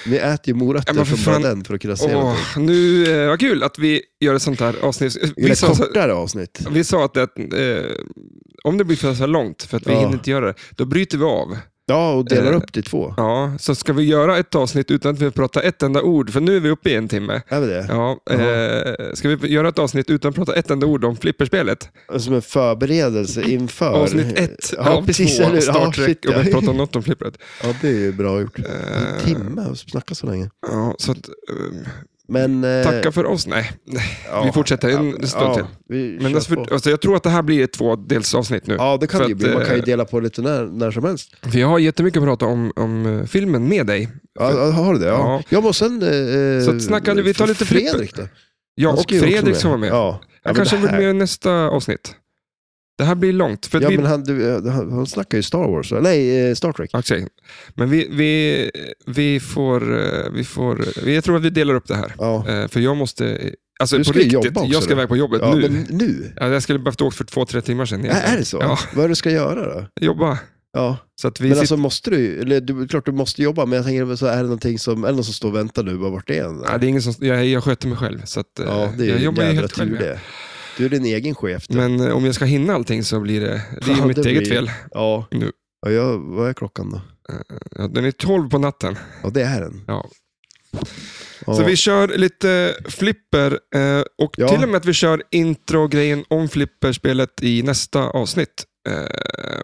Speaker 2: vi äter ju morötter
Speaker 1: Ja, men för
Speaker 2: från bara
Speaker 1: fan.
Speaker 2: den för att kunna se
Speaker 1: Åh,
Speaker 2: någonting.
Speaker 1: nu, eh, vad kul att vi gör ett sånt här avsnitt.
Speaker 2: Det
Speaker 1: Vi
Speaker 2: är
Speaker 1: sa,
Speaker 2: kortare avsnitt.
Speaker 1: vi sa att det, eh, om det blir för så här långt, för att vi
Speaker 2: Ja.
Speaker 1: hinner inte göra det, då bryter vi av.
Speaker 2: Ja, och delar
Speaker 1: Eh,
Speaker 2: upp det i två.
Speaker 1: Ja, så ska vi göra ett avsnitt utan att vi pratar ett enda ord, för nu är vi uppe i en timme.
Speaker 2: Är vi det?
Speaker 1: Ja, eh, ska vi göra ett avsnitt utan att prata ett enda ord om flipperspelet?
Speaker 2: Som en förberedelse inför...
Speaker 1: Avsnitt ett
Speaker 2: ja,
Speaker 1: av
Speaker 2: precis,
Speaker 1: två
Speaker 2: eller
Speaker 1: av
Speaker 2: hur?
Speaker 1: Star
Speaker 2: ja,
Speaker 1: Trek
Speaker 2: shit,
Speaker 1: och vi
Speaker 2: ja.
Speaker 1: pratar något om flippret.
Speaker 2: [laughs] ja, det är ju bra gjort. En
Speaker 1: Eh,
Speaker 2: timme och snacka så länge.
Speaker 1: ja, så att, eh,
Speaker 2: Men... eh,
Speaker 1: tacka för oss. Nej,
Speaker 2: ja,
Speaker 1: vi fortsätter en stund till.
Speaker 2: vi
Speaker 1: men
Speaker 2: kör
Speaker 1: alltså,
Speaker 2: på.
Speaker 1: för, alltså, jag tror att det här blir ett tvådelsavsnitt nu.
Speaker 2: Ja, det kan
Speaker 1: för
Speaker 2: det ju
Speaker 1: att,
Speaker 2: bli. Man kan ju
Speaker 1: eh,
Speaker 2: dela på lite när, när som helst.
Speaker 1: För jag har jättemycket att prata om, om eh, filmen med dig.
Speaker 2: Ja, ja, har du det? Ja.
Speaker 1: Ja.
Speaker 2: ja. men sen... Eh,
Speaker 1: Så att snacka- vi tar lite flipper.
Speaker 2: Fredrik då?
Speaker 1: Jag
Speaker 2: Han
Speaker 1: och
Speaker 2: ska ju också
Speaker 1: Fredrik som var med.
Speaker 2: Ja. Ja,
Speaker 1: Han
Speaker 2: men
Speaker 1: kanske
Speaker 2: det
Speaker 1: vill
Speaker 2: här-
Speaker 1: med i nästa avsnitt. Det här blir långt. För att
Speaker 2: Ja,
Speaker 1: vi...
Speaker 2: men han, du, eh, han, han snackar ju Star Wars. Nej, eh, Star Trek.
Speaker 1: Okej. men vi, vi, vi får... eh, Vi får vi, jag tror att vi delar upp det här.
Speaker 2: Ja.
Speaker 1: Eh, För jag måste... Alltså
Speaker 2: Du
Speaker 1: på
Speaker 2: ska ju
Speaker 1: riktigt,
Speaker 2: jobba också,
Speaker 1: jag ska
Speaker 2: då.
Speaker 1: iväg på jobbet
Speaker 2: Ja,
Speaker 1: nu.
Speaker 2: men nu?
Speaker 1: Ja, jag skulle behövt åka för två, tre timmar sedan.
Speaker 2: Ja, är det så?
Speaker 1: Ja,
Speaker 2: Vad är det du ska göra då?
Speaker 1: jobba.
Speaker 2: Ja.
Speaker 1: Så att vi
Speaker 2: Men
Speaker 1: sitter...
Speaker 2: alltså måste du, eller du, klart du måste jobba, men jag tänker, väl så är det någonting som, är det någon som står och väntar nu, bara vart är den?
Speaker 1: ja, det är ingen som... jag, jag sköter mig själv. Så att, eh,
Speaker 2: Ja, det är
Speaker 1: jag
Speaker 2: ju
Speaker 1: jobbar ju
Speaker 2: jävla
Speaker 1: helt
Speaker 2: tur
Speaker 1: själv. ja.
Speaker 2: det. Du är din egen chef. du.
Speaker 1: Men eh, om jag ska hinna allting så blir det... Det är ju
Speaker 2: Ja,
Speaker 1: mitt
Speaker 2: det
Speaker 1: eget
Speaker 2: blir-
Speaker 1: fel.
Speaker 2: Ja.
Speaker 1: Nu.
Speaker 2: ja jag, vad är klockan då?
Speaker 1: Ja, den är 12 på natten.
Speaker 2: Ja, det är den.
Speaker 1: Ja.
Speaker 2: Ja.
Speaker 1: Så vi kör lite flipper eh, och
Speaker 2: Ja.
Speaker 1: till och med att vi kör intro-grejen om flipperspelet i nästa avsnitt. Eh,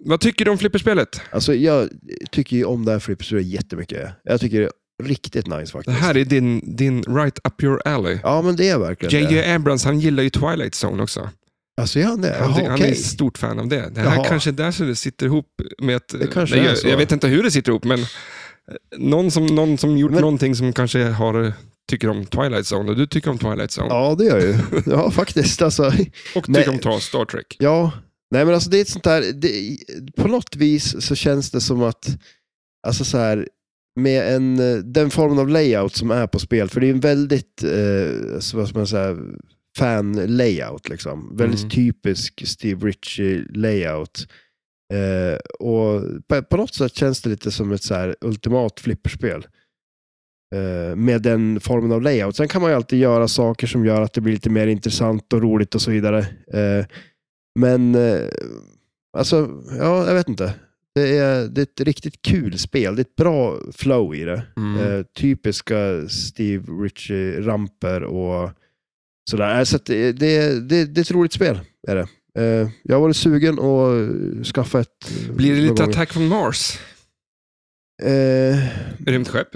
Speaker 1: vad tycker du om flipperspelet?
Speaker 2: Alltså, jag tycker ju om det här flippersuret jättemycket. Jag tycker det är riktigt nice
Speaker 1: Det
Speaker 2: faktiskt.
Speaker 1: här är din, din right up your alley.
Speaker 2: Ja, men det är verkligen det.
Speaker 1: J.J. Abrams han gillar ju Twilight Zone också.
Speaker 2: Alltså, gör han det?
Speaker 1: Han,
Speaker 2: Jaha, okej.
Speaker 1: han är ett stort fan av det. Det här
Speaker 2: Jaha.
Speaker 1: kanske är där som det sitter ihop med att...
Speaker 2: Det kanske
Speaker 1: nej,
Speaker 2: är
Speaker 1: jag,
Speaker 2: så.
Speaker 1: jag vet inte hur det sitter ihop, men eh, Någon som, någon som gjort
Speaker 2: Men-
Speaker 1: någonting som kanske har, tycker om Twilight Zone och du tycker om Twilight Zone.
Speaker 2: Ja, det gör jag ju. Ja, faktiskt. Alltså,
Speaker 1: Och
Speaker 2: Nej.
Speaker 1: tycker om ta Star Trek.
Speaker 2: ja. Nej, men alltså det är ett sånt där... Det, på något vis så känns det som att... Alltså så här, med en, eh, den formen av layout som är på spel, för det är en väldigt, eh, så vad ska man säga, fan-layout liksom. Väldigt
Speaker 1: Mm.
Speaker 2: typisk Steve Ritchie-layout. Eh, och på, på något sätt känns det lite som ett så här ultimat flipperspel. Eh, med den formen av layout. Sen kan man ju alltid göra saker som gör att det blir lite mer intressant och roligt och så vidare. Eh, men, eh, alltså, ja, jag vet inte. Det är, det är ett riktigt kul spel. Det är ett bra flow i det.
Speaker 1: Mm.
Speaker 2: Eh, typiska Steve Ritchie-ramper och sådär. Eh, Så att det, det, det, det är ett roligt spel. Är det. Eh, jag har varit sugen att skaffa ett. eh,
Speaker 1: Blir det
Speaker 2: några
Speaker 1: lite
Speaker 2: gånger.
Speaker 1: Attack från Mars?
Speaker 2: Eh,
Speaker 1: Rymdskepp?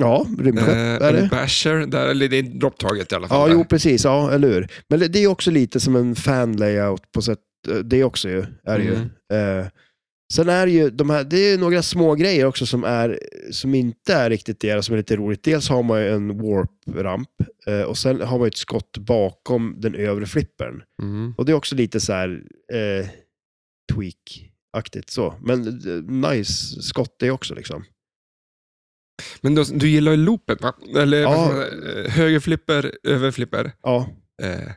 Speaker 2: ja, rymdskepp
Speaker 1: Eh,
Speaker 2: är det.
Speaker 1: Basher? Där, eller det är dropptaget i alla
Speaker 2: Ja,
Speaker 1: fall.
Speaker 2: jo precis. Ja, eller hur. Men det, det är också lite som en fan-layout på sätt. eh, Det också ju, är det ju.
Speaker 1: Mm.
Speaker 2: Eh, sen är det ju de här, det är ju några små grejer också som, är, som inte är riktigt deras, som är lite roligt. Dels har man ju en warp-ramp eh, och sen har man ju ett skott bakom den övre flippern.
Speaker 1: Mm.
Speaker 2: Och det är också lite så här eh, tweak-aktigt så. Men eh, nice skott det också liksom.
Speaker 1: Men du, du gillar ju loopen, va? Eller
Speaker 2: Ja.
Speaker 1: vad ska man säga? Eh, högerflipper, överflipper,
Speaker 2: Ja,
Speaker 1: eh,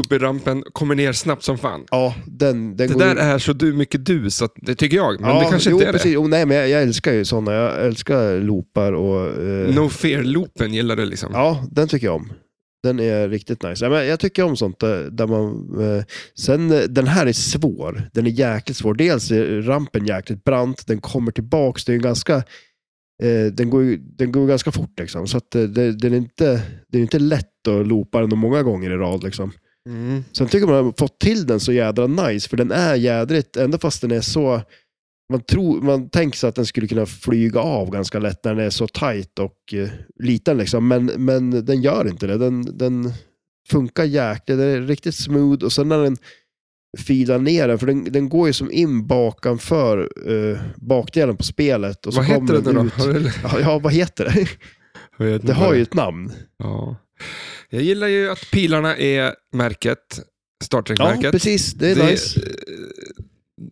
Speaker 1: upp i rampen, kommer ner snabbt som fan.
Speaker 2: ja den, den
Speaker 1: Det
Speaker 2: går
Speaker 1: där
Speaker 2: ju-
Speaker 1: är så du mycket du, så att, det tycker jag. Men det kanske
Speaker 2: jo,
Speaker 1: inte är
Speaker 2: precis. Jo, nej, men jag, jag älskar ju sådana. Jag älskar loopar och...
Speaker 1: det.
Speaker 2: Eh,
Speaker 1: No fear-loopen gillar du liksom.
Speaker 2: Ja, den tycker jag om. Den är riktigt nice. Ja, men jag tycker om sånt där, där man... Eh, sen, eh, den här är svår. Den är jäkligt svår. Dels är rampen jäkligt brant, den kommer tillbaks. Det är ju ganska... Eh, den, går ju, den går ju ganska fort liksom. Så att eh, det, den är inte, det är inte lätt att loopa den många gånger i rad liksom.
Speaker 1: Mm.
Speaker 2: Sen tycker man att man har fått till den så jädra nice, för den är jädrigt, ändå fast den är så... Man, tror, man tänker sig att den skulle kunna flyga av ganska lätt när den är så tight och eh, liten. Liksom. Men, men den gör inte det. Den, den funkar jäkligt. Den är riktigt smooth och sen när den filar ner den, för den, den går ju som in bakanför eh, bakdelen på spelet. Och så
Speaker 1: Vad heter
Speaker 2: kommer
Speaker 1: den nu då?
Speaker 2: ut.
Speaker 1: Har du-
Speaker 2: Ja, ja, vad heter det? [laughs]
Speaker 1: jag vet
Speaker 2: Det
Speaker 1: inte
Speaker 2: har
Speaker 1: vad
Speaker 2: ju ett namn.
Speaker 1: Ja. Jag gillar ju att pilarna är märket, Star
Speaker 2: Ja,
Speaker 1: Trek-märket.
Speaker 2: precis. Det är nice.
Speaker 1: eh,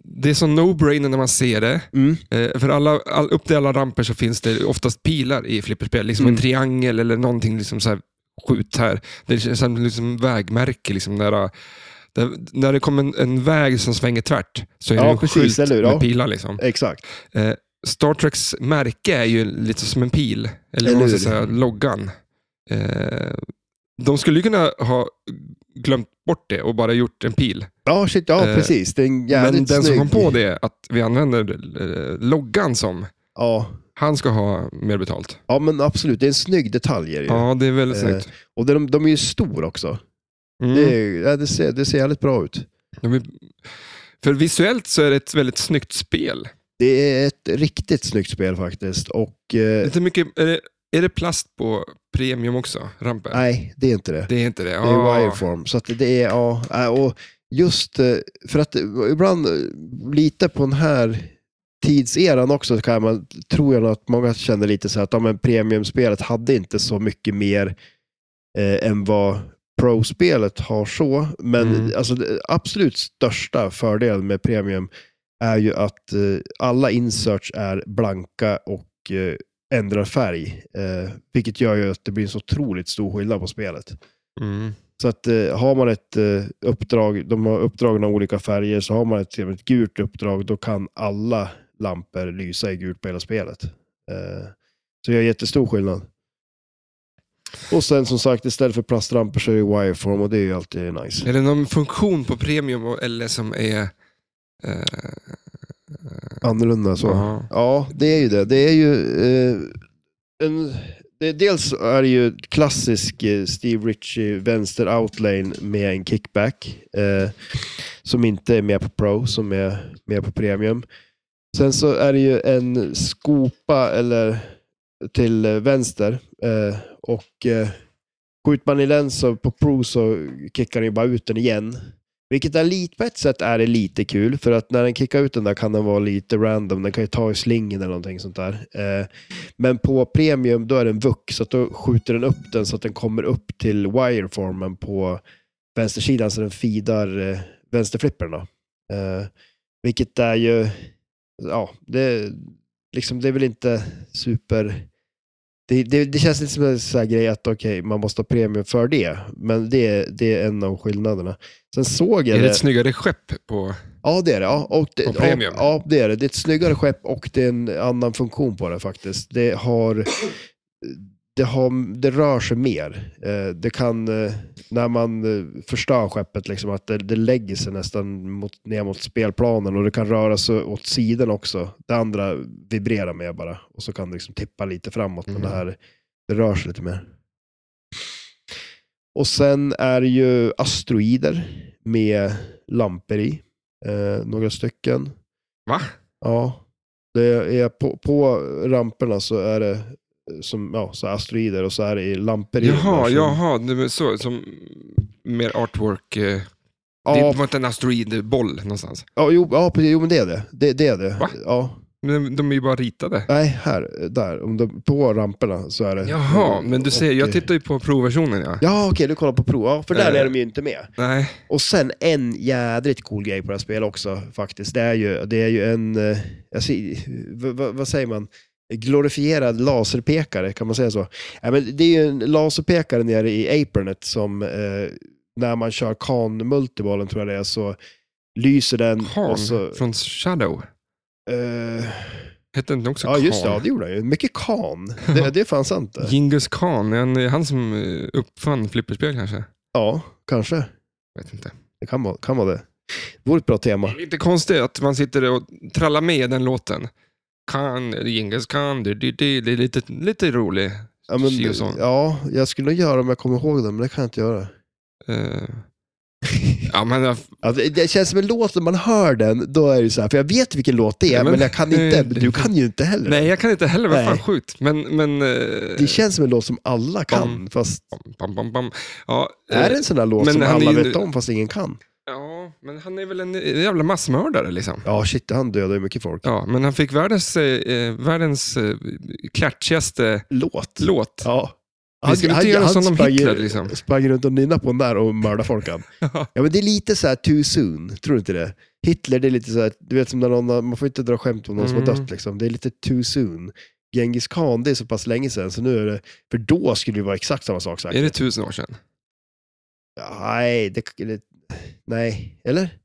Speaker 1: det är som no-brainer när man ser det.
Speaker 2: Mm.
Speaker 1: Eh, För alla, all, upp till alla ramper så finns det oftast pilar i flipperspel. Liksom
Speaker 2: Mm.
Speaker 1: en triangel eller någonting. Liksom så här, skjut här. Det känns som liksom vägmärke. Liksom när, där, när det kommer en, en väg som svänger tvärt så är
Speaker 2: Ja,
Speaker 1: det en
Speaker 2: precis,
Speaker 1: skylt
Speaker 2: eller hur? Ja.
Speaker 1: med pilar. Liksom.
Speaker 2: Exakt.
Speaker 1: Star Treks märke är ju lite som en pil. Eller
Speaker 2: Eller
Speaker 1: vad man ska
Speaker 2: hur?
Speaker 1: säga, loggan. Eh, de skulle ju kunna ha glömt bort det och bara gjort en pil.
Speaker 2: Ja, shit, ja
Speaker 1: Eh,
Speaker 2: precis. Det är en
Speaker 1: Men
Speaker 2: jävligt
Speaker 1: den
Speaker 2: snygg.
Speaker 1: som kom på det, att vi använder eh, loggan som,
Speaker 2: Ja.
Speaker 1: han ska ha mer betalt.
Speaker 2: ja, men absolut. Det är en snygg detalj. Är det ju.
Speaker 1: Ja, det är väldigt
Speaker 2: Eh,
Speaker 1: snyggt.
Speaker 2: Och de, de är ju stor också.
Speaker 1: Mm.
Speaker 2: Det, är, ja, det, ser, det ser jävligt bra ut.
Speaker 1: De är- För visuellt så är det ett väldigt snyggt spel.
Speaker 2: Det är ett riktigt snyggt spel faktiskt. Och eh,
Speaker 1: Lite mycket, är, det, är det plast på premium också, rampen?
Speaker 2: nej, det är inte det.
Speaker 1: Det är inte det.
Speaker 2: Det är
Speaker 1: Ah.
Speaker 2: wireform. Så att det är, ja. äh, Och just eh, för att eh, ibland eh, lite på den här tidseran också kan man, tror jag nog att många känner lite så här att ja, men premiumspelet hade inte så mycket mer eh, än vad pro-spelet har så. Men
Speaker 1: Mm.
Speaker 2: alltså, det absolut största fördelen med premium är ju att eh, alla inserts är blanka och eh, ändrar färg. Eh, vilket gör ju att det blir en så otroligt stor skillnad på spelet.
Speaker 1: Mm.
Speaker 2: Så att eh, har man ett eh, uppdrag, de har uppdragen av olika färger, så har man ett, till exempel ett gult uppdrag, då kan alla lampor lysa i gult på hela spelet. Eh, så det gör jättestor skillnad. Och sen som sagt, istället för plastrampor så är det wireform och det är ju alltid nice.
Speaker 1: Är det någon funktion på premium och- eller som är... Eh,
Speaker 2: Annorlunda så.
Speaker 1: ja.
Speaker 2: Ja, det är ju det. Det är ju... Eh, en, det, dels är det ju klassisk eh, Steve Ritchie vänster outlane med en kickback. Eh, som inte är med på Pro, som är med på Premium. Sen så är det ju en skopa eller till eh, vänster. Eh, och eh, skjuter man i den så på Pro så kickar den ju bara ut den igen. Vilket är lite, på ett sätt är det lite kul, för att när den kickar ut den där kan den vara lite random. Den kan ju ta i slingen eller någonting sånt där. Eh, men på premium då är den vuck, så att då skjuter den upp den så att den kommer upp till wireformen på vänstersidan så den feedar eh, vänsterflippern. då. Eh, vilket är ju, ja, det, liksom, det är väl inte super... Det, det, det känns inte som en sån här grej att okej, man måste ha premium för det. Men det, det är en av skillnaderna. Sen såg jag
Speaker 1: Är det
Speaker 2: det.
Speaker 1: ett snyggare skepp på...
Speaker 2: Ja, det är det. Ja, och det
Speaker 1: På premium?
Speaker 2: Ja, ja, det är det. Det är ett snyggare skepp och det är en annan funktion på det faktiskt. Det har... Det, har, det rör sig mer. Eh, Det kan, eh, när man eh, förstör skeppet, liksom, att det, det lägger sig nästan mot, ner mot spelplanen och det kan röra sig åt sidan också. Det andra vibrerar mer bara och så kan det liksom tippa lite framåt. Men
Speaker 1: Mhm.
Speaker 2: det här det rör sig lite mer. Och sen är det ju asteroider med lampor i. Eh, några stycken.
Speaker 1: Va?
Speaker 2: Ja. Det är på, på ramperna så är det eh, som ja, så asteroider och så är det i lampor i.
Speaker 1: Jaha,
Speaker 2: Som-
Speaker 1: jaha. nu men Så, som mer artwork. eh,
Speaker 2: Ja,
Speaker 1: Det var inte en asteroidboll någonstans.
Speaker 2: ja, jo, ja, precis. jo, men det är det. Det, det är det.
Speaker 1: Va?
Speaker 2: Ja.
Speaker 1: Men de är ju bara ritade.
Speaker 2: Nej, här. Där. Om det, på ramperna så är det.
Speaker 1: Jaha, men du ser,
Speaker 2: Mm. Och-
Speaker 1: jag tittar ju på provversionen ja.
Speaker 2: Ja, okej, du kollar på prov. Ja, för där
Speaker 1: Eh.
Speaker 2: är de ju inte med.
Speaker 1: Nej.
Speaker 2: Och sen en jädrigt cool grej på det här spelet också faktiskt. Det är ju, det är ju en, eh, jag ser, v, v, vad säger man? Glorifierad laserpekare, kan man säga så? Ja, men det är ju en laserpekare nere i Apernet som eh, när man kör kan-multibollen tror jag det är så lyser den.
Speaker 1: Khan
Speaker 2: och så,
Speaker 1: från Shadow.
Speaker 2: eh,
Speaker 1: Hette inte också
Speaker 2: ja
Speaker 1: Khan?
Speaker 2: just det, ja, det gjorde den ju. Mycket kan. Det, det fanns inte.
Speaker 1: Genghis Khan, är han, är han som eh, uppfann flipperspel kanske?
Speaker 2: Ja, kanske.
Speaker 1: Vet inte.
Speaker 2: Det kan vara, kan vara det. Det vore ett bra tema.
Speaker 1: Lite konstigt att man sitter och trallar med i den låten. Khan, eh, Genghis Khan, det, det, det, det är lite, lite rolig.
Speaker 2: Ja, men,
Speaker 1: Si och så.
Speaker 2: ja, jag skulle nog göra om jag kommer ihåg den, men det kan jag inte göra.
Speaker 1: Eh, ja, men
Speaker 2: [laughs]
Speaker 1: jag-
Speaker 2: Ja, Alltså, det- det känns som en låt, när man hör den, då är det så här, för jag vet vilken låt det är,
Speaker 1: Ja, men-
Speaker 2: men, jag kan inte,
Speaker 1: Nej,
Speaker 2: men du kan ju inte heller.
Speaker 1: nej, jag kan inte heller. Vad fan
Speaker 2: Nej.
Speaker 1: sjukt. Men, men... eh,
Speaker 2: Det känns som en låt som alla kan,
Speaker 1: Bam.
Speaker 2: fast
Speaker 1: bam, bam, bam. Ja, eh,
Speaker 2: är det en sån där låt
Speaker 1: men
Speaker 2: som
Speaker 1: han
Speaker 2: alla
Speaker 1: är ju-
Speaker 2: vet om, fast ingen kan?
Speaker 1: ja, men han är väl en jävla massmördare liksom.
Speaker 2: Ja, shit, han dödar ju mycket folk.
Speaker 1: Ja, men han fick världens, eh, världens eh, klatschigaste
Speaker 2: Låt.
Speaker 1: låt.
Speaker 2: Ja.
Speaker 1: Vi skulle inte göra som de
Speaker 2: sprang ju-
Speaker 1: Hitler liksom.
Speaker 2: sprang runt och nynnade på den där och mördade folk. han.
Speaker 1: Ja.
Speaker 2: Ja, men det är lite så här too soon, tror du inte det? Hitler, det är lite så här, du vet som när någon, har- man får inte dra skämt om någon som har
Speaker 1: Mm.
Speaker 2: dött liksom. Det är lite too soon. Genghis Khan, det är så pass länge sedan, så nu är det, för då skulle det vara exakt samma sak säkert.
Speaker 1: Är det tusen år sedan?
Speaker 2: Nej, det, det, nej, eller?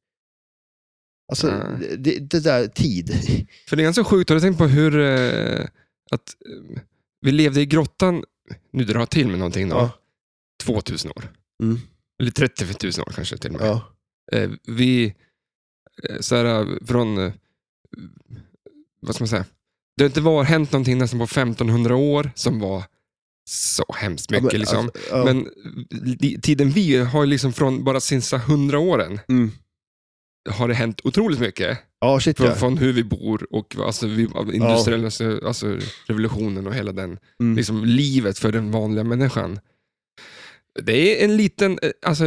Speaker 2: Alltså,
Speaker 1: Nej.
Speaker 2: det- det, det där, tid.
Speaker 1: För det är ganska sjukt, har du tänkt på hur eh, att eh, vi levde i grottan, nu drar jag till med någonting då,
Speaker 2: Ja.
Speaker 1: 2000 år.
Speaker 2: Mm.
Speaker 1: Eller 30 000 år kanske till och med.
Speaker 2: Ja.
Speaker 1: Eh, vi, eh, så här, från, eh, vad ska man säga, det har inte var, hänt någonting nästan på 1500 år som var så hemskt mycket.
Speaker 2: men,
Speaker 1: liksom.
Speaker 2: alltså, ja.
Speaker 1: Men li- tiden vi har ju liksom från bara sista hundra åren
Speaker 2: Mm.
Speaker 1: har det hänt otroligt mycket.
Speaker 2: ja, shit
Speaker 1: Från,
Speaker 2: ja.
Speaker 1: från hur vi bor och vad- alltså, vi, av industriella alltså, alltså, revolutionen och hela den,
Speaker 2: Mm.
Speaker 1: liksom, livet för den vanliga människan. Det är en liten, eh, alltså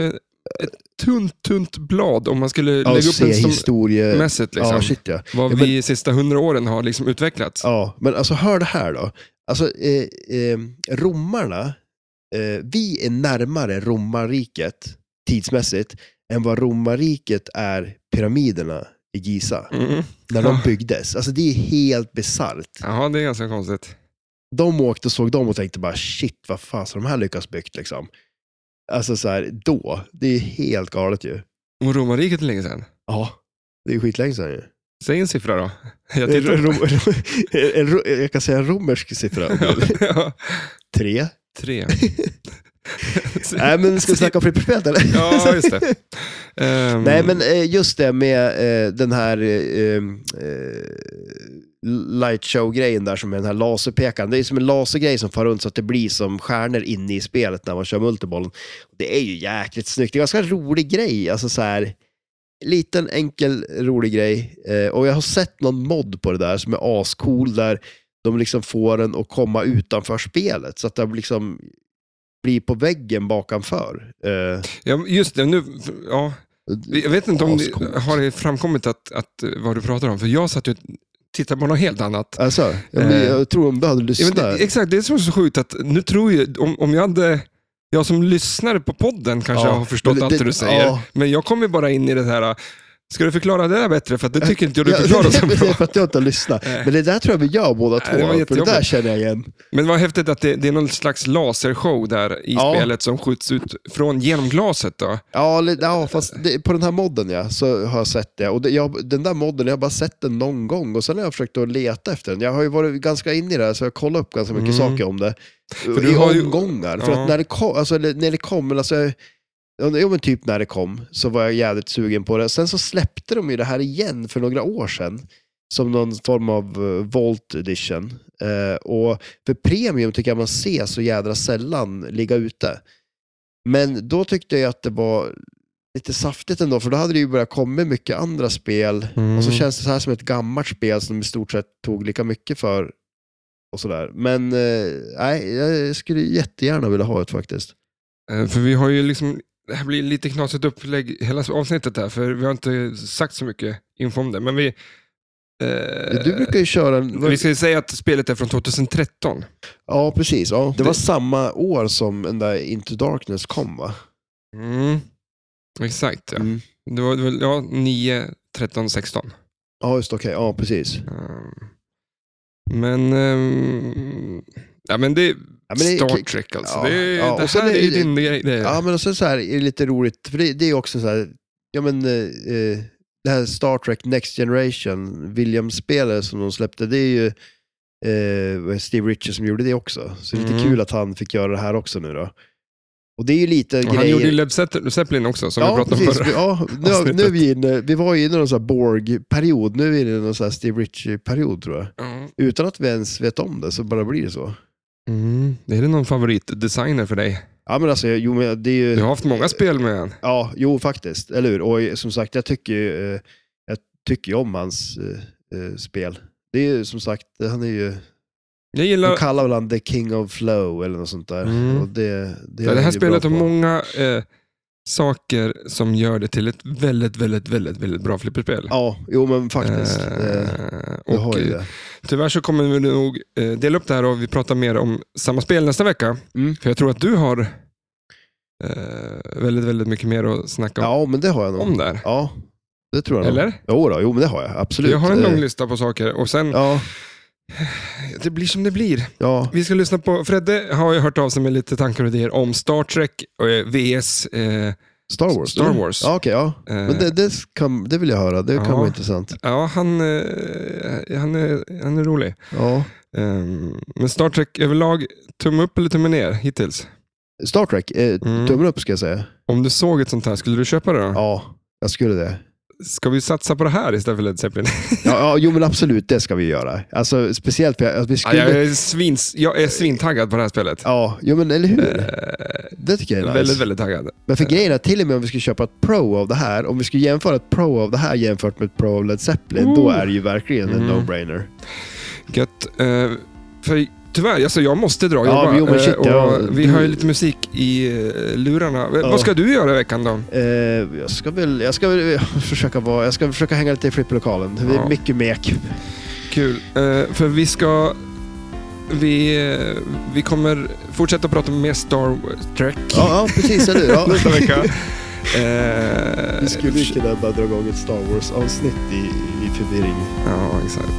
Speaker 1: ett tunt, tunt blad om man skulle
Speaker 2: Ja,
Speaker 1: lägga upp
Speaker 2: se
Speaker 1: den som
Speaker 2: historie...
Speaker 1: mässigt. Liksom,
Speaker 2: Ja, shit ja.
Speaker 1: vad
Speaker 2: Ja, men-
Speaker 1: vi de sista hundra åren har liksom utvecklats.
Speaker 2: Ja, men alltså hör det här då. Alltså eh, eh, romarna, eh, vi är närmare romarriket tidsmässigt än vad romarriket är pyramiderna i Giza.
Speaker 1: Mm.
Speaker 2: När de
Speaker 1: Ja.
Speaker 2: byggdes. Alltså det är helt bisarrt.
Speaker 1: Jaha, det är ganska konstigt.
Speaker 2: De åkte och såg dem och tänkte bara shit, vad fan har de här lyckats byggt liksom? Alltså så här, då. Det är helt galet ju.
Speaker 1: Och romarriket är länge sedan.
Speaker 2: Ja. Det är ju skitlänge sedan ju.
Speaker 1: Säg en siffra då. Jag
Speaker 2: En,
Speaker 1: tittar
Speaker 2: rom, [laughs] en, ro- jag kan säga en romersk siffra. om
Speaker 1: [laughs]
Speaker 2: du vill.
Speaker 1: [laughs] ja,
Speaker 2: Tre.
Speaker 1: tre.
Speaker 2: Nej, men ska vi snacka om flipperspel eller?
Speaker 1: Ja, just det. Ehm,
Speaker 2: Nej, men eh, just det med eh, den här eh, eh, lightshow-grejen där som är den här laserpekaren. Det är som en lasergrej som far runt så att det blir som stjärnor inne i spelet när man kör multibollen. Det är ju jäkligt snyggt. Det är en ganska rolig grej. Alltså så här, liten enkel rolig grej. Eh, och jag har sett någon mod på det där som är ascool där de liksom får den att komma utanför spelet så att det liksom blir på väggen bakanför. Eh,
Speaker 1: Ja, just det, nu, ja, Jag vet inte om det
Speaker 2: Ascoolt.
Speaker 1: har det framkommit att, att, eh, vad du pratar om, för jag satt ju och tittade på något helt annat.
Speaker 2: Alltså, ja, men
Speaker 1: Eh,
Speaker 2: jag tror om du hade
Speaker 1: Jag vet,
Speaker 2: lyssnat.
Speaker 1: inte- exakt, det är som är så sjukt att nu tror jag, om, om jag hade, jag som lyssnare på podden kanske
Speaker 2: Ja,
Speaker 1: har förstått
Speaker 2: men det-
Speaker 1: allt det du säger,
Speaker 2: ja.
Speaker 1: men jag kommer ju bara in i det här, ska du förklara det där bättre? För att det tycker inte jag du
Speaker 2: Ja,
Speaker 1: förklarar så
Speaker 2: [laughs] det
Speaker 1: bra.
Speaker 2: är för att jag inte har lyssnat.
Speaker 1: Nej.
Speaker 2: Men det där tror jag vi gör båda två.
Speaker 1: Nej, det var
Speaker 2: för det där
Speaker 1: jättejobbigt.
Speaker 2: känner jag igen.
Speaker 1: Men vad häftigt att det, det är någon slags lasershow där i
Speaker 2: Ja.
Speaker 1: spelet som skjuts ut från genom glaset. Då.
Speaker 2: Ja, li- ja fast det, på den här modden ja, så har jag sett det. Och det, jag, den där modden, jag har bara sett den någon gång och sen har jag försökt att leta efter den. Jag har ju varit ganska inne i det här så jag har kollat upp ganska mycket saker om det. För
Speaker 1: Mm. du
Speaker 2: I
Speaker 1: har ju-
Speaker 2: omgångar. För
Speaker 1: Ja.
Speaker 2: att när det kom, alltså, eller, när det kom men alltså, jag- jo men typ när det kom, så var jag jävligt sugen på det. Sen så släppte de ju det här igen för några år sedan. Som någon form av eh, Volt edition. Eh, och för premium tycker jag man ser så jädra sällan ligga ute. Men då tyckte jag att det var lite saftigt ändå, för då hade det ju börjat komma mycket andra spel. Och så känns det så här som ett gammalt spel som i stort sett tog lika mycket för. Och sådär. Men eh, nej, jag skulle jättegärna vilja ha ett faktiskt.
Speaker 1: Eh, För vi har ju liksom, det här blir lite knasigt upplägg hela avsnittet här, för vi har inte sagt så mycket info om det. Men vi, eh,
Speaker 2: Du brukar ju köra... En,
Speaker 1: vi ska ju säga att spelet är från 2013.
Speaker 2: Ja, precis. Ja. Det var
Speaker 1: Det-
Speaker 2: samma år som den där Into Darkness kom, va?
Speaker 1: Mm. Exakt, ja.
Speaker 2: Mm.
Speaker 1: Det var det var- ja, 9, 13, 16.
Speaker 2: Ja, just det, okej. Ja, precis.
Speaker 1: Ehm, Men, ehm, ja, men det är
Speaker 2: Ja, men det-
Speaker 1: Star Trek alltså.
Speaker 2: ja,
Speaker 1: det, är-
Speaker 2: ja,
Speaker 1: det
Speaker 2: och sen
Speaker 1: här är,
Speaker 2: är
Speaker 1: ju
Speaker 2: det-
Speaker 1: din grej. Det,
Speaker 2: Ja, men och sen så här är det lite roligt, för det, det är också så här, ja men eh, eh, det här Star Trek Next Generation, Williams-spelet som de släppte, det är ju eh, vad är Steve Richards som gjorde det också. Så det är lite
Speaker 1: Mm.
Speaker 2: kul att han fick göra det här också nu då. Och det är ju lite
Speaker 1: och
Speaker 2: grejer...
Speaker 1: han gjorde ju Led Zeppelin- Zeppelin också, som vi
Speaker 2: ja,
Speaker 1: pratade om förra.
Speaker 2: Ja, nu, har- nu är vi inne, vi var ju inne i någon sån här Borg-period, nu är vi inne i någon sån här Steve Richards-period tror jag.
Speaker 1: Ja.
Speaker 2: Utan att vi ens vet om det så bara blir det så.
Speaker 1: Mm. Är det någon favoritdesigner för dig?
Speaker 2: Ja men alltså, jo men det är ju...
Speaker 1: Du har haft många spel med han.
Speaker 2: Ja, jo faktiskt. Eller hur? Och eh, som sagt, jag tycker ju, eh, jag tycker ju om hans eh, eh, spel. Det är ju som sagt, han är ju,
Speaker 1: Jag
Speaker 2: de
Speaker 1: gillar...
Speaker 2: kallar väl han The King of Flow eller något sånt där.
Speaker 1: Mm.
Speaker 2: Och det, det,
Speaker 1: Det,
Speaker 2: är
Speaker 1: här
Speaker 2: han ju bra
Speaker 1: spelet har
Speaker 2: på.
Speaker 1: många eh, saker som gör det till ett väldigt, väldigt, väldigt, väldigt bra flipperspel.
Speaker 2: Ja, jo men faktiskt.
Speaker 1: Eh,
Speaker 2: Eh, jag
Speaker 1: och,
Speaker 2: har ju
Speaker 1: eh,
Speaker 2: det.
Speaker 1: Tyvärr så kommer vi nog eh, dela upp det här och vi pratar mer om samma spel nästa vecka.
Speaker 2: Mm.
Speaker 1: För jag tror att du har eh, väldigt, väldigt mycket mer att snacka
Speaker 2: Ja, men det har jag nog.
Speaker 1: om där.
Speaker 2: Ja, det tror jag nog.
Speaker 1: Eller?
Speaker 2: Jo, då, jo men det har jag, absolut.
Speaker 1: Jag har en
Speaker 2: Eh,
Speaker 1: lång lista på saker och sen,
Speaker 2: Ja,
Speaker 1: det blir som det blir.
Speaker 2: ja.
Speaker 1: Vi ska lyssna på, Fredde har ju hört av sig med lite tankar och idéer om Star Trek eh, VS eh,
Speaker 2: Star Wars.
Speaker 1: Star
Speaker 2: eller?
Speaker 1: Wars.
Speaker 2: Ja, okej, ja.
Speaker 1: Eh,
Speaker 2: Men det, det, kan, det vill jag höra, det kan
Speaker 1: Ja.
Speaker 2: vara intressant.
Speaker 1: Ja, han, eh, han, är, han är rolig.
Speaker 2: Ja.
Speaker 1: Ehm, men Star Trek överlag, tumme upp eller tumme ner hittills?
Speaker 2: Star Trek, eh,
Speaker 1: Mm.
Speaker 2: tummen upp ska jag säga.
Speaker 1: Om du såg ett sånt här, skulle du köpa det då?
Speaker 2: Ja, jag skulle det.
Speaker 1: Ska vi satsa på det här istället för Led Zeppelin?
Speaker 2: Ja, ja, jo men absolut, det ska vi göra. Alltså, speciellt för att vi
Speaker 1: [laughs] Ja, jag,
Speaker 2: skulle...
Speaker 1: är svins, jag är svintaggad på det här spelet.
Speaker 2: Ja, jo men eller hur? Det tycker jag är nice.
Speaker 1: Eh, Väldigt, väldigt taggad.
Speaker 2: Men för grejen är att till och med om vi skulle köpa ett pro av det här, om vi skulle jämföra ett pro av det här jämfört med ett pro av Led Zeppelin,
Speaker 1: Ooh.
Speaker 2: då är det ju verkligen en
Speaker 1: Mm.
Speaker 2: no-brainer.
Speaker 1: Gött. Eh, för tyvärr, alltså, jag måste dra och
Speaker 2: Ja,
Speaker 1: jobba.
Speaker 2: jo, men shit,
Speaker 1: Eh, och
Speaker 2: ja,
Speaker 1: vi
Speaker 2: du-
Speaker 1: har ju lite musik i eh, lurarna. V-
Speaker 2: Ja.
Speaker 1: Vad ska du göra i veckan då?
Speaker 2: Eh, jag ska väl, jag ska väl försöka vara, jag ska försöka hänga lite i flipperlokalen. Det är
Speaker 1: Ja.
Speaker 2: mycket mek.
Speaker 1: Kul. Eh, för vi ska... Vi, eh, vi kommer fortsätta prata om mer Star Trek
Speaker 2: Ja, ja precis, eller hur? Ja.
Speaker 1: [laughs] nästa vecka. Eh,
Speaker 2: Vi skulle ju kunna bara dra igång ett Star Wars-avsnitt i, i förvirring.
Speaker 1: Ja, exakt.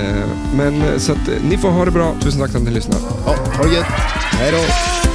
Speaker 1: Eh, men eh, så att eh, ni får ha det bra. Tusen tack för att ni lyssnade.
Speaker 2: Ja, ha det gött. Hej då.